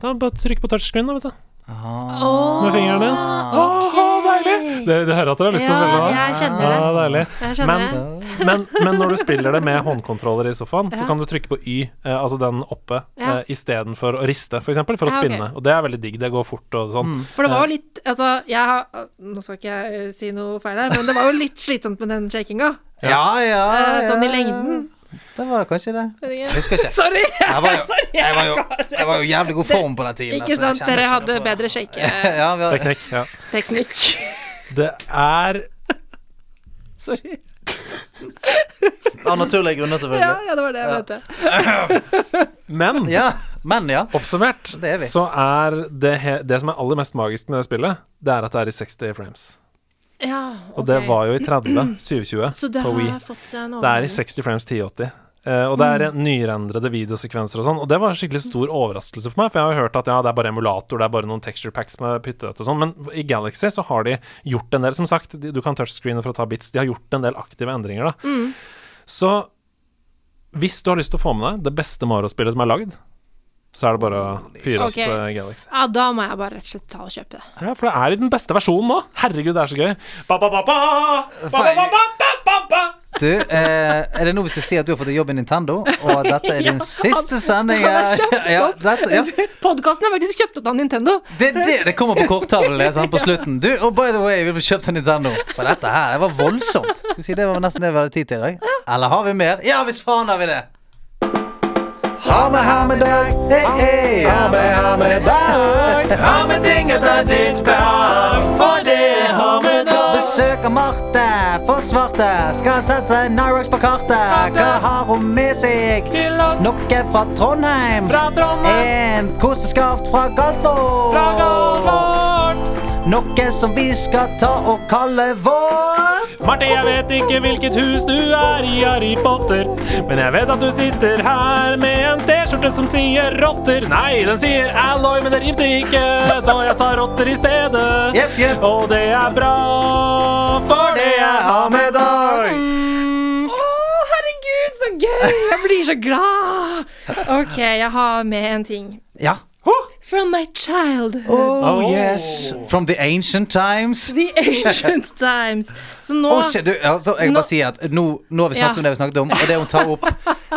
[SPEAKER 1] Da bare trykk på touchscreen, da, vet du.
[SPEAKER 6] Åh,
[SPEAKER 1] Med fingeren din. Åh, deilig! Dere, dere hører at dere har lyst til å spille
[SPEAKER 6] Ah,
[SPEAKER 1] nå?
[SPEAKER 6] ja, jeg kjenner
[SPEAKER 1] Ja,
[SPEAKER 6] det.
[SPEAKER 1] deilig.
[SPEAKER 6] Jeg skjønner
[SPEAKER 1] Men,
[SPEAKER 6] det.
[SPEAKER 1] men, men når du spiller det med håndkontroller i sofaen, så
[SPEAKER 6] Ja.
[SPEAKER 1] kan du trykke på Y, eh, altså den oppe,
[SPEAKER 6] Ja.
[SPEAKER 1] eh, istedenfor å riste, f.eks., for, eksempel, for å
[SPEAKER 6] Ja, ok.
[SPEAKER 1] spinne. Og det er veldig digg. Det går fort og sånn.
[SPEAKER 6] For det var jo litt Altså, jeg har Nå skal ikke jeg eh, si noe feil her, men det var jo litt slitsomt med den shakinga.
[SPEAKER 2] Ja, ja,
[SPEAKER 6] eh,
[SPEAKER 2] ja.
[SPEAKER 6] sånn i lengden.
[SPEAKER 2] Det var kanskje det.
[SPEAKER 6] Vet ikke.
[SPEAKER 2] Jeg husker ikke.
[SPEAKER 6] Sorry!
[SPEAKER 2] Jeg var jo,
[SPEAKER 6] Sorry,
[SPEAKER 2] jeg var jo,
[SPEAKER 6] jeg-
[SPEAKER 2] jeg var jo i jævlig god form på den tiden.
[SPEAKER 6] Ikke
[SPEAKER 2] så jeg
[SPEAKER 6] sant,
[SPEAKER 2] kjenner
[SPEAKER 6] dere
[SPEAKER 2] ikke
[SPEAKER 6] hadde
[SPEAKER 2] noe på
[SPEAKER 6] bedre
[SPEAKER 2] det.
[SPEAKER 6] shaketeknikk.
[SPEAKER 2] Ja, vi har,
[SPEAKER 1] Teknikk. Ja. Det er
[SPEAKER 6] Sorry.
[SPEAKER 2] av naturlige grunner,
[SPEAKER 6] Ja,
[SPEAKER 2] selvfølgelig.
[SPEAKER 6] ja, det var det jeg mente.
[SPEAKER 1] Men
[SPEAKER 2] Ja, men ja.
[SPEAKER 1] oppsummert
[SPEAKER 2] Det er vi.
[SPEAKER 1] så er det, he det som er aller mest magisk med det spillet, det er at det er i 60 frames.
[SPEAKER 6] Ja,
[SPEAKER 1] Og det var jo i 30, 720
[SPEAKER 6] Så det
[SPEAKER 1] på Wii.
[SPEAKER 6] har fått seg en
[SPEAKER 1] Det er i
[SPEAKER 6] overgang.
[SPEAKER 1] 60 frames 1080. Eh, og det er nyrendrede videosekvenser og sånn. Og det var en skikkelig stor overraskelse for meg, for jeg har jo hørt at ja, det er bare emulator, det er bare noen texture packs med pytteøt og sånn, men i Galaxy så har de gjort en del, som sagt, de, du kan touchscreene for å ta bits, de har gjort en del aktive endringer, da. Så hvis du har lyst til å få med deg det beste Mario-spillet som er lagd, så er det bare å fyre
[SPEAKER 6] Ok.
[SPEAKER 1] opp eh, Galaxy.
[SPEAKER 6] Ja, da må jeg bare rett og slett ta og kjøpe det.
[SPEAKER 1] Ja, for det er i den beste versjonen nå. Herregud, det er så gøy. Ba, ba, ba, ba, ba, ba, ba, ba, ba, ba.
[SPEAKER 2] Du, eh, er det nå vi skal si at du har fått jobb i Nintendo, og at dette er din siste sending?
[SPEAKER 6] han har kjøpt
[SPEAKER 2] her? Ja, dette, ja.
[SPEAKER 6] Podkasten er faktisk kjøpt opp av Nintendo.
[SPEAKER 2] Det, er det, det kommer på korttavlen det, sant, på slutten. Du, og by the way, vi ble kjøpt en Nintendo. For dette her det var voldsomt. Skal vi si Det var nesten det vi hadde tid til i dag. Eller har vi mer? Ja, hvis faen har vi det! Ha med, ha med dag. Hey, hey. Ha med, ha med dag. Ha med ting etter ditt behag. For det har vi dag. Besøker Marte på Svarte. Skal sette Nyrox på kartet. Hva har hun med seg?
[SPEAKER 6] Til oss
[SPEAKER 2] Noe fra Trondheim.
[SPEAKER 6] fra Trondheim,
[SPEAKER 2] En koseskaft fra Galtvort.
[SPEAKER 6] fra Galvort.
[SPEAKER 2] Noe som vi skal ta og kalle vårt.
[SPEAKER 1] Marte, jeg vet ikke hvilket hus du er i Harry Potter, men jeg vet at du sitter her med en T-skjorte som sier rotter. Nei, den sier alloy, men det rimte ikke, så jeg sa rotter i stedet.
[SPEAKER 2] Jepp, jepp.
[SPEAKER 1] Og det er bra, for det jeg har med dag.
[SPEAKER 2] Mm.
[SPEAKER 6] Å, herregud, så gøy! Jeg blir så glad. OK, jeg har med en ting.
[SPEAKER 2] Ja.
[SPEAKER 6] From my childhood.
[SPEAKER 2] Oh, yes. From the ancient times.
[SPEAKER 6] The ancient times. Så nå
[SPEAKER 2] Å, shit, du, altså, jeg vil
[SPEAKER 6] Nå-
[SPEAKER 2] bare si at nå, nå har vi snakket
[SPEAKER 6] Ja.
[SPEAKER 2] om det vi snakket om, og det hun tar opp,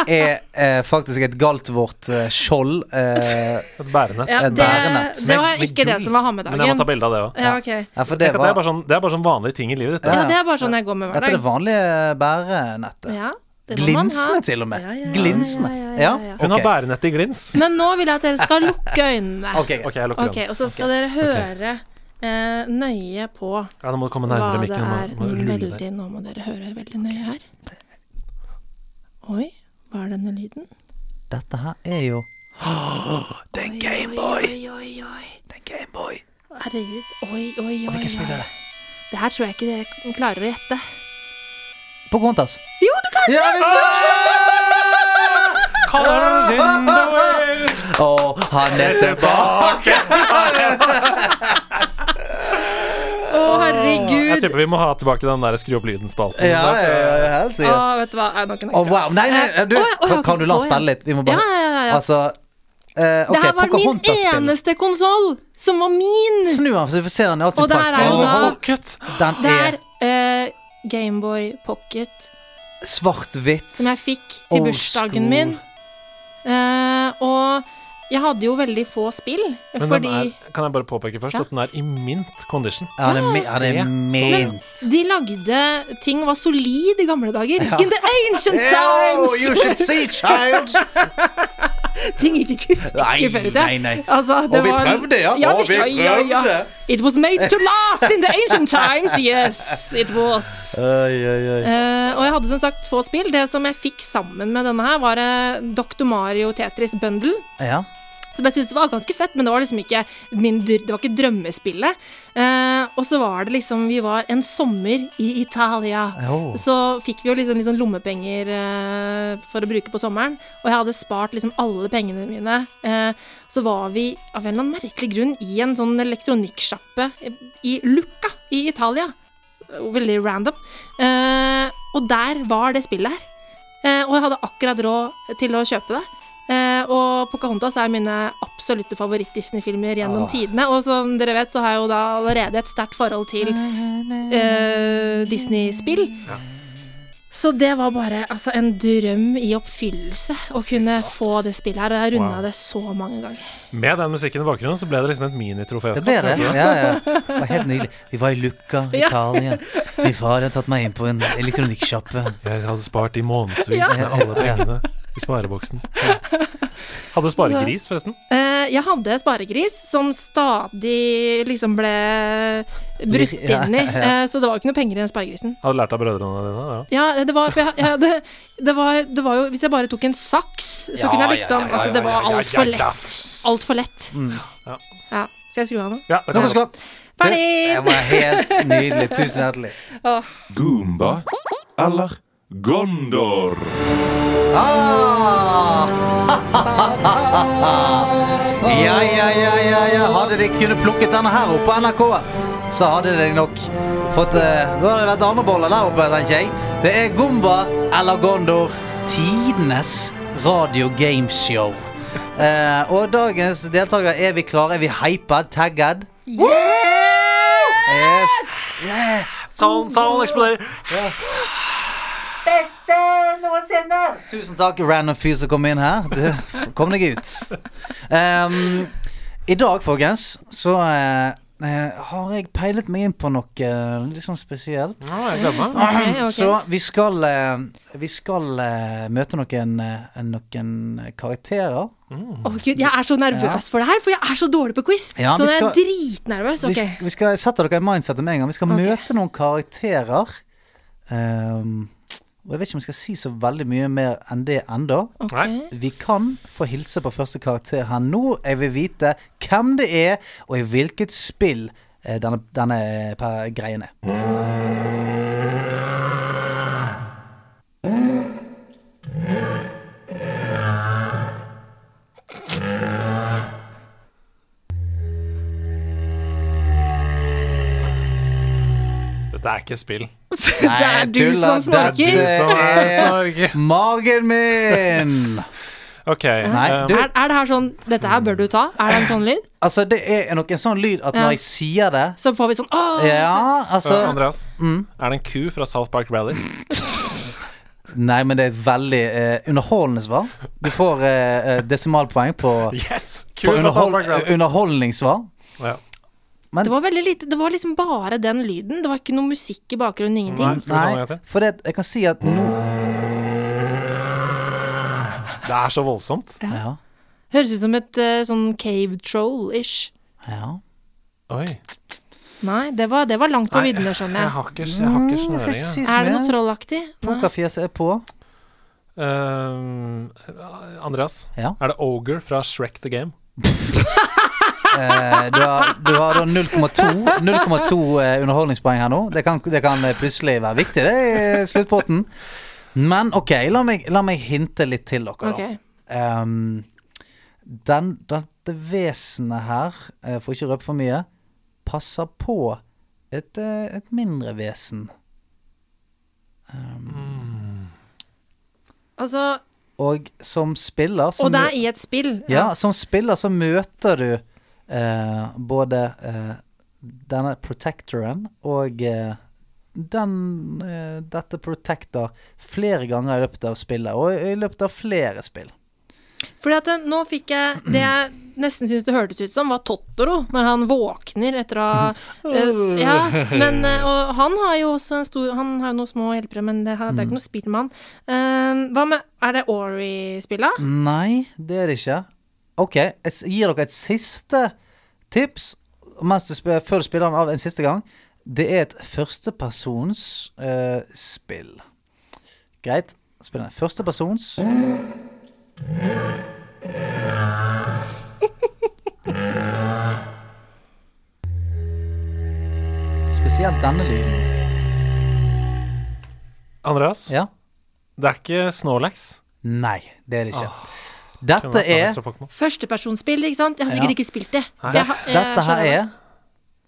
[SPEAKER 2] er eh, faktisk et Galtvort eh, skjold. Eh,
[SPEAKER 1] Et bærenett.
[SPEAKER 6] ja,
[SPEAKER 2] et
[SPEAKER 6] det,
[SPEAKER 2] bærenett.
[SPEAKER 6] det var
[SPEAKER 1] Med- med
[SPEAKER 6] ikke det
[SPEAKER 1] gull.
[SPEAKER 6] som var ha med
[SPEAKER 1] Men jeg må ta
[SPEAKER 6] dagen.
[SPEAKER 1] bilde av det òg.
[SPEAKER 6] Ja, ok.
[SPEAKER 2] ja, for det
[SPEAKER 1] Det, er
[SPEAKER 2] var
[SPEAKER 1] bare sånn, det er bare sånn vanlige ting i livet ditt.
[SPEAKER 6] Ja, det er bare sånn jeg går med
[SPEAKER 2] Dette er
[SPEAKER 6] hver
[SPEAKER 2] det
[SPEAKER 6] dag.
[SPEAKER 2] vanlige bærenettet.
[SPEAKER 6] Ja, det må man ha.
[SPEAKER 2] Glinsende, til og med.
[SPEAKER 6] Ja, ja, ja,
[SPEAKER 2] Glinsende.
[SPEAKER 6] ja, ja,
[SPEAKER 2] Ja?
[SPEAKER 6] ja, ja.
[SPEAKER 1] Hun har
[SPEAKER 2] Ok.
[SPEAKER 1] bærenett i glins.
[SPEAKER 6] Men nå vil jeg at dere skal lukke øynene.
[SPEAKER 2] Ok.
[SPEAKER 1] Ok, jeg lukker
[SPEAKER 6] Ok,
[SPEAKER 1] den.
[SPEAKER 6] Og så skal dere høre eh, nøye på
[SPEAKER 1] Ja, nå må du komme
[SPEAKER 6] hva
[SPEAKER 1] nærmere
[SPEAKER 6] det
[SPEAKER 1] mikken.
[SPEAKER 6] er
[SPEAKER 1] Nå må du rulle deg.
[SPEAKER 6] veldig Nå må dere høre veldig nøye her. Oi, hva er denne lyden?
[SPEAKER 2] Dette her er jo Det er en Gameboy!
[SPEAKER 6] Oi, oi, oi.
[SPEAKER 2] Det er en Gameboy.
[SPEAKER 6] Herregud. Oi, oi, oi.
[SPEAKER 2] Hvilken spiller
[SPEAKER 6] oi.
[SPEAKER 2] det?
[SPEAKER 6] Det her tror jeg ikke dere klarer å gjette.
[SPEAKER 2] Pocahontas.
[SPEAKER 6] Jo, du klarte
[SPEAKER 2] Ja visst det!
[SPEAKER 1] Colors in the wind.
[SPEAKER 2] Og han Ah! er tilbake!
[SPEAKER 6] Å, herregud.
[SPEAKER 1] Jeg tipper vi må ha tilbake den der skru opp lyden-spalten.
[SPEAKER 2] Ja, ja, ja, helt
[SPEAKER 6] Å,
[SPEAKER 2] sikkert.
[SPEAKER 6] vet du hva. Nei, nå kan jeg
[SPEAKER 2] Å,
[SPEAKER 6] ikke.
[SPEAKER 2] wow. Nei, nei, du,
[SPEAKER 6] Eh, å, ja, å, ja,
[SPEAKER 2] kan, kan du la
[SPEAKER 6] å,
[SPEAKER 2] oss
[SPEAKER 6] ja.
[SPEAKER 2] spille litt? Vi må bare
[SPEAKER 6] Ja, ja, ja, ja.
[SPEAKER 2] Altså eh,
[SPEAKER 6] Det
[SPEAKER 2] OK,
[SPEAKER 6] her var min
[SPEAKER 2] Pocahontas spiller.
[SPEAKER 6] eneste konsoll som var min!
[SPEAKER 2] Snu han, så vi får se han i alt
[SPEAKER 6] Og
[SPEAKER 2] sin
[SPEAKER 6] der
[SPEAKER 2] prakt.
[SPEAKER 6] er jo
[SPEAKER 2] Å,
[SPEAKER 6] da-
[SPEAKER 1] Pocket.
[SPEAKER 2] Den
[SPEAKER 6] Det
[SPEAKER 2] er
[SPEAKER 6] er eh, Gameboy Pocket
[SPEAKER 2] svart-hvitt.
[SPEAKER 6] som jeg fikk til
[SPEAKER 2] Old
[SPEAKER 6] bursdagen
[SPEAKER 2] school.
[SPEAKER 6] min. Eh, og jeg hadde jo veldig få spill,
[SPEAKER 1] Men
[SPEAKER 6] fordi
[SPEAKER 1] den er, kan jeg bare påpeke først
[SPEAKER 6] Ja.
[SPEAKER 1] at den er i mint condition.
[SPEAKER 2] Ja, sånn. Han er, mi- han er
[SPEAKER 1] Se,
[SPEAKER 2] mint.
[SPEAKER 6] de lagde ting var solid i gamle dager. In the ancient
[SPEAKER 2] Yo, Oh, you
[SPEAKER 6] times!
[SPEAKER 2] should see, child!
[SPEAKER 6] ting gikk ikke i stykker før i
[SPEAKER 2] Nei,
[SPEAKER 6] det.
[SPEAKER 2] nei, nei.
[SPEAKER 6] Altså, det
[SPEAKER 2] Og vi
[SPEAKER 6] var en-
[SPEAKER 2] prøvde, ja.
[SPEAKER 6] ja,
[SPEAKER 2] Og
[SPEAKER 6] vi-
[SPEAKER 2] vi
[SPEAKER 6] ja, ja, ja.
[SPEAKER 2] prøvde.
[SPEAKER 6] It was made to last in the ancient times. Yes, it was.
[SPEAKER 2] Oi, oi, oi.
[SPEAKER 6] Eh, og jeg hadde som sagt få spill. Det som jeg fikk sammen med denne her, var eh, Dr. Mario Tetris Bundle.
[SPEAKER 2] Ja.
[SPEAKER 6] Som jeg syntes var ganske fett, men det var liksom ikke min, dr- Det var ikke drømmespillet. Eh, og så var det liksom Vi var en sommer i Italia.
[SPEAKER 2] Oh.
[SPEAKER 6] Så fikk vi jo liksom, liksom lommepenger eh, for å bruke på sommeren. Og jeg hadde spart liksom alle pengene mine. Eh, så var vi av en eller annen merkelig grunn i en sånn elektronikksjappe eh, i Lucca i Italia. Veldig random. Eh, og der var det spillet her. Eh, og jeg hadde akkurat råd til å kjøpe det. Eh, og Pocahontas er mine absolutte favoritt-Disney-filmer gjennom tidene. Og som dere vet, så har jeg jo da allerede et sterkt forhold til eh, Disney-spill. Så det var bare altså, en drøm i oppfyllelse å kunne få det spillet her. Og jeg runda
[SPEAKER 1] Wow.
[SPEAKER 6] det så mange ganger.
[SPEAKER 1] Med den musikken i bakgrunnen så ble det liksom et minitrofé.
[SPEAKER 2] Det ble det. Ja, ja. Det var helt nydelig. Vi var i Lucca,
[SPEAKER 6] Ja.
[SPEAKER 2] Italia. Min far hadde tatt meg inn på en elektronikksjappe.
[SPEAKER 1] Jeg hadde spart i månedsvis
[SPEAKER 6] Ja.
[SPEAKER 1] med alle pengene i spareboksen. Hadde du sparegris, forresten?
[SPEAKER 6] Eh, jeg hadde sparegris som stadig liksom ble brutt
[SPEAKER 2] Lir- ja,
[SPEAKER 6] inn i,
[SPEAKER 2] ja.
[SPEAKER 6] eh, så det var ikke noe penger i den sparegrisen.
[SPEAKER 1] Hadde du lært av brødrene dine? Ja.
[SPEAKER 6] Ja, det var, for jeg, ja, det, det, var, det var jo Hvis jeg bare tok en saks, så
[SPEAKER 2] Ja,
[SPEAKER 6] kunne jeg liksom
[SPEAKER 2] ja, ja,
[SPEAKER 6] Altså, det
[SPEAKER 2] ja,
[SPEAKER 6] var
[SPEAKER 2] ja, ja,
[SPEAKER 6] altfor
[SPEAKER 2] ja, ja.
[SPEAKER 6] lett. Altfor lett.
[SPEAKER 1] Ja.
[SPEAKER 6] Ja. Skal jeg skru av nå?
[SPEAKER 1] Ja, det
[SPEAKER 2] Nå
[SPEAKER 1] kan
[SPEAKER 2] skal
[SPEAKER 1] jeg
[SPEAKER 2] vi gå. Det
[SPEAKER 6] Ferdig!
[SPEAKER 2] var helt nydelig. Tusen hjertelig.
[SPEAKER 5] Goomba eller Gondor?
[SPEAKER 2] Ah! Ja, ja, ja, ja, ja. Hadde de kunnet plukket denne her opp på NRK, så hadde de nok fått eh, Da hadde det vært dameboller der oppe, tenker jeg. Det er Gumba eller Gondor. Tidenes radio gameshow. Eh, og dagens deltaker, er vi klare? Er vi hyped? Tagged? Yes!
[SPEAKER 1] Salen, salen Sånn, eksploderer.
[SPEAKER 2] beste noensinne! Tusen takk, random fyr som kom inn her. Du, kom deg ut. Ehm, I dag, folkens, så eh, eh, har jeg peilet meg inn på noe eh, litt sånn spesielt.
[SPEAKER 1] Nå, jeg gleder meg.
[SPEAKER 6] Ok, ok.
[SPEAKER 2] Så vi skal, eh, vi skal eh, møte noen, eh, noen karakterer.
[SPEAKER 6] Å, Gud, jeg er så nervøs for det her, for jeg er så dårlig på quiz.
[SPEAKER 2] Ja,
[SPEAKER 6] så
[SPEAKER 2] vi
[SPEAKER 6] jeg er
[SPEAKER 2] skal-
[SPEAKER 6] dritnervøs.
[SPEAKER 2] Vi,
[SPEAKER 6] Ok.
[SPEAKER 2] sk- vi skal sette dere i mindsetet med en gang. Vi skal
[SPEAKER 6] Ok.
[SPEAKER 2] møte noen karakterer. Ehm, og jeg vet ikke om jeg skal si så veldig mye mer enn det enda.
[SPEAKER 6] ok.
[SPEAKER 1] Nei.
[SPEAKER 2] Vi kan få hilse på første karakter her nå. Jeg vil vite hvem det er, og i hvilket spill eh, denne, denne per- greien er.
[SPEAKER 1] Dette er ikke spill.
[SPEAKER 6] Det
[SPEAKER 2] Nei,
[SPEAKER 6] er
[SPEAKER 2] jeg
[SPEAKER 6] du
[SPEAKER 2] tuller.
[SPEAKER 6] som snorker.
[SPEAKER 2] Dette
[SPEAKER 1] Så er
[SPEAKER 2] er
[SPEAKER 1] sorg.
[SPEAKER 2] Magen min!
[SPEAKER 1] Ok.
[SPEAKER 2] Nei,
[SPEAKER 1] eh,
[SPEAKER 2] du,
[SPEAKER 6] Er, er det her sånn Dette her bør du ta. Er det en sånn lyd?
[SPEAKER 2] altså det er nok en sånn lyd at
[SPEAKER 6] Ja.
[SPEAKER 2] når jeg sier det
[SPEAKER 6] Så får vi sånn Åh!
[SPEAKER 2] Ja, altså
[SPEAKER 1] eh, Andreas, er det en ku fra South Park Rally?
[SPEAKER 2] Nei, men det er et veldig eh, underholdende svar. Du får eh, eh, desimalpoeng på,
[SPEAKER 1] Yes! Ku
[SPEAKER 2] på
[SPEAKER 1] fra South Park
[SPEAKER 2] underhold,
[SPEAKER 1] Rally.
[SPEAKER 2] underholdningssvar.
[SPEAKER 1] Ja.
[SPEAKER 6] Det var veldig lite Det var liksom bare den lyden. Det var ikke noe musikk i bakgrunnen,
[SPEAKER 1] Nei,
[SPEAKER 6] ingenting.
[SPEAKER 1] skal vi ta den en gang til?
[SPEAKER 2] for det, jeg kan si at nå
[SPEAKER 1] Det er så voldsomt.
[SPEAKER 2] Ja.
[SPEAKER 6] Høres ut som et eh, sånn cave troll-ish.
[SPEAKER 2] ja.
[SPEAKER 1] Oi.
[SPEAKER 6] Nei, det var, det var langt på
[SPEAKER 1] Nei,
[SPEAKER 6] viddene, skjønner
[SPEAKER 1] Jeg
[SPEAKER 6] jeg.
[SPEAKER 1] har ikke, jeg har
[SPEAKER 6] Mm,
[SPEAKER 1] ikke
[SPEAKER 2] Jeg skal ikke
[SPEAKER 1] snøring. jeg.
[SPEAKER 2] si så
[SPEAKER 6] Er det
[SPEAKER 2] mye.
[SPEAKER 6] noe trollaktig? Nei.
[SPEAKER 2] Pokerfjeset er på.
[SPEAKER 1] Eh, Andreas,
[SPEAKER 2] Ja.
[SPEAKER 1] er det Ogre fra Shrek the Game?
[SPEAKER 2] Eh, Du har, du har da 0,2 0,2 eh, underholdningspoeng her nå. Det kan, det kan eh, plutselig være viktig, det, i sluttpotten. Men OK, la meg, la meg hinte litt til dere, da.
[SPEAKER 6] Ok.
[SPEAKER 2] Ehm, den, dette vesenet her, eh, for ikke å røpe for mye, passer på et, eh, et mindre vesen.
[SPEAKER 6] Altså,
[SPEAKER 2] Og som spiller så
[SPEAKER 6] og det
[SPEAKER 2] mø-
[SPEAKER 6] er i et spill.
[SPEAKER 2] Ja, som spiller så møter du eh, både eh, denne protectoren og eh, den, eh, dette protector flere ganger i løpet av spillet, og i løpet av flere spill.
[SPEAKER 6] Fordi at eh, nå fikk jeg det jeg nesten syns det hørtes ut som, var Totoro, når han våkner etter å ha eh, Ja, men eh, Og han har jo også en stor Han har jo noen små hjelpere, men det, har- det
[SPEAKER 2] Mm.
[SPEAKER 6] er ikke noe spill med han. Eh, hva med Er det Ori-spilla?
[SPEAKER 2] Mm. Nei, det er det ikke. OK, jeg s- gir dere et siste tips mens du spør, før du spiller den av en siste gang. Det er et førstepersons eh, spill. Greit. Spill den. Førstepersons Spesielt denne lyden.
[SPEAKER 1] Andreas,
[SPEAKER 2] Ja?
[SPEAKER 1] det er ikke Snorlax.
[SPEAKER 2] Nei, det er det ikke.
[SPEAKER 1] Kan
[SPEAKER 2] Dette
[SPEAKER 1] være Snorlax
[SPEAKER 2] er
[SPEAKER 1] fra Pokémon.
[SPEAKER 6] Førstepersonsspill, ikke sant? Jeg har sikkert
[SPEAKER 2] Ja.
[SPEAKER 6] ikke spilt det. For jeg har- jeg
[SPEAKER 2] Dette her
[SPEAKER 6] Eh,
[SPEAKER 2] er
[SPEAKER 6] skjønner det.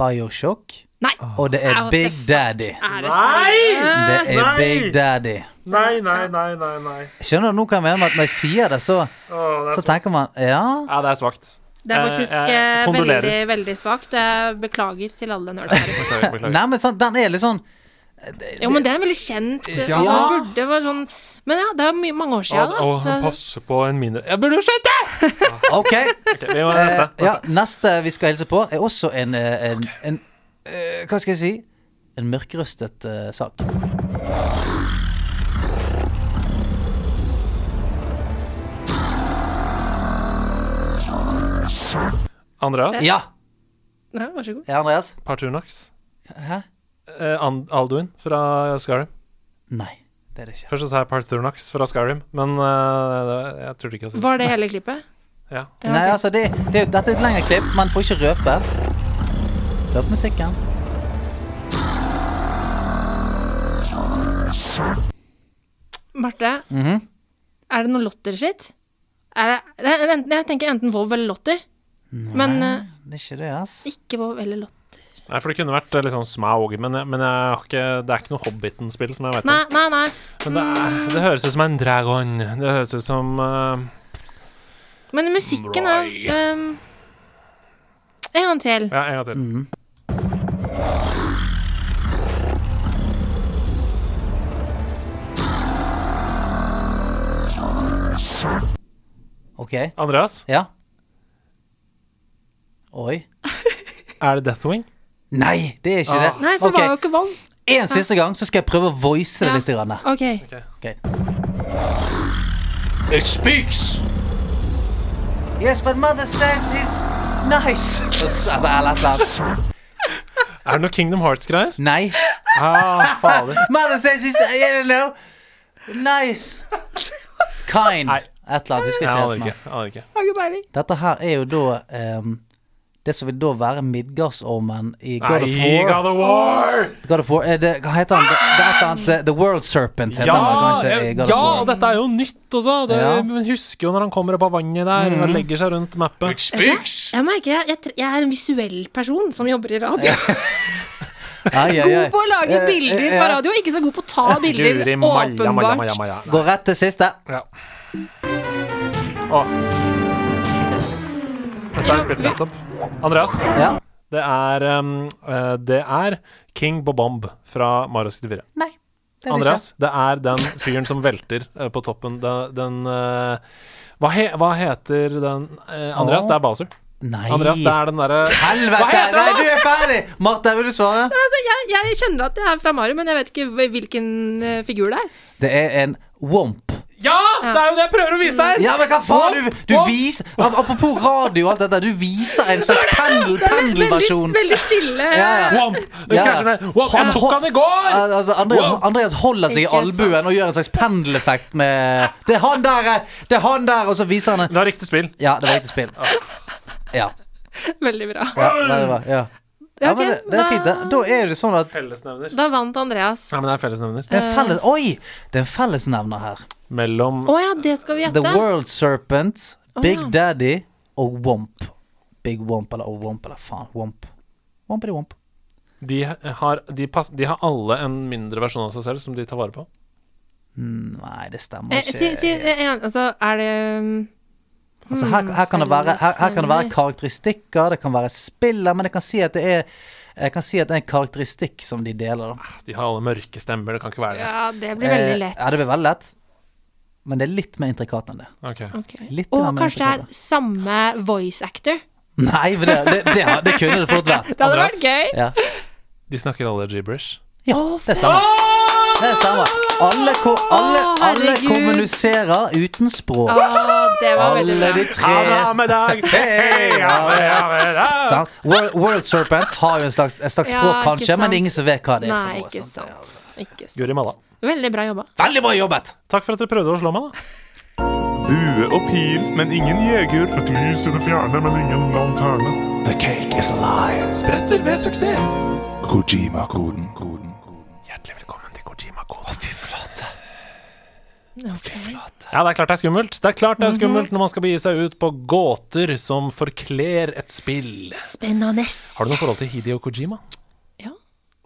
[SPEAKER 2] Bioshock.
[SPEAKER 6] Nei!
[SPEAKER 2] Og det
[SPEAKER 6] Ah,
[SPEAKER 2] er
[SPEAKER 6] what
[SPEAKER 2] Big
[SPEAKER 6] the fuck?
[SPEAKER 2] Daddy.
[SPEAKER 6] Er det seriøst?
[SPEAKER 2] Det er Big Daddy.
[SPEAKER 1] Nei, nei, nei, nei. nei.
[SPEAKER 2] Skjønner du nå hva jeg mener med at når jeg sier det, så,
[SPEAKER 1] Åh, det,
[SPEAKER 2] så
[SPEAKER 1] er svakt.
[SPEAKER 2] tenker man Ja,
[SPEAKER 1] ja, det er svakt.
[SPEAKER 6] Det er faktisk
[SPEAKER 1] Eh, jeg
[SPEAKER 6] eh,
[SPEAKER 1] kondolerer.
[SPEAKER 6] veldig, veldig svakt. Jeg beklager til alle nerder.
[SPEAKER 1] Beklager, beklager.
[SPEAKER 2] nei, men sant, den er litt sånn
[SPEAKER 6] Jo, men det er veldig kjent.
[SPEAKER 2] Ja.
[SPEAKER 6] Altså, det burde være sånn Men ja, det er mye, mange år siden.
[SPEAKER 1] Å, å,
[SPEAKER 6] da.
[SPEAKER 1] hun passer på en mindre Jeg burde jo skjønt det!
[SPEAKER 2] OK.
[SPEAKER 1] Ok, vi må
[SPEAKER 2] Eh,
[SPEAKER 1] neste.
[SPEAKER 2] ja, neste vi skal hilse på, er også en, eh, en, en eh, Hva skal jeg si? En mørkrøstet eh, sak.
[SPEAKER 1] Andreas.
[SPEAKER 2] Ja,
[SPEAKER 6] Nei, vær så god.
[SPEAKER 2] ja Andreas?
[SPEAKER 1] Partunax.
[SPEAKER 2] Hæ?
[SPEAKER 1] Eh, An- Alduin fra Skyrim.
[SPEAKER 2] Nei, det er det ikke.
[SPEAKER 1] Først så sa jeg Partunax fra Skyrim, men eh, det- jeg trodde ikke jeg sa det.
[SPEAKER 6] Var det hele klippet?
[SPEAKER 1] Ja.
[SPEAKER 6] Ja,
[SPEAKER 2] Nei,
[SPEAKER 6] ok.
[SPEAKER 2] altså, det, det, dette er et lengre klipp, man får ikke røpe. Røp musikken.
[SPEAKER 6] Marte,
[SPEAKER 2] Mhm.
[SPEAKER 6] er det noe lotter-shit? Er det, det er enten, jeg tenker enten Vov eller Lotter. Men eh,
[SPEAKER 2] Det er ikke det, ass.
[SPEAKER 6] ikke Vov eller Lotter.
[SPEAKER 1] Nei, for det kunne vært eh, litt sånn smaug, men, jeg- men jeg har ikke, det er ikke noe Hobbiten-spill som jeg vet
[SPEAKER 6] Nei,
[SPEAKER 1] om.
[SPEAKER 6] nei, nei.
[SPEAKER 1] Men det, er, det høres ut som en dragon. Det høres ut som eh,
[SPEAKER 6] Men musikken er ehm, En gang til.
[SPEAKER 1] Ja, en gang til.
[SPEAKER 2] OK.
[SPEAKER 1] Andreas,
[SPEAKER 2] Ja. Oi.
[SPEAKER 1] er det Deathwing?
[SPEAKER 2] Nei, det er ikke
[SPEAKER 1] Ah.
[SPEAKER 2] det.
[SPEAKER 6] Nei, for
[SPEAKER 2] Ok,
[SPEAKER 6] det var jo ikke Vov.
[SPEAKER 2] En siste gang så skal jeg prøve å voice det
[SPEAKER 6] Ja. Ah.
[SPEAKER 2] litt. Grann.
[SPEAKER 6] OK.
[SPEAKER 2] Ok. It speaks! Yes, but mother says he's nice. Og så- Eller et eller annet.
[SPEAKER 1] Er det noe Kingdom Hearts-greier?
[SPEAKER 2] Nei.
[SPEAKER 1] Ah, fader.
[SPEAKER 2] Mother says he's I don't know. Nice. Kind.
[SPEAKER 1] Nei.
[SPEAKER 2] Et eller annet. Husker
[SPEAKER 1] Jeg
[SPEAKER 2] ikke
[SPEAKER 1] aner
[SPEAKER 2] helt nå.
[SPEAKER 1] ikke. jeg Aner ikke.
[SPEAKER 6] Har ikke peiling.
[SPEAKER 2] Dette her er jo da ehm, det som vil da være Midgardsormen i God of
[SPEAKER 1] Nei,
[SPEAKER 2] War.
[SPEAKER 1] God of War!
[SPEAKER 2] God of War, eh, det, hva heter han? Det, det er et eller annet eh, The World Serpent heter han vel
[SPEAKER 1] Ja,
[SPEAKER 2] kanskje i
[SPEAKER 1] ja,
[SPEAKER 2] God of War.
[SPEAKER 1] dette er jo nytt også. Det,
[SPEAKER 2] Ja.
[SPEAKER 1] Men husker jo når han kommer opp av vannet der og legger seg rundt mappet.
[SPEAKER 6] Jeg merker jeg, jeg, tr- jeg er en visuell person som jobber i radio.
[SPEAKER 2] Ai, ai, ai.
[SPEAKER 6] God på å lage
[SPEAKER 2] Eh,
[SPEAKER 6] bilder
[SPEAKER 2] eh,
[SPEAKER 6] på
[SPEAKER 2] ja.
[SPEAKER 6] radio, ikke så god på å ta bilder.
[SPEAKER 1] Guri malla, malla, malla,
[SPEAKER 6] Åpenbart.
[SPEAKER 1] malla. Nei.
[SPEAKER 2] Gå rett til siste.
[SPEAKER 1] Ja. Å. Dette har jeg spilt nettopp. Andreas,
[SPEAKER 2] Ja.
[SPEAKER 1] det er, um, eh, det er King Bobomb fra Mario 64.
[SPEAKER 2] Nei. Det er det
[SPEAKER 1] Andreas, det er den fyren som velter eh, på toppen. Den, den eh, hva, he, hva heter den eh, Andreas,
[SPEAKER 2] Å.
[SPEAKER 1] det er Bowser.
[SPEAKER 2] ikke. Nei.
[SPEAKER 1] Andreas, det er den derre
[SPEAKER 2] Helvete!
[SPEAKER 1] Hva heter
[SPEAKER 2] Nei,
[SPEAKER 1] den?
[SPEAKER 2] du er ferdig! Martha, vil du svare?
[SPEAKER 6] Altså, jeg, jeg kjenner at jeg er fra Mario, men jeg vet ikke hv- hvilken eh, figur det er.
[SPEAKER 2] Det er en womp.
[SPEAKER 1] Ja! Det er jo det jeg prøver å vise her!
[SPEAKER 2] Ja, men hva faen? Du, du viser ap- Apropos radio og alt dette, du viser en slags pendel,
[SPEAKER 6] Det er veldig,
[SPEAKER 2] pendelversjon.
[SPEAKER 6] veldig stille.
[SPEAKER 2] Ja, ja.
[SPEAKER 1] Womp! Det
[SPEAKER 2] Ja.
[SPEAKER 1] krasjer ned. Womp,
[SPEAKER 2] Han
[SPEAKER 1] jeg tok
[SPEAKER 2] hol-
[SPEAKER 1] han eh, i går!
[SPEAKER 2] Al- Altså, Andreas,
[SPEAKER 1] Wow.
[SPEAKER 2] Andreas holder seg i
[SPEAKER 6] Ikke sant.
[SPEAKER 2] albuen og gjør en slags pendeleffekt med Det er han der, eh! det er han der! Og så viser han en
[SPEAKER 1] Det var riktig spill.
[SPEAKER 2] Ja, det var riktig spill. Ja.
[SPEAKER 6] Veldig bra.
[SPEAKER 2] ja, veldig bra, ja. Ja,
[SPEAKER 6] ok,
[SPEAKER 2] men det, det er fint, det. Da er det sånn at
[SPEAKER 1] Fellesnevner.
[SPEAKER 6] Da vant Andreas.
[SPEAKER 1] Ja, men det er fellesnevner.
[SPEAKER 2] det er en felles, Oi! Det er en fellesnevner her.
[SPEAKER 1] Mellom
[SPEAKER 6] Å ja, det skal vi
[SPEAKER 2] The
[SPEAKER 6] gjette.
[SPEAKER 2] World Serpent,
[SPEAKER 6] Å,
[SPEAKER 2] Big
[SPEAKER 6] ja.
[SPEAKER 2] Daddy og Womp. Big Womp eller oh, Womp eller faen. Womp. Wompity Womp.
[SPEAKER 1] de har, de, pass, de har alle en mindre versjon av seg selv som de tar vare på.
[SPEAKER 2] Nei, det stemmer
[SPEAKER 6] Eh,
[SPEAKER 2] ikke.
[SPEAKER 6] si, si, eh, en- altså, er det um,
[SPEAKER 2] altså,
[SPEAKER 6] mm,
[SPEAKER 2] her, her, kan det være, her, her kan det være karakteristikker, det kan være spiller, men jeg kan si at det er jeg kan si at det er en karakteristikk som de deler. Da.
[SPEAKER 1] De har alle mørke stemmer, det kan ikke være det.
[SPEAKER 6] Ja, det blir veldig
[SPEAKER 2] Eh,
[SPEAKER 6] lett.
[SPEAKER 2] Ja, det blir veldig lett. Men det er litt mer intrikat enn det.
[SPEAKER 1] Ok.
[SPEAKER 6] Ok.
[SPEAKER 2] Litt
[SPEAKER 6] Og
[SPEAKER 2] grann mer
[SPEAKER 6] kanskje det er
[SPEAKER 2] intrikat.
[SPEAKER 6] samme voice actor.
[SPEAKER 2] Nei, for det, det, det, det kunne det fort vært.
[SPEAKER 6] Det hadde
[SPEAKER 1] Andreas?
[SPEAKER 6] vært gøy.
[SPEAKER 2] Ja.
[SPEAKER 1] De snakker alle gibberish.
[SPEAKER 2] Ja, det stemmer. Det stemmer. Alle, ko alle,
[SPEAKER 6] Å,
[SPEAKER 2] alle
[SPEAKER 6] herregud.
[SPEAKER 2] kommuniserer uten språk.
[SPEAKER 6] Å, det var veldig
[SPEAKER 2] Alle
[SPEAKER 6] bra.
[SPEAKER 2] de tre Hei, sant? World, World Serpent har jo en slags, en slags
[SPEAKER 6] Ja,
[SPEAKER 2] språk,
[SPEAKER 6] ikke
[SPEAKER 2] kanskje, men
[SPEAKER 6] sant.
[SPEAKER 2] det er ingen som vet hva det er. for
[SPEAKER 6] Nei,
[SPEAKER 2] noe, sånn, altså.
[SPEAKER 6] ikke
[SPEAKER 2] sant?
[SPEAKER 6] sant. Ikke sant.
[SPEAKER 1] Guri malla.
[SPEAKER 6] Veldig bra jobba.
[SPEAKER 2] Veldig bra jobbet!
[SPEAKER 1] Takk for at dere prøvde å slå meg, da.
[SPEAKER 5] Bue og pil, men ingen jeger.
[SPEAKER 7] Et lys i det fjerne, men ingen lanterne.
[SPEAKER 4] The cake is alive.
[SPEAKER 1] Spretter ved suksess.
[SPEAKER 5] Kojima-koden.
[SPEAKER 1] Hjertelig velkommen til Kojima Koden.
[SPEAKER 6] Ok. Mhm.
[SPEAKER 1] Ja, det er klart det er skummelt. Det er klart det er skummelt når man skal begi seg ut på gåter som forkler et spill.
[SPEAKER 6] Spennende.
[SPEAKER 1] Har du noe forhold til Hideo Kojima?
[SPEAKER 6] Ja.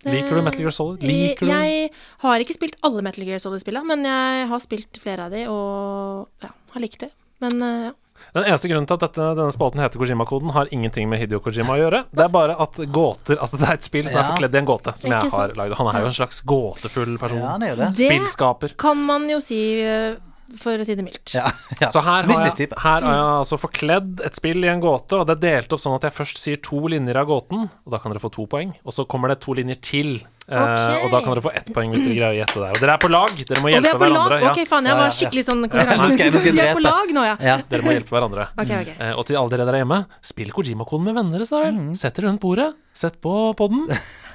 [SPEAKER 6] Eh,
[SPEAKER 1] Liker du Metal Gear Solid? Liker du
[SPEAKER 6] Jeg har ikke spilt alle Metal Gear Solid-spillene, men jeg har spilt flere av de og ja, har likt det. Men eh, ja.
[SPEAKER 1] Den eneste grunnen til at dette, denne spalten heter Kojima-koden, har ingenting med Hideo Kojima å gjøre. Det er bare at gåter Altså, det er et spill som er
[SPEAKER 2] Ja.
[SPEAKER 1] forkledd i en gåte, som
[SPEAKER 6] Ikke
[SPEAKER 1] jeg har
[SPEAKER 6] sant.
[SPEAKER 1] lagd. Han er jo en slags gåtefull person.
[SPEAKER 2] Ja, det er jo det.
[SPEAKER 6] Det
[SPEAKER 1] Spillskaper.
[SPEAKER 6] kan man jo si, eh, for å si det mildt.
[SPEAKER 2] Ja, ja.
[SPEAKER 1] Så her har,
[SPEAKER 2] Mystisk
[SPEAKER 1] jeg,
[SPEAKER 2] type.
[SPEAKER 1] her har jeg altså forkledd et spill i en gåte, og det er delt opp sånn at jeg først sier to linjer av gåten, og da kan dere få to poeng. Og så kommer det to linjer til, eh,
[SPEAKER 6] Ok.
[SPEAKER 1] og da kan dere få ett poeng hvis dere greier å gjette det. Og dere er på lag, dere må
[SPEAKER 6] Og vi
[SPEAKER 1] hjelpe
[SPEAKER 6] er på lag?
[SPEAKER 1] hverandre. Ja,
[SPEAKER 6] Ok, faen, jeg
[SPEAKER 2] Ja, ja, ja.
[SPEAKER 6] var skikkelig sånn
[SPEAKER 2] nå skal jeg- nå skal jeg
[SPEAKER 6] konkurranse. Vi er
[SPEAKER 2] drepe.
[SPEAKER 6] på lag nå, ja.
[SPEAKER 2] Ja.
[SPEAKER 1] Dere må hjelpe hverandre.
[SPEAKER 6] Ok, ok.
[SPEAKER 1] Eh, og til alle dere der hjemme, spill Kojima-koden med venner, så vel.
[SPEAKER 2] Mhm.
[SPEAKER 1] Sett dere rundt bordet, sett på podden.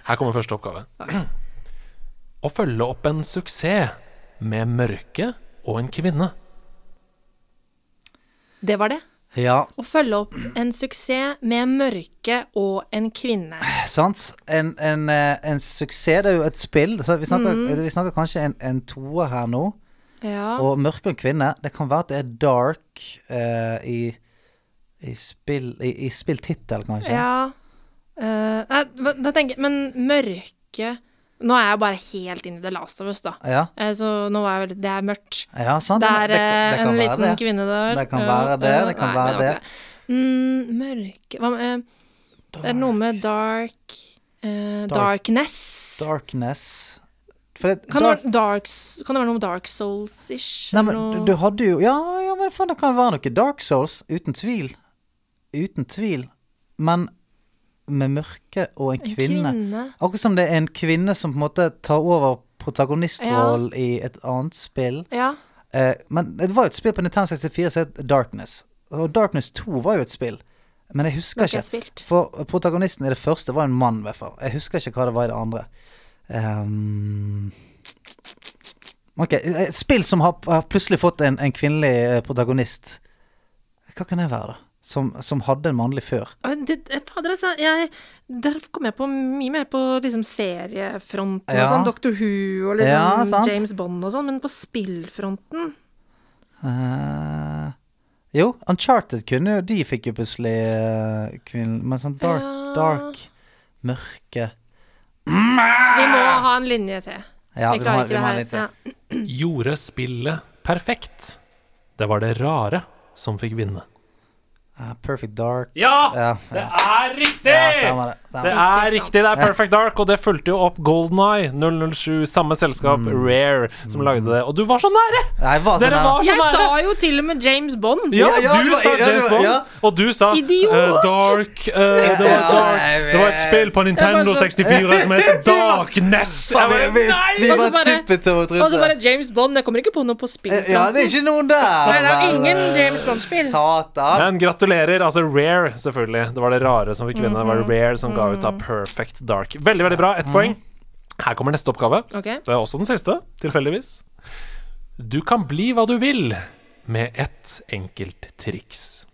[SPEAKER 1] Her kommer første oppgave. Å følge opp en suksess med mørke og en kvinne.
[SPEAKER 6] Det var det.
[SPEAKER 2] ja,
[SPEAKER 6] Å følge opp en suksess med mørke og en kvinne.
[SPEAKER 2] sant? En, en, eh, en suksess, det er jo et spill. Så vi, snakker,
[SPEAKER 6] Mm.
[SPEAKER 2] vi snakker kanskje en, en toer her nå.
[SPEAKER 6] Ja.
[SPEAKER 2] Og mørke og kvinne, det kan være at det er dark eh, i, i, spill, i, i spilltittel, kanskje.
[SPEAKER 6] Ja Eh, Nei, hva- da tenker jeg Men mørke Nå er jeg bare helt inne i The Last of Us, da.
[SPEAKER 2] ja.
[SPEAKER 6] Eh, Så nå var jeg veldig Det er mørkt.
[SPEAKER 2] Ja, sant.
[SPEAKER 6] Det er
[SPEAKER 2] det- det
[SPEAKER 6] eh,
[SPEAKER 2] kan
[SPEAKER 6] en
[SPEAKER 2] være
[SPEAKER 6] liten
[SPEAKER 2] det.
[SPEAKER 6] kvinne der.
[SPEAKER 2] Det kan
[SPEAKER 6] Ja,
[SPEAKER 2] være det, det
[SPEAKER 6] eh,
[SPEAKER 2] kan
[SPEAKER 6] nei,
[SPEAKER 2] være
[SPEAKER 6] men var
[SPEAKER 2] det.
[SPEAKER 6] ikke Mm, mørke Hva med eh, Det er noe med dark eh, Darkness.
[SPEAKER 2] Darkness. For det,
[SPEAKER 6] Kan,
[SPEAKER 2] dark,
[SPEAKER 6] det være, darks, kan det være noe Dark Souls-ish?
[SPEAKER 2] nei,
[SPEAKER 6] eller
[SPEAKER 2] men du,
[SPEAKER 6] noe-
[SPEAKER 2] du hadde jo Ja, ja men faen, det kan være noe Dark Souls, uten tvil. Uten tvil. Men med mørke og en
[SPEAKER 6] En
[SPEAKER 2] kvinne. Akkurat som det er en kvinne som på en måte tar over protagonistrollen i et annet spill.
[SPEAKER 6] Ja.
[SPEAKER 2] Eh, men det var jo et spill på Nintendo 64 som het Darkness. Og Darkness 2 var jo et spill. Men jeg husker
[SPEAKER 6] Det har ikke
[SPEAKER 2] ikke.
[SPEAKER 6] jeg spilt.
[SPEAKER 2] For protagonisten i det første var en mann, i hvert fall. Jeg husker ikke hva det var i det andre. Ehm, ok, et spill som har, har plutselig fått en, en kvinnelig eh, protagonist. Hva kan det være, da? Som, som hadde en mannlig før.
[SPEAKER 6] Ah, Det, det- fader, altså, jeg, der kom jeg på mye mer på liksom, seriefronten og
[SPEAKER 2] Ja.
[SPEAKER 6] sånn. Doctor Who og
[SPEAKER 2] Ja,
[SPEAKER 6] liksom,
[SPEAKER 2] sant.
[SPEAKER 6] James Bond og sånn. Men på spillfronten
[SPEAKER 2] Eh, jo, Uncharted kunne jo De fikk jo plutselig uh, kvinnen Men sånn dark,
[SPEAKER 6] Ja.
[SPEAKER 2] dark mørke
[SPEAKER 6] Vi må ha en linje til.
[SPEAKER 2] Ah. Ja,
[SPEAKER 6] vi klarer
[SPEAKER 2] vi må ha litt
[SPEAKER 6] ikke det her. Ja.
[SPEAKER 1] Gjorde spillet perfekt. Det var det rare som fikk vinne.
[SPEAKER 2] Eh, Perfect Dark
[SPEAKER 1] Ja!
[SPEAKER 2] Ja,
[SPEAKER 1] Det
[SPEAKER 2] ja,
[SPEAKER 1] er riktig!
[SPEAKER 2] ja stemmer det.
[SPEAKER 1] Det
[SPEAKER 2] Stemmer.
[SPEAKER 1] er
[SPEAKER 6] Ikke sant.
[SPEAKER 1] riktig, det er Perfect Dark, og det fulgte jo opp Golden Eye 007, samme selskap,
[SPEAKER 2] Mm.
[SPEAKER 1] Rare, som lagde det. Og du var så nære!
[SPEAKER 2] Nei, hva sånn
[SPEAKER 1] Dere
[SPEAKER 2] her-
[SPEAKER 1] var så
[SPEAKER 6] Jeg
[SPEAKER 1] nære!
[SPEAKER 6] sa jo til og med James Bond!
[SPEAKER 1] Ja,
[SPEAKER 2] Ja, ja,
[SPEAKER 1] du
[SPEAKER 2] det var-
[SPEAKER 1] sa
[SPEAKER 2] ja, det
[SPEAKER 1] James
[SPEAKER 2] var-
[SPEAKER 1] Bond,
[SPEAKER 2] ja.
[SPEAKER 1] og du sa
[SPEAKER 6] Idiot!
[SPEAKER 1] eh, dark, eh, det var
[SPEAKER 2] Ja,
[SPEAKER 1] dark
[SPEAKER 2] jeg vet.
[SPEAKER 1] Det var et spill på Nintendo
[SPEAKER 6] Jeg bare
[SPEAKER 1] 64 som het Darkness. Jeg
[SPEAKER 2] vi,
[SPEAKER 1] bare,
[SPEAKER 2] vi, vi
[SPEAKER 1] nei!
[SPEAKER 6] Og så
[SPEAKER 2] bare
[SPEAKER 6] bare-
[SPEAKER 2] tippet over
[SPEAKER 6] Og så
[SPEAKER 2] trynet.
[SPEAKER 6] bare James Bond. Jeg kommer ikke på noe på
[SPEAKER 2] Eh,
[SPEAKER 6] spillfronten.
[SPEAKER 2] Ja, det er ikke noen der.
[SPEAKER 6] Nei, det er
[SPEAKER 2] vel.
[SPEAKER 6] ingen James Bond-spill.
[SPEAKER 2] Satan.
[SPEAKER 1] Men gratulerer. Altså Rare, selvfølgelig. Det var det rare som fikk vinne. Det
[SPEAKER 2] Mhm.
[SPEAKER 1] var Rare som ga ut da Perfect Dark. Veldig, veldig bra. Ett poeng. Her kommer neste oppgave.
[SPEAKER 6] Ok.
[SPEAKER 1] Det er også den siste, tilfeldigvis. Du kan bli hva du vil med ett enkelt triks.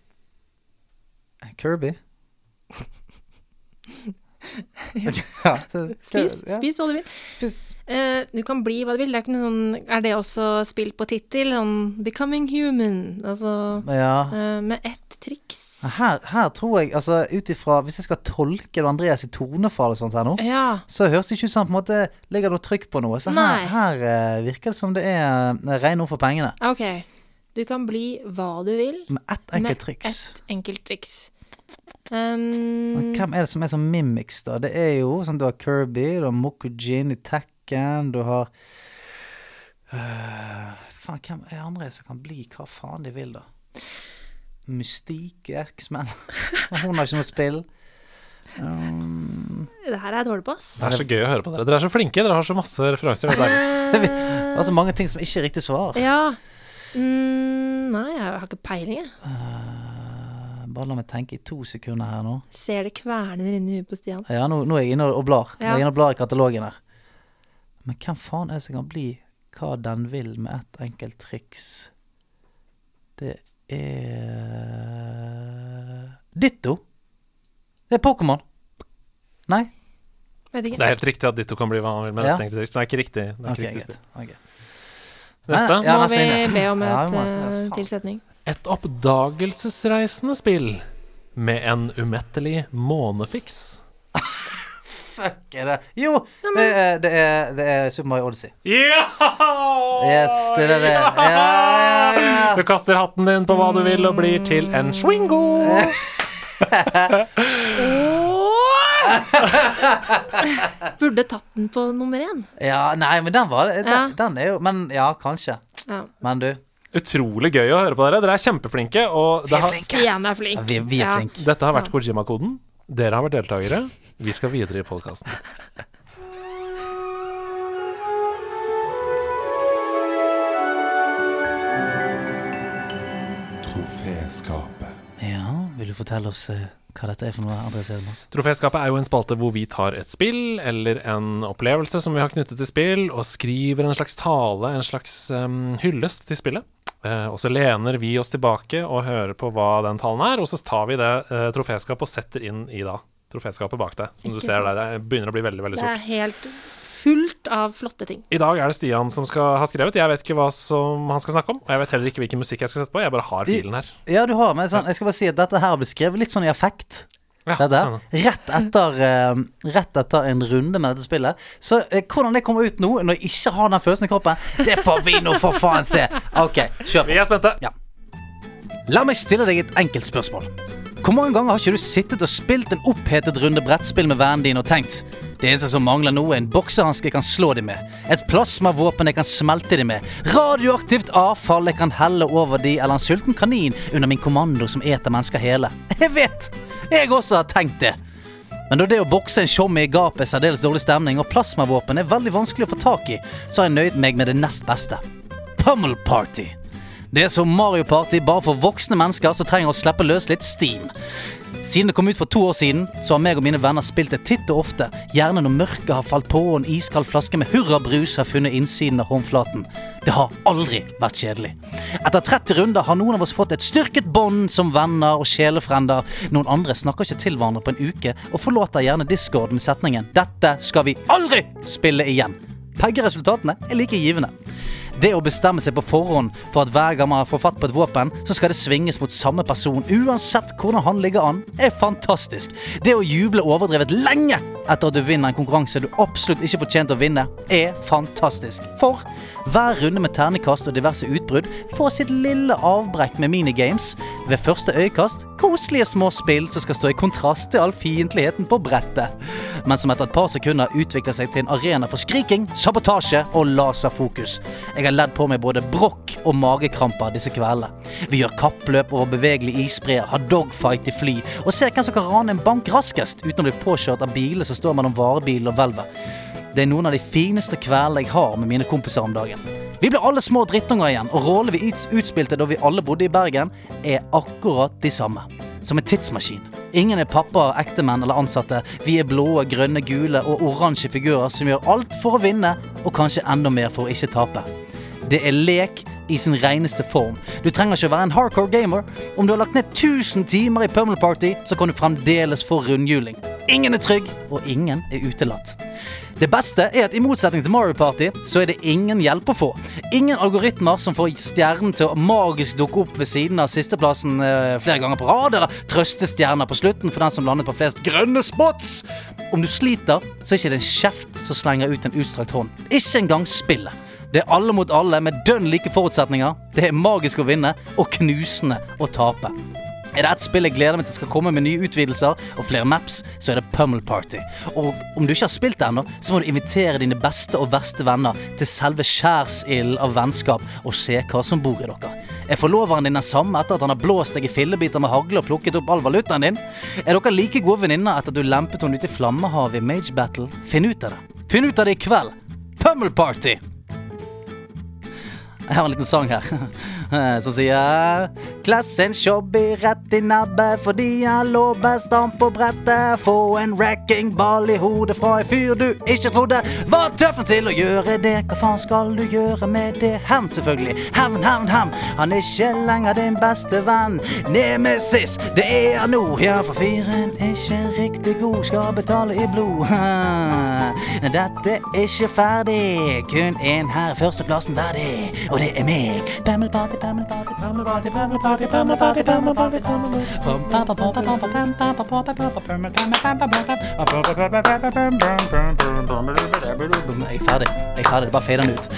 [SPEAKER 2] Kirby. Ja, det-
[SPEAKER 6] Spis,
[SPEAKER 2] ja.
[SPEAKER 6] spis hva du vil.
[SPEAKER 2] Spis.
[SPEAKER 6] Eh, du kan bli hva du vil. Det er, ikke noe sånn, er det også spill på tittel? Sånn 'Becoming Human'. Altså
[SPEAKER 2] Ja.
[SPEAKER 6] eh, med ett triks.
[SPEAKER 2] Her, her tror jeg, altså ut ifra Hvis jeg skal tolke det Andreas i tonefall og sånt her nå,
[SPEAKER 6] Ja.
[SPEAKER 2] så høres det ikke ut som han på en måte legger noe trykk på noe. Så her,
[SPEAKER 6] Nei.
[SPEAKER 2] her eh, virker det som det er eh, rene ord for pengene.
[SPEAKER 6] Ok. Du kan bli hva du vil.
[SPEAKER 2] Med ett enkelt
[SPEAKER 6] Med
[SPEAKER 2] triks.
[SPEAKER 6] ett enkelt triks. Um,
[SPEAKER 2] Men hvem er det som er som mimics, da? Det er jo sånn du har Kirby, du har Mokujin i Tekken, du har Øh, Faen, hvem er andre som kan bli hva faen de vil, da? Mystik i X-Men. Hun har ikke noe spill.
[SPEAKER 6] Det her er jeg dårlig på, ass.
[SPEAKER 1] Det er så gøy å høre på dere. Dere er så flinke. Dere har så masse referanser. Det er deilig.
[SPEAKER 2] Det er så mange ting som ikke er riktig svar.
[SPEAKER 6] Ja. Mm, nei, jeg har ikke peiling, jeg.
[SPEAKER 2] Eh, Bare la meg tenke i to sekunder her nå.
[SPEAKER 6] Ser det kverner inni huet på Stian.
[SPEAKER 2] Ja, nå, nå er jeg inne og blar. Nå er
[SPEAKER 6] Ja.
[SPEAKER 2] jeg inne og blar i katalogen her. Men hvem faen er det som kan bli hva den vil med ett enkelt triks? Det er Ditto. Det er Pokémon. Nei?
[SPEAKER 6] Vet ikke.
[SPEAKER 1] Det er helt riktig at Ditto kan bli hva han vil med
[SPEAKER 2] Ja.
[SPEAKER 1] dette, egentlig. Men det er ikke riktig. Det er
[SPEAKER 2] Ok,
[SPEAKER 1] ikke riktig
[SPEAKER 2] greit.
[SPEAKER 1] spill.
[SPEAKER 2] Ok.
[SPEAKER 1] Neste.
[SPEAKER 2] Ja,
[SPEAKER 6] må
[SPEAKER 2] nesten
[SPEAKER 6] vi
[SPEAKER 2] inne.
[SPEAKER 6] be om
[SPEAKER 2] Ja, vi
[SPEAKER 6] et
[SPEAKER 2] må nesten-
[SPEAKER 6] eh,
[SPEAKER 2] faen.
[SPEAKER 6] tilsetning.
[SPEAKER 1] Et oppdagelsesreisende spill med en umettelig månefiks.
[SPEAKER 2] Fuck er det Jo, det er, det er, det er Super Mario Odyssey.
[SPEAKER 1] Ja!
[SPEAKER 2] Yes, det er det. Ja, ja, ja.
[SPEAKER 1] Du kaster hatten din på hva du vil og blir til en swingo.
[SPEAKER 6] Burde tatt den på nummer én.
[SPEAKER 2] ja nei, men den var det.
[SPEAKER 6] Ja.
[SPEAKER 2] Den, den er jo Men ja, kanskje.
[SPEAKER 6] Ja.
[SPEAKER 2] Men du.
[SPEAKER 1] Utrolig gøy å høre på dere. Dere er kjempeflinke. Og det har,
[SPEAKER 6] Stian er flink.
[SPEAKER 2] Ja, vi, vi er
[SPEAKER 6] Ja.
[SPEAKER 2] flinke.
[SPEAKER 1] dette har vært Kojima-koden. Dere har vært deltakere. Vi skal videre i podkasten.
[SPEAKER 5] Troféskapet.
[SPEAKER 2] Ja, vil du fortelle oss eh, hva dette er for noe, André Sedemann?
[SPEAKER 1] Troféskapet er jo en spalte hvor vi tar et spill eller en opplevelse som vi har knyttet til spill, og skriver en slags tale, en slags em, hyllest til spillet. Eh, og så lener vi oss tilbake og hører på hva den talen er, og så tar vi det eh, troféskapet og setter inn i da troféskapet bak deg. Som du
[SPEAKER 6] Ikke
[SPEAKER 1] ser
[SPEAKER 6] sant.
[SPEAKER 1] der, det begynner å bli veldig, veldig
[SPEAKER 6] Det er
[SPEAKER 1] stort.
[SPEAKER 6] helt fullt av flotte ting.
[SPEAKER 1] I dag er det Stian som skal ha skrevet. Jeg vet ikke hva som han skal snakke om, og jeg vet heller ikke hvilken musikk jeg skal sette på. Jeg bare har filen her.
[SPEAKER 2] Ja, du har, men sånn, jeg skal bare si at dette her ble skrevet litt sånn i effekt.
[SPEAKER 1] Ja,
[SPEAKER 2] Dette, her.
[SPEAKER 1] spennende.
[SPEAKER 2] rett, etter, eh, rett etter en runde med dette spillet. Så eh, hvordan det kommer ut nå, når jeg ikke har den følelsen i kroppen, det får vi nå for faen se! Ok, kjør på.
[SPEAKER 1] Vi er spente.
[SPEAKER 2] La meg stille deg et enkelt spørsmål. Hvor mange ganger har ikke du sittet og spilt en opphetet runde brettspill med vennene dine og tenkt det eneste som mangler nå, er en boksehanske jeg kan slå dem med, et plasmavåpen jeg kan smelte dem med, radioaktivt avfall jeg kan helle over de, eller en sulten kanin under min kommando som eter mennesker hele? Jeg vet! Jeg også har tenkt det. Men da det å bokse en tjommi i gapet er særdeles dårlig stemning, og plasmavåpen er veldig vanskelig å få tak i, så har jeg nøyd meg med det nest beste. Pummel Party. Det er som Mario Party bare for voksne mennesker som trenger å slippe løs litt steam. Siden det kom ut for to år siden, så har meg og mine venner spilt det titt og ofte, gjerne når mørket har falt på og en iskald flaske med hurrabrus har funnet innsiden av håndflaten. Det har aldri vært kjedelig. Etter 30 runder har noen av oss fått et styrket bånd som venner og sjelefrender. Noen andre snakker ikke til hverandre på en uke, og forlater gjerne Discord med setningen 'Dette skal vi aldri spille igjen'. Begge resultatene er like givende. Det å bestemme seg på forhånd for at hver gang man får fatt på et våpen, så skal det svinges mot samme person, uansett hvordan han ligger an, er fantastisk. Det å juble overdrevet lenge etter at du vinner en konkurranse du absolutt ikke fortjente å vinne, er fantastisk. For hver runde med ternekast og diverse utbrudd får sitt lille avbrekk med minigames. Ved første øyekast koselige små spill som skal stå i kontrast til all fiendtligheten på brettet. Men som etter et par sekunder utvikler seg til en arena for skriking, sabotasje og laserfokus. Jeg har ledd på meg både brokk og magekramper disse kveldene. Vi gjør kappløp over bevegelige isbreer, har dogfight i fly, og ser hvem som kan rane en bank raskest uten å bli påkjørt av biler som står mellom varebilen og hvelvet. Det er noen av de fineste kveldene jeg har med mine kompiser om dagen. Vi ble alle små drittunger igjen, og rollene vi ut- utspilte da vi alle bodde i Bergen, er akkurat de samme. Som en tidsmaskin. Ingen er pappaer, ektemenn eller ansatte. Vi er blå, grønne, gule og oransje figurer som gjør alt for å vinne, og kanskje enda mer for å ikke tape. Det er lek i sin reneste form. Du trenger ikke å være en hardcore gamer. Om du har lagt ned 1000 timer i Pummel Party, så kan du fremdeles få rundhjuling. Ingen er trygg, og ingen er utelatt. Det beste er at i motsetning til Mario Party, så er det ingen hjelp å få. Ingen algoritmer som får stjernen til å magisk dukke opp ved siden av sisteplassen eh, flere ganger på rad, eller trøste stjerner på slutten for den som landet på flest grønne spots. Om du sliter, så er ikke det en kjeft som slenger ut en utstrakt hånd. Ikke engang spillet. Det er alle mot alle med dønn like forutsetninger. Det er magisk å vinne, og knusende å tape. Er det ett spill jeg gleder meg til skal komme med nye utvidelser og flere maps, så er det Pummel Party. Og om du ikke har spilt det ennå, så må du invitere dine beste og verste venner til selve skjærsilden av vennskap og se hva som bor i dere. Er forloveren din den samme etter at han har blåst deg i fillebiter med hagle og plukket opp all valutaen din? Er dere like gode venninner etter at du lempet henne ut i flammehavet i Mage Battle? Finn ut av det. Finn ut av det i kveld. Pummel Party! Jeg har en liten sang her eh, som sier Klassen shobby rett i nabbet fordi han lå best an på brettet. Få en wrecking ball i hodet fra en fyr du ikke trodde var tøffen til å gjøre det. Hva faen skal du gjøre med det? Hevn, selvfølgelig. Hevn, hevn, hevn. Han er ikke lenger din beste venn. Nemesis, det er han nå. Ja, for fyren er ikke riktig god, skal betale i blod. Dette er ikke ferdig, kun én her. Førsteplassen verdig, og det er meg. Pammelparty, pammelparty, pammelparty, pammelparty, pammelparty, pammelparty, pammelparty. Jeg er ferdig. Jeg er ferdig. Det bare fader den ut.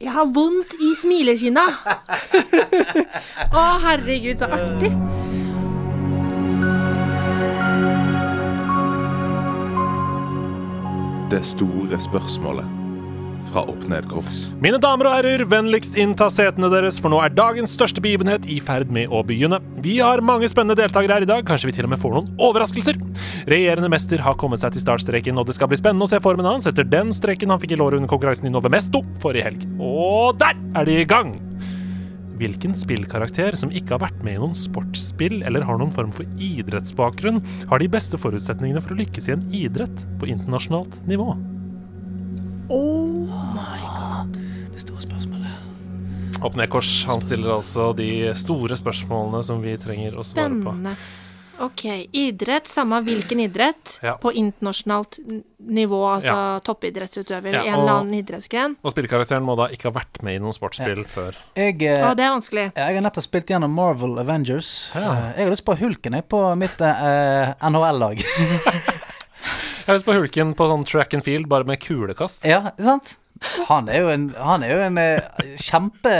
[SPEAKER 6] Jeg har vondt i smilekinna. Å, herregud, så artig.
[SPEAKER 5] Det store spørsmålet fra opp ned kors.
[SPEAKER 1] Mine damer og herrer, vennligst innta setene deres, for nå er dagens største begivenhet i ferd med å begynne. Vi har mange spennende deltakere her i dag, kanskje vi til og med får noen overraskelser. Regjerende mester har kommet seg til startstreken, og det skal bli spennende å se formen hans etter den streken han fikk i låret under konkurransen i Novemesto forrige helg. Og der er de i gang! Hvilken spillkarakter som ikke har vært med i noen sportsspill eller har noen form for idrettsbakgrunn, har de beste forutsetningene for å lykkes i en idrett på internasjonalt nivå?
[SPEAKER 2] Det store spørsmålet.
[SPEAKER 1] Opp ned kors. Han stiller altså de store spørsmålene som vi trenger å svare på.
[SPEAKER 6] Spennende. OK. Idrett, samme hvilken idrett,
[SPEAKER 1] Ja.
[SPEAKER 6] på internasjonalt n- nivå, altså toppidrettsutøver i
[SPEAKER 1] Ja,
[SPEAKER 6] en eller
[SPEAKER 1] og-
[SPEAKER 6] annen idrettsgren.
[SPEAKER 1] Og spillkarakteren må da ikke ha vært med i noen sportsspill før.
[SPEAKER 2] Jeg, eh,
[SPEAKER 6] Å, det er vanskelig.
[SPEAKER 2] Jeg har nettopp spilt gjennom Marvel Avengers. Eh, Jeg har lyst på Hulken jeg, på mitt eh, NHL-lag.
[SPEAKER 1] Jeg har lyst på Hulken på sånn track and field, bare med kulekast.
[SPEAKER 2] ja, ikke sant? Han er jo en, han er jo en eh, kjempe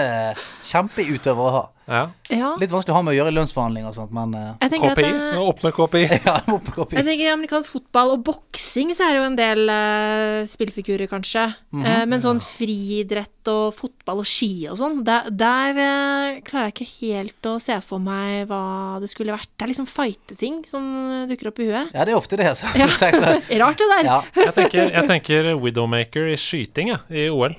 [SPEAKER 2] kjempeutøver å ha.
[SPEAKER 1] Ja.
[SPEAKER 6] Ja.
[SPEAKER 2] Litt vanskelig å ha med å gjøre i lønnsforhandlinger og sånt, men eh,
[SPEAKER 6] Jeg tenker at
[SPEAKER 1] KPI.
[SPEAKER 6] det,
[SPEAKER 1] Nå Opp med KPI.
[SPEAKER 2] ja, jeg må på kopi.
[SPEAKER 6] Jeg tenker i amerikansk fotball og boksing så er det jo en del eh, spillfigurer, kanskje.
[SPEAKER 2] Mhm.
[SPEAKER 6] Eh, men sånn friidrett og fotball og ski og sånn, der, der eh, klarer jeg ikke helt å se for meg hva det skulle vært. Det er liksom fighting som dukker opp i huet.
[SPEAKER 2] Ja, det er ofte det, altså.
[SPEAKER 6] Ja.
[SPEAKER 2] Så jeg sa,
[SPEAKER 6] Rart det der. Å ja.
[SPEAKER 2] ja.
[SPEAKER 1] Jeg tenker, jeg tenker Widowmaker i skyting, jeg, i OL.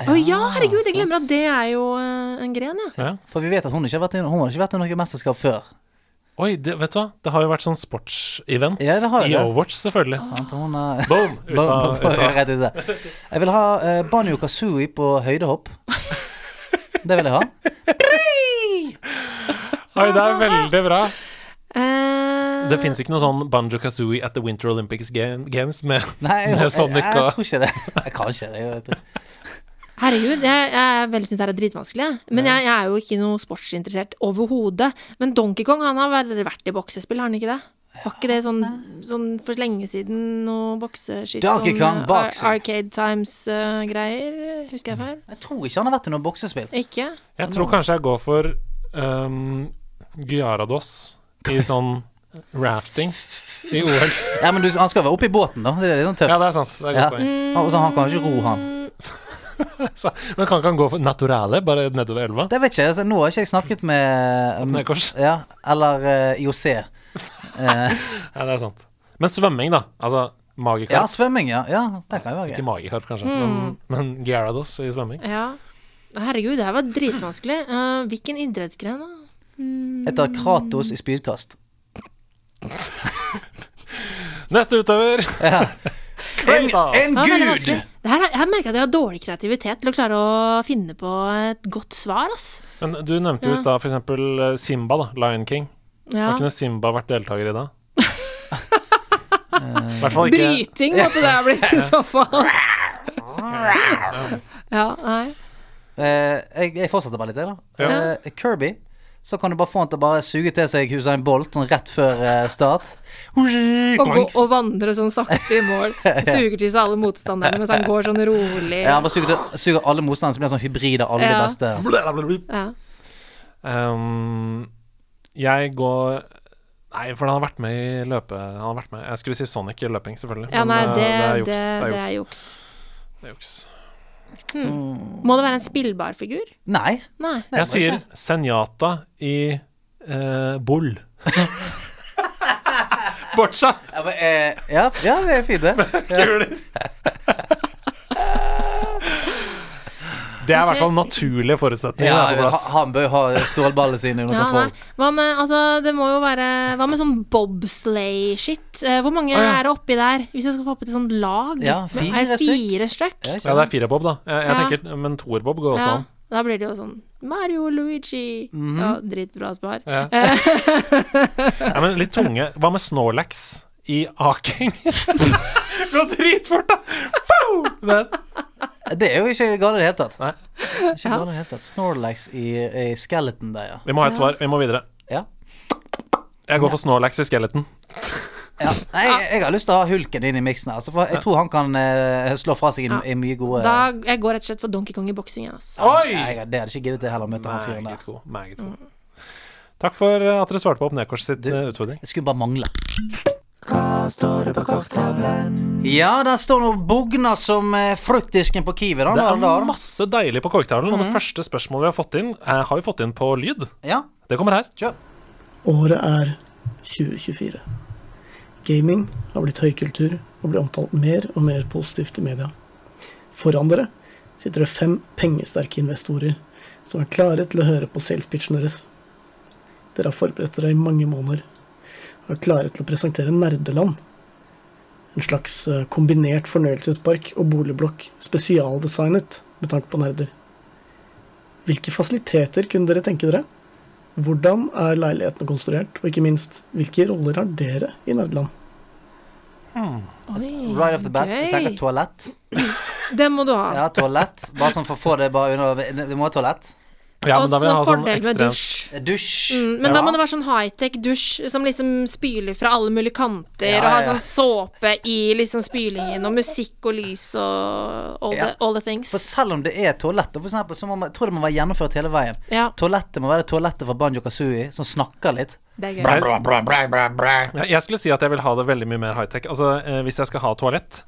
[SPEAKER 6] herregud,
[SPEAKER 2] sant.
[SPEAKER 6] jeg glemmer at det er jo eh, en gren, ja.
[SPEAKER 1] Ja.
[SPEAKER 2] For vi vet at hun ikke har vært i, hun har ikke vært i noe mesterskap før.
[SPEAKER 1] Oi, det, vet du hva? Det har jo vært sånn sportsevent
[SPEAKER 2] Ja, det har
[SPEAKER 1] i
[SPEAKER 2] det.
[SPEAKER 1] Overwatch, selvfølgelig.
[SPEAKER 2] Sant? Hun, eh,
[SPEAKER 1] Boom! Ut av, ut av.
[SPEAKER 2] Rett ut der. Jeg vil ha eh, Banjo Kazooie på høydehopp. Det vil jeg ha.
[SPEAKER 1] Oi, det er veldig bra.
[SPEAKER 6] Eh,
[SPEAKER 1] Det fins ikke noe sånn Banjo Kazooie at the Winter Olympics Game- Games med,
[SPEAKER 2] Nei, jeg,
[SPEAKER 1] med
[SPEAKER 2] jeg, jeg,
[SPEAKER 1] Sonic og
[SPEAKER 2] tror ikke det. Kanskje det. Jeg vet ikke.
[SPEAKER 6] Herregud, jeg, jeg er veldig synes det her er dritvanskelig. jeg. Men jeg, jeg er jo ikke noe sportsinteressert overhodet. Men Donkey Kong han har vel vært i boksespill, har han ikke det? Var ikke det sånn, sånn for lenge siden noe bokseskytt?
[SPEAKER 2] Donkey
[SPEAKER 6] sånn,
[SPEAKER 2] Kong
[SPEAKER 6] eh,
[SPEAKER 2] boxing.
[SPEAKER 6] Ar Arcade Times-greier? husker jeg feil?
[SPEAKER 2] Jeg tror ikke han har vært i noe boksespill.
[SPEAKER 6] Ikke?
[SPEAKER 1] Jeg tror kanskje jeg går for um, Gyarados i sånn rafting i OL.
[SPEAKER 2] Ja, men du, han skal være oppe i båten, da. Det er litt sånn tøft.
[SPEAKER 1] Ja, det er sant. Det er et
[SPEAKER 2] Ja.
[SPEAKER 1] godt poeng.
[SPEAKER 2] Han- og så han kan ikke ro, han.
[SPEAKER 1] Så, men kan ikke han gå for naturale, bare nedover elva?
[SPEAKER 2] Det vet ikke jeg. Altså, nå har ikke jeg snakket med um,
[SPEAKER 1] Nei, kors.
[SPEAKER 2] Ja, eller eh, IOC.
[SPEAKER 1] Ja, det er sant. Men svømming, da. Altså
[SPEAKER 2] Ja, Mm.
[SPEAKER 1] magikarp.
[SPEAKER 2] svømming, ja. ja. Det kan jo være
[SPEAKER 1] Ikke
[SPEAKER 2] gøy.
[SPEAKER 1] magikarp, kanskje, men, men Gyarados i svømming.
[SPEAKER 6] Ja. Herregud, det her var dritvanskelig. Eh, hvilken idrettsgren, da?
[SPEAKER 2] Jeg tar Kratos i spydkast.
[SPEAKER 1] Neste utøver!
[SPEAKER 2] En, en
[SPEAKER 6] Ja, veldig
[SPEAKER 2] gud!
[SPEAKER 6] vanskelig. Det her, er- jeg merker at jeg har dårlig kreativitet til å klare å finne på et godt svar, ass.
[SPEAKER 1] Men du nevnte
[SPEAKER 2] Mm.
[SPEAKER 1] jo i stad f.eks. Simba, da. Lion King. Har
[SPEAKER 6] Ja.
[SPEAKER 1] ikke noe Simba vært deltaker i dag? I hvert fall ikke
[SPEAKER 6] Bryting måtte det ha blitt i så fall. Ja, nei.
[SPEAKER 2] Eh, jeg, jeg fortsetter bare litt, jeg, da.
[SPEAKER 1] Ja.
[SPEAKER 2] Eh, Kirby. Så kan du bare få han til å bare suge til seg Hussein Bolt sånn rett før eh, start.
[SPEAKER 6] Å gå og vandre sånn sakte i mål. Suger til seg alle motstanderne mens han går sånn rolig.
[SPEAKER 2] Ja, han bare suger, til, suger alle motstandere, så blir han sånn hybrid av alle de
[SPEAKER 6] Ja.
[SPEAKER 2] beste.
[SPEAKER 6] Ja.
[SPEAKER 1] Ehm, Jeg går Nei, for han har vært med i løpe... Han har vært med Jeg skulle si Sonic i løping, selvfølgelig.
[SPEAKER 6] Ja, nei,
[SPEAKER 1] eh,
[SPEAKER 6] det,
[SPEAKER 1] er juks.
[SPEAKER 6] det,
[SPEAKER 1] Det er
[SPEAKER 6] det er
[SPEAKER 1] juks.
[SPEAKER 6] juks.
[SPEAKER 1] Det er juks.
[SPEAKER 6] Må det være en spillbar figur?
[SPEAKER 2] Nei.
[SPEAKER 6] Nei.
[SPEAKER 1] Jeg sier Senjata i eh, Bull. Bortsett
[SPEAKER 2] Ja, men, eh, ja, ja, det er fint, det. Ja.
[SPEAKER 1] kuler. Det er i hvert fall naturlige forutsetninger.
[SPEAKER 2] Ja,
[SPEAKER 1] da, på plass.
[SPEAKER 2] han bør jo ha stålballene sine under
[SPEAKER 6] Ja, nei.
[SPEAKER 2] kontroll.
[SPEAKER 6] Hva med, altså, det må jo være, hva med sånn bobsleigh-shit? Eh, Hvor mange
[SPEAKER 1] ja.
[SPEAKER 6] er det oppi der? Hvis jeg skal få opp et sånt lag?
[SPEAKER 2] Ja,
[SPEAKER 6] er
[SPEAKER 2] fire
[SPEAKER 6] det fire stykk?
[SPEAKER 2] Ja, ikke
[SPEAKER 1] Ja,
[SPEAKER 2] sant?
[SPEAKER 1] det er firebob, da. Jeg, jeg
[SPEAKER 6] Ja.
[SPEAKER 1] tenker, Men toerbob går også
[SPEAKER 6] Ja,
[SPEAKER 1] an.
[SPEAKER 6] da blir det jo sånn Mario Luigi. Ja, dritbra spar.
[SPEAKER 1] Ja. Ja, men litt tunge. Hva med Snorlax i aking? Gå dritfort, da! Pow! Det-
[SPEAKER 2] Det er jo ikke galt i det hele tatt.
[SPEAKER 1] Nei.
[SPEAKER 2] Ikke galt i det hele tatt. Snorlax i, i skeleton der, ja.
[SPEAKER 1] Vi må ha et svar. Vi må videre.
[SPEAKER 2] ja.
[SPEAKER 1] Jeg går for Snorlax i skeleton.
[SPEAKER 2] ja. Nei, jeg, jeg har lyst til å ha Hulken inn i miksen her, altså, for jeg tror han kan eh, slå fra seg i, i mye gode
[SPEAKER 6] Da, jeg går rett og slett for Donkey Kong i boksing. igjen, Altså.
[SPEAKER 1] Oi!
[SPEAKER 2] Nei, jeg, det hadde ikke giddet jeg heller å møte han fyren der.
[SPEAKER 1] Meget god. Meget god. Takk for eh, at dere svarte på opp Nedkors sitt eh, utfordring.
[SPEAKER 2] Det skulle bare mangle. Hva står det på kokktavlen? Ja, der står noe bugner som eh, fruktdisken på Kiwi. Da,
[SPEAKER 1] Det er
[SPEAKER 2] da, Mhm. da.
[SPEAKER 1] masse deilig på korktavlen, og det første spørsmålet vi har fått inn, eh, har vi fått inn på lyd.
[SPEAKER 2] Ja,
[SPEAKER 1] Det kommer her.
[SPEAKER 2] kjør.
[SPEAKER 8] Året er 2024. Gaming har blitt høykultur og blir omtalt mer og mer positivt i media. Foran dere sitter det fem pengesterke investorer som er klare til å høre på salespitchen deres. Dere har forberedt dere i mange måneder og er klare til å presentere Nerdeland. En slags eh, kombinert fornøyelsespark og boligblokk spesialdesignet med tanke på nerder. Hvilke fasiliteter kunne dere tenke dere? Hvordan er leilighetene konstruert, og ikke minst, hvilke roller har dere i Nerdeland?
[SPEAKER 6] Oi,
[SPEAKER 2] Right off the bat. Jeg tenker
[SPEAKER 6] gøy.
[SPEAKER 2] toalett.
[SPEAKER 6] Den må du ha.
[SPEAKER 2] Ja, toalett. Bare sånn for å få det bare under Vi må ha toalett.
[SPEAKER 1] Ja, men
[SPEAKER 6] og
[SPEAKER 1] da
[SPEAKER 6] så
[SPEAKER 1] vil jeg ha sånn
[SPEAKER 6] fordel med
[SPEAKER 1] ekstremt
[SPEAKER 6] dusj.
[SPEAKER 2] Dusj.
[SPEAKER 6] Mm, men da må det være sånn high-tech-dusj som liksom spyler fra alle mulige kanter,
[SPEAKER 2] Ja,
[SPEAKER 6] og har
[SPEAKER 2] ja.
[SPEAKER 6] sånn såpe i liksom spylingen, og musikk og lys og all,
[SPEAKER 2] Ja.
[SPEAKER 6] the, all the things.
[SPEAKER 2] For selv om det er toalett, og for eksempel, så må man, jeg tror det må være gjennomført hele veien.
[SPEAKER 6] Ja,
[SPEAKER 2] Toalettet må være toalettet fra Banjo Kazooie, som snakker litt.
[SPEAKER 6] det er gøy.
[SPEAKER 1] Bra, Ja, Jeg skulle si at jeg vil ha det veldig mye mer high-tech. Altså, eh, hvis jeg skal ha toalett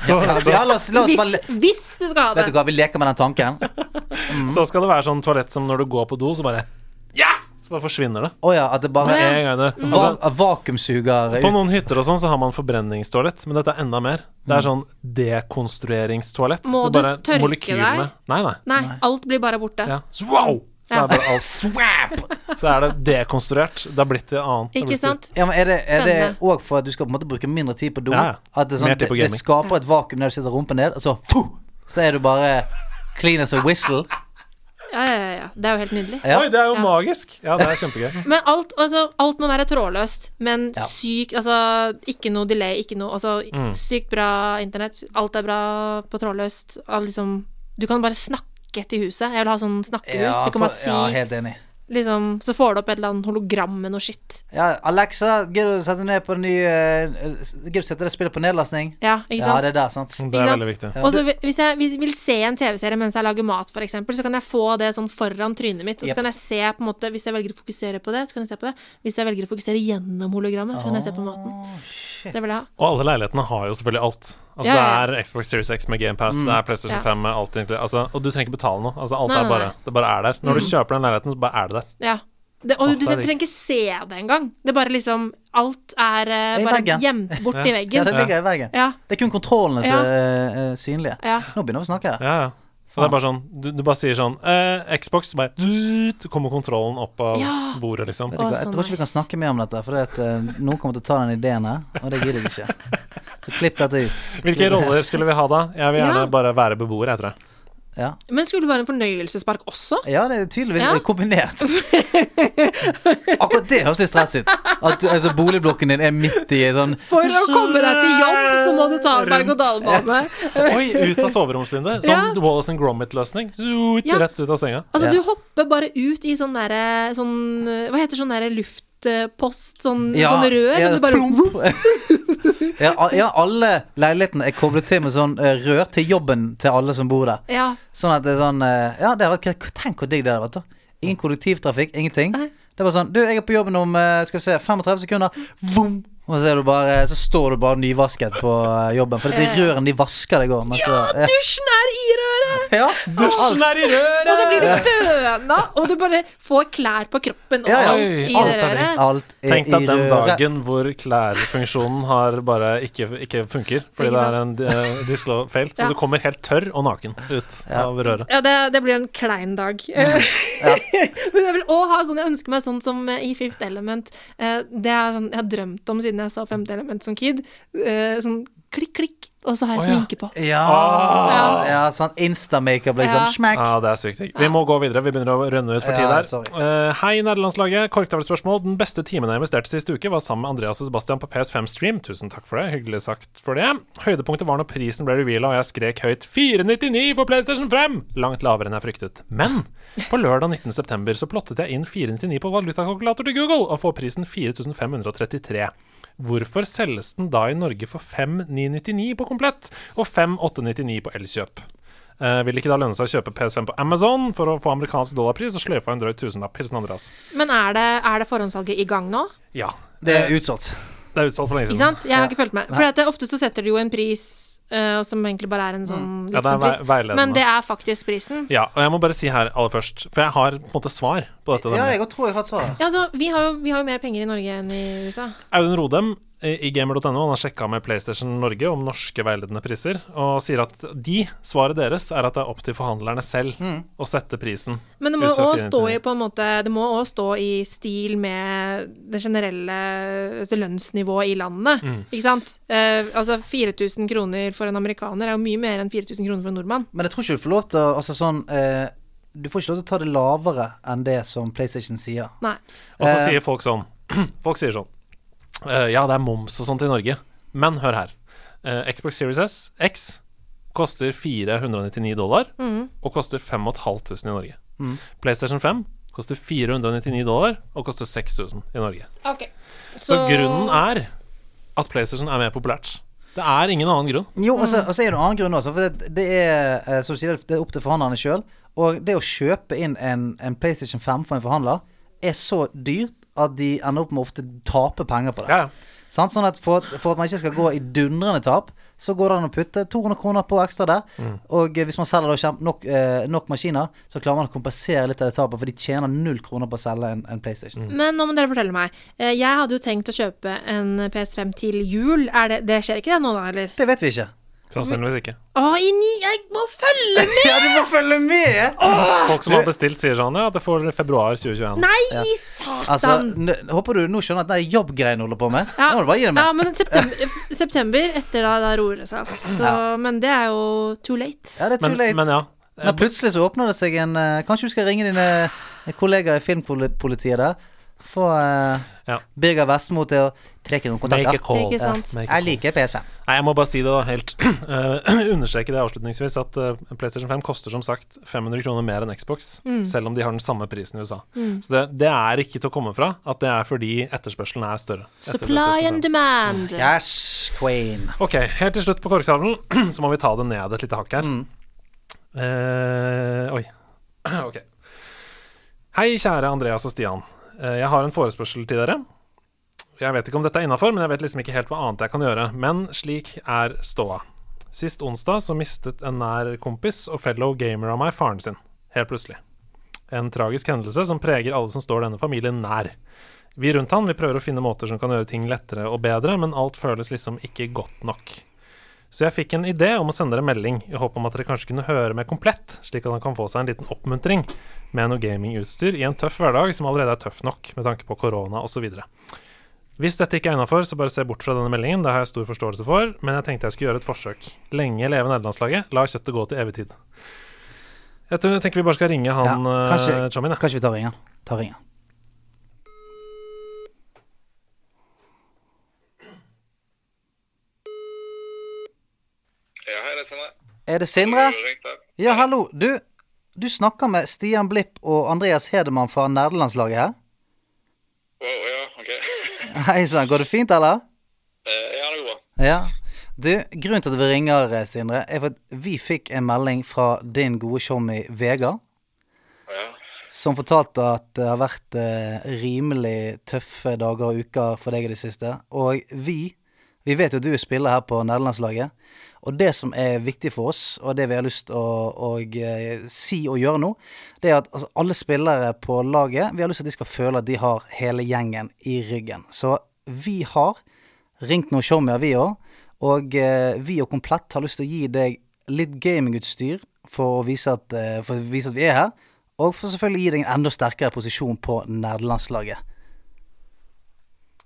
[SPEAKER 1] så,
[SPEAKER 2] Ja,
[SPEAKER 1] så,
[SPEAKER 2] ja, la oss, la oss bare
[SPEAKER 6] Hvis, hvis du skal ha
[SPEAKER 2] Vet
[SPEAKER 6] det.
[SPEAKER 2] du hva, vi leker med den tanken.
[SPEAKER 1] så skal det være sånn toalett som når du går på do, så bare Ja! Så bare forsvinner det.
[SPEAKER 2] Å ja, at det bare
[SPEAKER 1] Med
[SPEAKER 2] er
[SPEAKER 1] en gang det.
[SPEAKER 6] Mm.
[SPEAKER 1] Altså,
[SPEAKER 2] va vakuumsuger
[SPEAKER 1] på
[SPEAKER 2] ut.
[SPEAKER 1] noen hytter og sånn så har man forbrenningstoalett, men dette er enda mer. Det er sånn dekonstrueringstoalett.
[SPEAKER 6] Mm. Må
[SPEAKER 1] Det er bare
[SPEAKER 6] du tørke
[SPEAKER 1] molekylene-
[SPEAKER 6] deg?
[SPEAKER 1] Nei, nei.
[SPEAKER 6] Nei, alt blir bare borte.
[SPEAKER 1] Ja. Så, wow! Så
[SPEAKER 6] Ja.
[SPEAKER 1] er bare alt Så er det dekonstruert. Det har blitt det annet. Det har
[SPEAKER 6] Ikke
[SPEAKER 1] blitt
[SPEAKER 6] sant?
[SPEAKER 2] Ja, men Er det- er det
[SPEAKER 6] Spennende.
[SPEAKER 2] òg for at du skal på en måte bruke mindre tid på do?
[SPEAKER 1] Ja, ja.
[SPEAKER 2] At det, er
[SPEAKER 1] Mer tid
[SPEAKER 2] sånn, det,
[SPEAKER 1] på
[SPEAKER 2] det
[SPEAKER 1] gaming.
[SPEAKER 2] skaper et vakuum der du sitter rumpen ned, og så fu, Så er du bare clean as a whistle.
[SPEAKER 6] Ja, ja, ja, ja. Det er jo helt nydelig.
[SPEAKER 1] det. Oi, det er jo
[SPEAKER 6] Ja.
[SPEAKER 1] magisk! Ja, det er kjempegøy.
[SPEAKER 6] Men alt, altså, alt må være trådløst, men
[SPEAKER 2] Ja.
[SPEAKER 6] sykt Altså, ikke noe delay, ikke noe Altså,
[SPEAKER 1] Mm.
[SPEAKER 6] sykt bra internett. Alt er bra på trådløst. Alt Liksom, du kan bare snakke til huset. Jeg vil ha sånn snakkehus. du kan
[SPEAKER 2] for-
[SPEAKER 6] bare si
[SPEAKER 2] ja, helt enig.
[SPEAKER 6] liksom, Så får du opp et eller annet hologram med noe shit.
[SPEAKER 2] Ja, Alexa, gidder du sette ned på ny eh, Gidder du sette det spillet på nedlastning?
[SPEAKER 6] Ja, ikke
[SPEAKER 2] Ja,
[SPEAKER 6] sant?
[SPEAKER 2] det er der, sant?
[SPEAKER 1] Det er
[SPEAKER 6] sant?
[SPEAKER 1] veldig viktig.
[SPEAKER 6] Og så hvi- hvis jeg vil vil se en TV-serie mens jeg lager mat, for eksempel, så kan jeg få det sånn foran trynet mitt, og så
[SPEAKER 2] Yep.
[SPEAKER 6] kan jeg se på en måte Hvis jeg velger å fokusere på det, så kan jeg se på det. Hvis jeg velger å fokusere gjennom hologrammet, så kan jeg se på maten.
[SPEAKER 2] Å, shit.
[SPEAKER 6] Det vil jeg ha.
[SPEAKER 1] Og alle leilighetene har jo selvfølgelig alt. Altså
[SPEAKER 6] Ja, ja.
[SPEAKER 1] Det er Xbox Series X med GamePass, det er PlayStation
[SPEAKER 6] Ja.
[SPEAKER 1] 5 med alt egentlig. Altså, og du trenger ikke betale noe. Altså alt
[SPEAKER 6] Nei,
[SPEAKER 1] er
[SPEAKER 6] nei, Mm.
[SPEAKER 1] bare,
[SPEAKER 6] nei.
[SPEAKER 1] det bare er der. Når du kjøper den leiligheten, så bare er det der.
[SPEAKER 6] Ja. Det, og
[SPEAKER 1] Åh,
[SPEAKER 6] du,
[SPEAKER 1] det er digg.
[SPEAKER 6] trenger ikke se det engang. Det er bare liksom Alt er eh,
[SPEAKER 2] I
[SPEAKER 6] bare
[SPEAKER 2] veggen.
[SPEAKER 6] gjemt bort i
[SPEAKER 2] Ja, det
[SPEAKER 6] veggen.
[SPEAKER 2] ligger i veggen.
[SPEAKER 6] Ja.
[SPEAKER 2] Det er kun kontrollene som
[SPEAKER 6] Ja.
[SPEAKER 2] er eh, synlige.
[SPEAKER 6] Ja.
[SPEAKER 2] Nå begynner vi å snakke. her
[SPEAKER 1] Ja, ja. Og
[SPEAKER 6] Ah.
[SPEAKER 1] det er bare sånn, du, du bare sier sånn eh, Xbox, bare Så kommer kontrollen opp av
[SPEAKER 6] Ja.
[SPEAKER 1] bordet, liksom.
[SPEAKER 2] Vet du
[SPEAKER 6] Å,
[SPEAKER 2] hva, Jeg
[SPEAKER 6] så
[SPEAKER 2] tror ikke vi kan
[SPEAKER 6] nice.
[SPEAKER 2] snakke mer om dette, for det at, eh, noen kommer til å ta den ideen her, og det gidder jeg ikke. Så klipp dette ut.
[SPEAKER 1] Hvilke roller skulle vi ha da? Jeg vil gjerne
[SPEAKER 6] Ja.
[SPEAKER 1] bare være beboer, jeg tror jeg.
[SPEAKER 2] Ja,
[SPEAKER 6] Men skulle det være en fornøyelsespark også?
[SPEAKER 2] ja det er tydeligvis
[SPEAKER 6] Ja.
[SPEAKER 2] kombinert. Akkurat det høres litt stress ut. At du, altså, boligblokken din er midt i en sånn
[SPEAKER 6] For å komme deg til jobb, så må du ta en berg-og-dal-bane.
[SPEAKER 1] Oi, ut av soveromsvinduet. Som Wallace and Gromit-løsning. Zoot,
[SPEAKER 6] Ja.
[SPEAKER 1] Rett ut av senga.
[SPEAKER 6] Altså,
[SPEAKER 2] Ja.
[SPEAKER 6] du hopper bare ut i sånn derre sånn eh, Hva heter sånn derre luftpost? Sånn,
[SPEAKER 2] Ja,
[SPEAKER 6] sånn rør?
[SPEAKER 2] ja,
[SPEAKER 6] og du bare,
[SPEAKER 2] plump. ja, a- ja, alle leilighetene er koblet til med sånn eh, rør til jobben til alle som bor der.
[SPEAKER 6] ja.
[SPEAKER 2] Sånn at det er sånn eh, Ja, det hadde vært k- Tenk hvor digg det hadde vært. da Ingen kollektivtrafikk, ingenting.
[SPEAKER 6] Nei.
[SPEAKER 2] Det var sånn Du, jeg er på jobben om eh, Skal vi se 35 sekunder. Vom! Og så, er du bare, eh, så står du bare nyvasket på eh, jobben. For de rørene de vasker deg òg. Ja,
[SPEAKER 6] Dusjen er i røret!
[SPEAKER 2] ja. Alt.
[SPEAKER 1] er i røret!
[SPEAKER 6] Og så blir du føna, og du bare får klær på kroppen og
[SPEAKER 2] Ja, ja.
[SPEAKER 6] alt i
[SPEAKER 1] Alt
[SPEAKER 6] det
[SPEAKER 1] er
[SPEAKER 6] røret.
[SPEAKER 2] Alt er
[SPEAKER 1] Tenk deg
[SPEAKER 2] i
[SPEAKER 1] den
[SPEAKER 2] røret.
[SPEAKER 1] dagen hvor klærfunksjonen har bare ikke, ikke funker. Fordi
[SPEAKER 6] Ikke
[SPEAKER 1] det er en eh, dislo feil. Så
[SPEAKER 6] Ja.
[SPEAKER 1] du kommer helt tørr og naken ut av røret.
[SPEAKER 6] Ja, det, det blir en klein dag. Men jeg vil også ha sånn Jeg ønsker meg sånn som eh, i Fifth Element. Eh, Det er sånn jeg har drømt om siden jeg så Femte Element som kid. Eh, Sånn klikk, klikk, og så har
[SPEAKER 1] Å,
[SPEAKER 6] jeg
[SPEAKER 1] ja.
[SPEAKER 6] sminke på.
[SPEAKER 2] Ja.
[SPEAKER 1] Ah.
[SPEAKER 2] ja, sånn instamakeup, liksom.
[SPEAKER 6] Ja.
[SPEAKER 2] Smack.
[SPEAKER 1] Ja, det er sykt digg. Vi må gå videre. Vi begynner å rønne ut for tid
[SPEAKER 2] Ja,
[SPEAKER 1] der.
[SPEAKER 2] sorry.
[SPEAKER 1] Eh, hei, nederlandslaget. Korktavlespørsmål. Den beste timen jeg investerte sist uke, var sammen med Andreas og Sebastian på PS5-stream. Tusen takk for det. Hyggelig sagt for det. Høydepunktet var når prisen ble reveala, og jeg skrek høyt 499 for PlayStation 5! Langt lavere enn jeg fryktet. Men på lørdag 19.9 så plottet jeg inn 499 på valutakalkulator til Google, og får prisen 4533. Hvorfor selges den da i Norge for 5999 på komplett, og 5899 på Elkjøp? Eh, vil ikke da lønne seg å kjøpe PS5 på Amazon for å få amerikansk dollarpris og sløyfa en drøy tusenlapp? Hilsen Andreas.
[SPEAKER 6] Men er det, er det forhåndssalget i gang nå?
[SPEAKER 1] Ja.
[SPEAKER 2] Det er utsolgt.
[SPEAKER 1] Eh, Det er utsolgt for lenge
[SPEAKER 6] Ikke
[SPEAKER 1] siden.
[SPEAKER 6] sant? Jeg har ikke fulgt med. For at det, ofte så setter du jo en pris eh, som egentlig bare er en sånn
[SPEAKER 1] Mm. Ja, det er vei-
[SPEAKER 6] liksom pris.
[SPEAKER 1] veiledende.
[SPEAKER 6] Men det er faktisk prisen.
[SPEAKER 1] Ja, og jeg må bare si her aller først, for jeg har på en måte svar på dette.
[SPEAKER 2] Ja,
[SPEAKER 1] nemlig.
[SPEAKER 2] jeg tror jeg har et svar.
[SPEAKER 6] Ja, altså, vi har, jo, vi har jo mer penger i Norge enn i USA.
[SPEAKER 1] Audun Rodem eh, i gamer.no han har sjekka med PlayStation Norge om norske veiledende priser, og sier at de, svaret deres, er at det er opp til forhandlerne selv
[SPEAKER 2] Mm.
[SPEAKER 1] å sette prisen.
[SPEAKER 6] Men det må
[SPEAKER 1] Utsatt
[SPEAKER 6] òg stå i
[SPEAKER 1] 499.
[SPEAKER 6] på en måte Det må også stå i stil med det generelle altså lønnsnivået i landet.
[SPEAKER 1] Mm.
[SPEAKER 6] Ikke sant? Eh, altså 4000 kroner for en amerikaner er jo mye mer enn 4000 kroner for en nordmann.
[SPEAKER 2] Men jeg tror ikke du får lov til å Altså sånn eh, Du får ikke lov til å ta det lavere enn det som PlayStation sier.
[SPEAKER 6] Nei.
[SPEAKER 1] Og så
[SPEAKER 2] Eh.
[SPEAKER 1] sier folk sånn Folk sier sånn eh, Ja, det er moms og sånt i Norge Men hør her Eh, Xbox Series S X Koster 499 dollar
[SPEAKER 2] Mm.
[SPEAKER 1] Og koster 5500 i Norge Playstation 5 Koster 499 dollar Og koster 6000 i Norge
[SPEAKER 6] Ok.
[SPEAKER 1] Så grunnen er At Playstation er mer populært Det er ingen annen grunn
[SPEAKER 2] Jo, og så og så er det en annen grunn også, for det, det er eh, som du sier, det er opp til forhandlerne sjøl. Og det å kjøpe inn en, en PlayStation 5 for en forhandler er så dyrt at de ender opp med å ofte tape penger på det.
[SPEAKER 1] Ja, ja
[SPEAKER 2] Sant? Sånn at for, at- for at man ikke skal gå i dundrende tap, så går det an å putte 200 kroner på ekstra der.
[SPEAKER 1] Mm.
[SPEAKER 2] Og eh, hvis man selger da kjem- nok, eh, nok maskiner, så klarer man å kompensere litt av det tapet, for de tjener null kroner på å selge en, en PlayStation.
[SPEAKER 6] Men nå må dere fortelle meg. Eh, Jeg hadde jo tenkt å kjøpe en PS5 til jul. Er det, det skjer ikke det nå, da, eller?
[SPEAKER 2] Det vet vi ikke.
[SPEAKER 1] Sannsynligvis ikke
[SPEAKER 6] Å, i ni, jeg må følge med!
[SPEAKER 2] Ja, du må følge med!
[SPEAKER 1] Folk som har bestilt sier sånn Ja, det får februar 2021
[SPEAKER 6] Nei, satan!
[SPEAKER 2] Altså, n håper du nå skjønner at den jobbgreien du holder på med. Nå må du bare gi det
[SPEAKER 6] ja,
[SPEAKER 2] med.
[SPEAKER 6] men september, september etter da, da roer det seg. ass. Så,
[SPEAKER 2] Ja.
[SPEAKER 6] Men det er jo too late.
[SPEAKER 2] Ja, det er too
[SPEAKER 1] men,
[SPEAKER 2] late.
[SPEAKER 1] men ja
[SPEAKER 2] Men plutselig så åpner det seg en eh, Kanskje du skal ringe dine eh, kollegaer i filmpolitiet der? Få eh,
[SPEAKER 1] Ja.
[SPEAKER 2] Birger Vestmo til å trekke noen
[SPEAKER 1] Make
[SPEAKER 2] kontakter.
[SPEAKER 1] a call
[SPEAKER 6] Ikke sant?
[SPEAKER 1] Make a
[SPEAKER 2] Jeg liker PS5.
[SPEAKER 1] Nei, jeg må bare si det da helt eh, Understreke det avslutningsvis at eh, PlayStation 5 koster som sagt 500 kroner mer enn Xbox,
[SPEAKER 6] Mm.
[SPEAKER 1] selv om de har den samme prisen i USA. Så det, det er ikke til å komme fra at det er fordi etterspørselen er større. etter
[SPEAKER 6] Supply
[SPEAKER 1] PlayStation 5.
[SPEAKER 6] and demand.
[SPEAKER 2] Yes, queen.
[SPEAKER 1] Ok, helt til slutt på korktavlen, så må vi ta det ned et lite hakk her. Eh, oi. ok. Hei, kjære Andreas og Stian. Eh, jeg har en forespørsel til dere. Jeg vet ikke om dette er innafor, men jeg vet liksom ikke helt hva annet jeg kan gjøre. Men slik er ståa. Sist onsdag så mistet en nær kompis og fellow gamer av meg faren sin. Helt plutselig. En tragisk hendelse som preger alle som står denne familien nær. Vi rundt han, vi prøver å finne måter som kan gjøre ting lettere og bedre, men alt føles liksom ikke godt nok. Så jeg fikk en idé om å sende dere melding, i håp om at dere kanskje kunne høre mer komplett, slik at han kan få seg en liten oppmuntring med noe gamingutstyr i en tøff hverdag som allerede er tøff nok med tanke på korona osv. Hvis dette ikke er innafor, så bare se bort fra denne meldingen. Det har jeg stor forståelse for, men jeg tenkte jeg skulle gjøre et forsøk. Lenge leve nederlandslaget. La kjøttet gå til evig tid. Jeg, tror, jeg tenker vi bare skal ringe
[SPEAKER 2] Ja,
[SPEAKER 1] han eh,
[SPEAKER 2] kanskje,
[SPEAKER 1] Chamin, jeg.
[SPEAKER 2] kanskje vi tar ringen? Ta ringen.
[SPEAKER 9] Ja, hei, det er Sindre.
[SPEAKER 2] Er det Sindre?
[SPEAKER 9] Du har ringt her.
[SPEAKER 2] Ja, hallo. Du, du snakker med Stian Blipp og Andreas Hedemann fra nerdelandslaget her.
[SPEAKER 9] Wow, ja, ok.
[SPEAKER 2] Hei sann, går det fint, eller?
[SPEAKER 9] Eh, ja, det går bra.
[SPEAKER 2] Ja. Du, grunnen til at vi ringer, eh, Sindre, er for at vi fikk en melding fra din gode tjommi Vegard,
[SPEAKER 9] Ja.
[SPEAKER 2] som fortalte at det har vært eh, rimelig tøffe dager og uker for deg i det siste. Og vi vi vet jo at du spiller her på nederlandslaget, og det som er viktig for oss, og det vi har lyst til å, å eh, si og gjøre nå, det er at altså, alle spillere på laget, vi har lyst til at de skal føle at de har hele gjengen i ryggen. Så vi har ringt noen showmier, vi òg, og eh, vi og Komplett har lyst til å gi deg litt gamingutstyr for å vise at, eh, for å vise at vi er her, og for selvfølgelig å gi deg en enda sterkere posisjon på nerdelandslaget.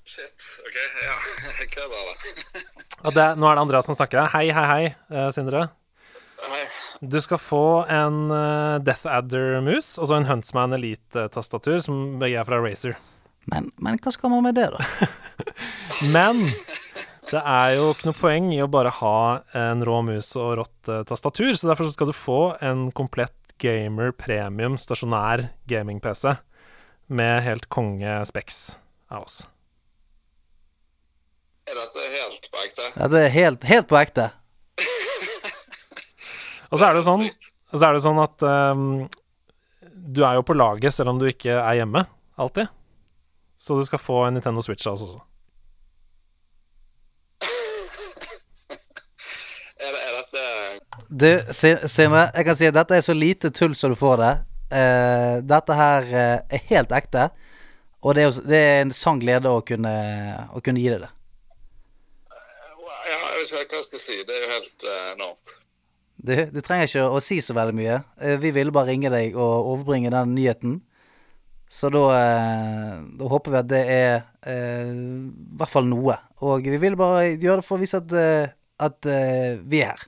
[SPEAKER 9] Shit, ok, ja. Kødder, da.
[SPEAKER 1] Ja, det, er- nå er det Andreas som snakker. Hei, hei, hei, eh, Sindre.
[SPEAKER 9] Hei.
[SPEAKER 1] Du skal få en eh, Death Adder-mus og så en Huntsman Elite-tastatur, som begge er fra Razer.
[SPEAKER 2] Men, men hva skal man med det, da?
[SPEAKER 1] Men det er jo ikke noe poeng i å bare ha en rå mus og rått eh, tastatur, så derfor så skal du få en komplett gamer premium stasjonær gaming-PC med helt konge specs av oss.
[SPEAKER 9] Er dette helt på ekte?
[SPEAKER 2] Ja, det er helt, helt på ekte.
[SPEAKER 1] Og så er det jo sånn, så er det jo sånn at eh, du er jo på laget selv om du ikke er hjemme, alltid. Så du skal få en Nintendo Switch av oss også.
[SPEAKER 9] Er, det, er dette
[SPEAKER 2] Du, Sin- Sindre, jeg kan si at dette er så lite tull som du får det. Eh, dette her eh, er helt ekte, og det er, jo- det er en sann glede å kunne, å kunne gi deg det.
[SPEAKER 9] Wow, Ja, jeg vet ikke hva jeg skal si. Det er jo helt eh, enormt.
[SPEAKER 2] Du, du trenger ikke å, å si så veldig mye. Eh, vi ville bare ringe deg og overbringe den nyheten. Så da, eh, da håper vi at det er eh, i hvert fall noe. Og vi vil bare gjøre det for å vise at, eh, at eh, vi er her.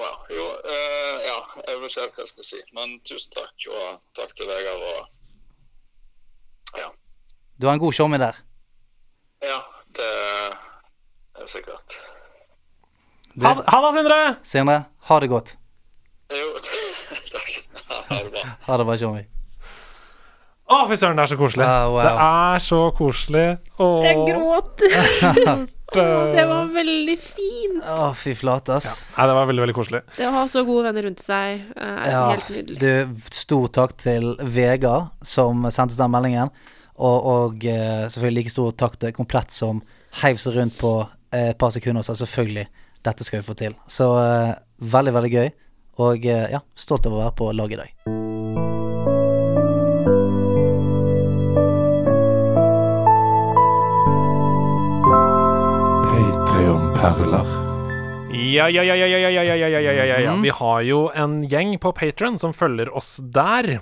[SPEAKER 9] Wow. Jo, eh, ja, jeg vet ikke helt hva jeg skal si. Men tusen takk, og takk til Vegard og Ja.
[SPEAKER 2] Du har en god showmy der.
[SPEAKER 9] Ja, det er sikkert.
[SPEAKER 1] Ha, ha det, Sindre!
[SPEAKER 2] Sindre, ha det godt.
[SPEAKER 9] Jo, takk. Ha det bra.
[SPEAKER 2] Ha det bra, showmy.
[SPEAKER 1] Å, fy søren, det er så koselig.
[SPEAKER 2] Ah, wow.
[SPEAKER 1] Det er så koselig. Åh.
[SPEAKER 6] Jeg gråt. det var veldig fint.
[SPEAKER 2] Å, fy flate, ass.
[SPEAKER 1] Nei, det var veldig, veldig koselig.
[SPEAKER 6] Det å ha så gode venner rundt seg eh, er
[SPEAKER 2] Ja,
[SPEAKER 6] helt nydelig.
[SPEAKER 2] du, stor takk til Vegard som sendte den meldingen. Og, og eh, selvfølgelig like stor takk til Komplett som heiv seg rundt på eh, et par sekunder og sa selvfølgelig, dette skal vi få til. Så eh, veldig, veldig gøy. Og eh, ja, stolt av å være på lag i dag.
[SPEAKER 5] Patreon-perler.
[SPEAKER 1] Ja, ja, ja, ja, ja, ja, ja, ja, ja, ja, ja, ja,
[SPEAKER 2] Mhm.
[SPEAKER 1] ja. Vi har jo en gjeng på Patron som følger oss der.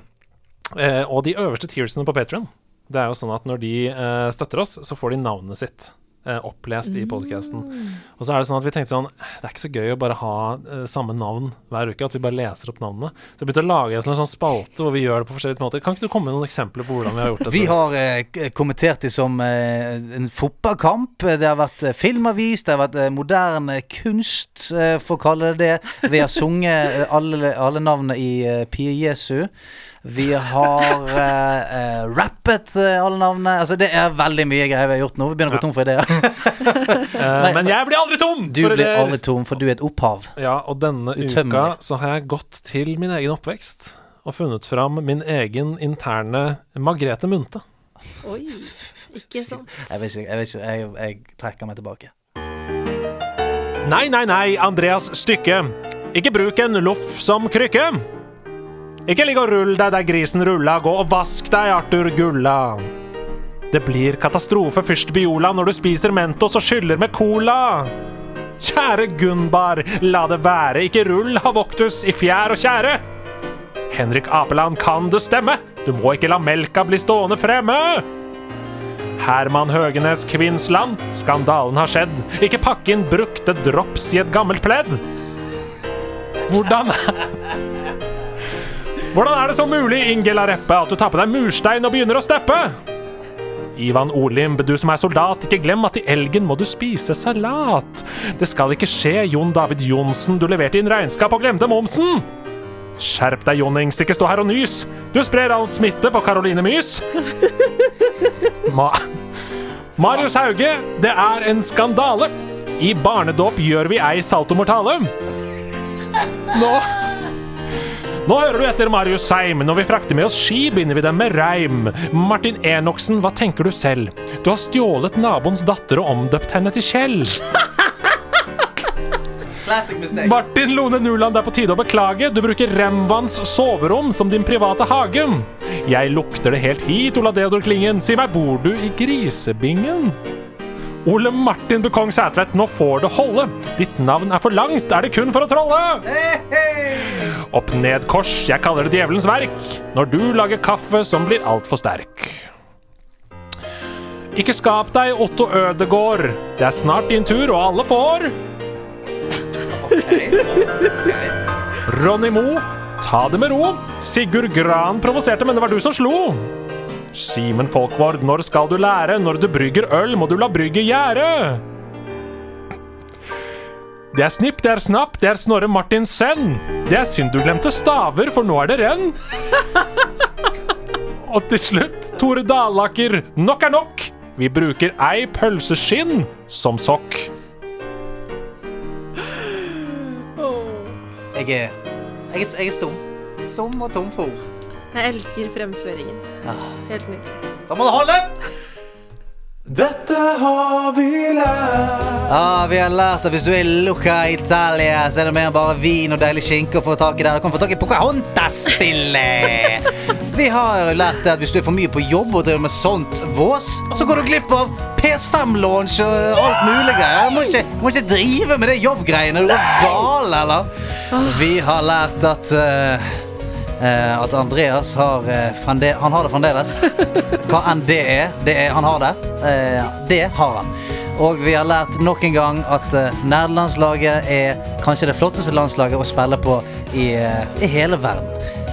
[SPEAKER 1] Eh, og de øverste tiersene på Patron, det er jo sånn at når de eh, støtter oss, så får de navnet sitt eh, opplest i podcasten.
[SPEAKER 2] Mm.
[SPEAKER 1] Og så er det sånn at vi tenkte sånn, det er ikke så gøy å bare ha eh, samme navn hver uke, at vi bare leser opp navnene. Så vi begynte å lage en sånn spalte hvor vi gjør det på forskjellige måter. Kan ikke du komme med noen eksempler på hvordan vi har gjort dette?
[SPEAKER 2] Vi har eh, k- kommentert det som eh, en fotballkamp. Det har vært eh, filmavis, det har vært eh, moderne kunst, eh, for å kalle det det. Vi har sunget eh, alle, alle navnene i eh, Pie Jesu. Vi har eh, eh, rappet eh, alle navnene. Altså, det er veldig mye greier vi har gjort nå. Vi begynner å gå tom for ideer.
[SPEAKER 1] Eh, men jeg blir aldri tom!
[SPEAKER 2] Du
[SPEAKER 1] for
[SPEAKER 2] blir
[SPEAKER 1] ideer!
[SPEAKER 2] aldri tom, for du er et opphav.
[SPEAKER 1] Ja, og denne
[SPEAKER 2] Utømmelig.
[SPEAKER 1] uka så har jeg gått til min egen oppvekst og funnet fram min egen interne Margrethe Munthe.
[SPEAKER 6] Oi, ikke sant.
[SPEAKER 2] Jeg vet ikke, jeg, vet ikke, jeg, jeg trekker meg tilbake.
[SPEAKER 1] Nei, nei, nei, Andreas Stykke. Ikke bruk en loff som krykke. Ikke ligg og rull deg der grisen rulla, gå og vask deg, Arthur Gulla. Det blir katastrofe først Biola når du spiser Mentos og skyller med cola. Kjære Gunbar, la det være, ikke rull Havoktus i fjær og tjære. Henrik Apeland, kan du stemme? Du må ikke la melka bli stående fremme. Herman Høgenes Kvinnsland. Skandalen har skjedd. Ikke pakke inn brukte drops i et gammelt pledd. Hvordan Hvordan er det så mulig, Inge Lareppe, at du tar på deg murstein og begynner å steppe? Ivan Olimb, du som er soldat, ikke glem at i elgen må du spise salat. Det skal ikke skje, Jon David Johnsen, du leverte inn regnskap og glemte momsen. Skjerp deg, Jonnings, ikke stå her og nys. Du sprer all smitte på Karoline Mys. Ma Marius Hauge, det er en skandale. I barnedåp gjør vi ei saltomortale. Nå Nå hører du etter, Marius Seim. Når vi frakter med oss ski, binder vi dem med reim. Martin Enoksen, hva tenker du selv? Du har stjålet naboens datter og omdøpt henne til Kjell.
[SPEAKER 2] Classic mistake.
[SPEAKER 1] Martin Lone Nuland, det er på tide å beklage. Du bruker Remvans soverom som din private hage. Jeg lukter det helt hit, Ola Deodor Klingen. Si meg, bor du i grisebingen? Ole Martin Bukong Sætvedt, nå får det holde. Ditt navn er for langt, er det kun for å trolle? Opp ned kors, jeg kaller det djevelens verk. Når du lager kaffe som blir altfor sterk. Ikke skap deg, Otto Ødegård. Det er snart din tur, og alle får. Ronny Mo, ta det med ro. Sigurd Gran provoserte, men det var du som slo. Simen Folkvord, når skal du lære? Når du brygger øl, må du la brygget gjære. Det er snipp, det er snapp, det er Snorre Martinsen. Det er synd du glemte staver, for nå er det renn. Og til slutt, Tore Dalaker, nok er nok. Vi bruker ei pølseskinn som sokk.
[SPEAKER 2] Jeg er, jeg, er- jeg er stum. Stum og tom for ord.
[SPEAKER 6] Jeg elsker fremføringen. Helt nydelig.
[SPEAKER 2] Da må det holde!
[SPEAKER 4] Dette har vi lært.
[SPEAKER 2] Ja, vi har lært at hvis du er i Luca Italia, så er det mer enn bare vin og deilig skinke å få tak i der. Du kan få tak i Pocahontas-spillet! Vi har jo lært det at hvis du er for mye på jobb og driver med sånt vås, så går du glipp av PS5-launch og alt mulig greier. Du må ikke, må ikke drive med det jobbgreiene. Du er gal, eller? Vi har lært at eh, eh, at Andreas har, eh, fremde- han har det fremdeles. Hva enn det er, det er han har det. Eh, det har han. Og vi har lært nok en gang at eh, nerdelandslaget er kanskje det flotteste landslaget å spille på i, eh, i hele verden.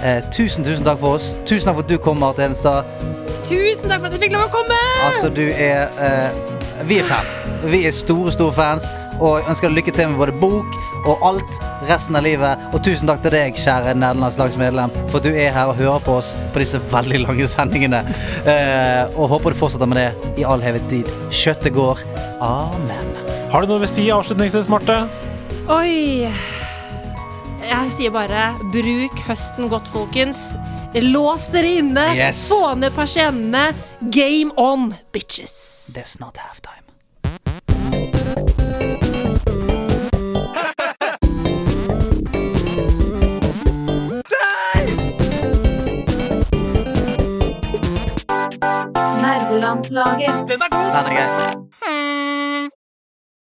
[SPEAKER 2] Eh, tusen, tusen takk for oss. Tusen takk for at du kom, Marte Hedenstad.
[SPEAKER 6] Tusen takk for at jeg fikk lov å komme!
[SPEAKER 2] Altså, du er eh, Vi er fan. Vi er store, store fans. Og jeg ønsker deg lykke til med både bok og alt resten av livet. Og tusen takk til deg, kjære nederlandslagsmedlem, for at du er her og hører på oss på disse veldig lange sendingene. Eh, og håper du fortsetter med det i all hevet tid. Kjøttet går. Amen.
[SPEAKER 1] Har du noe å si avslutningsvis, Marte?
[SPEAKER 6] Oi. Jeg sier bare bruk høsten godt, folkens. Lås dere inne,
[SPEAKER 2] Yes.
[SPEAKER 6] få ned persiennene. Game on, bitches.
[SPEAKER 2] Det er snart halftime.
[SPEAKER 10] Nerdelandslaget.
[SPEAKER 2] Den er god! Den er gøy.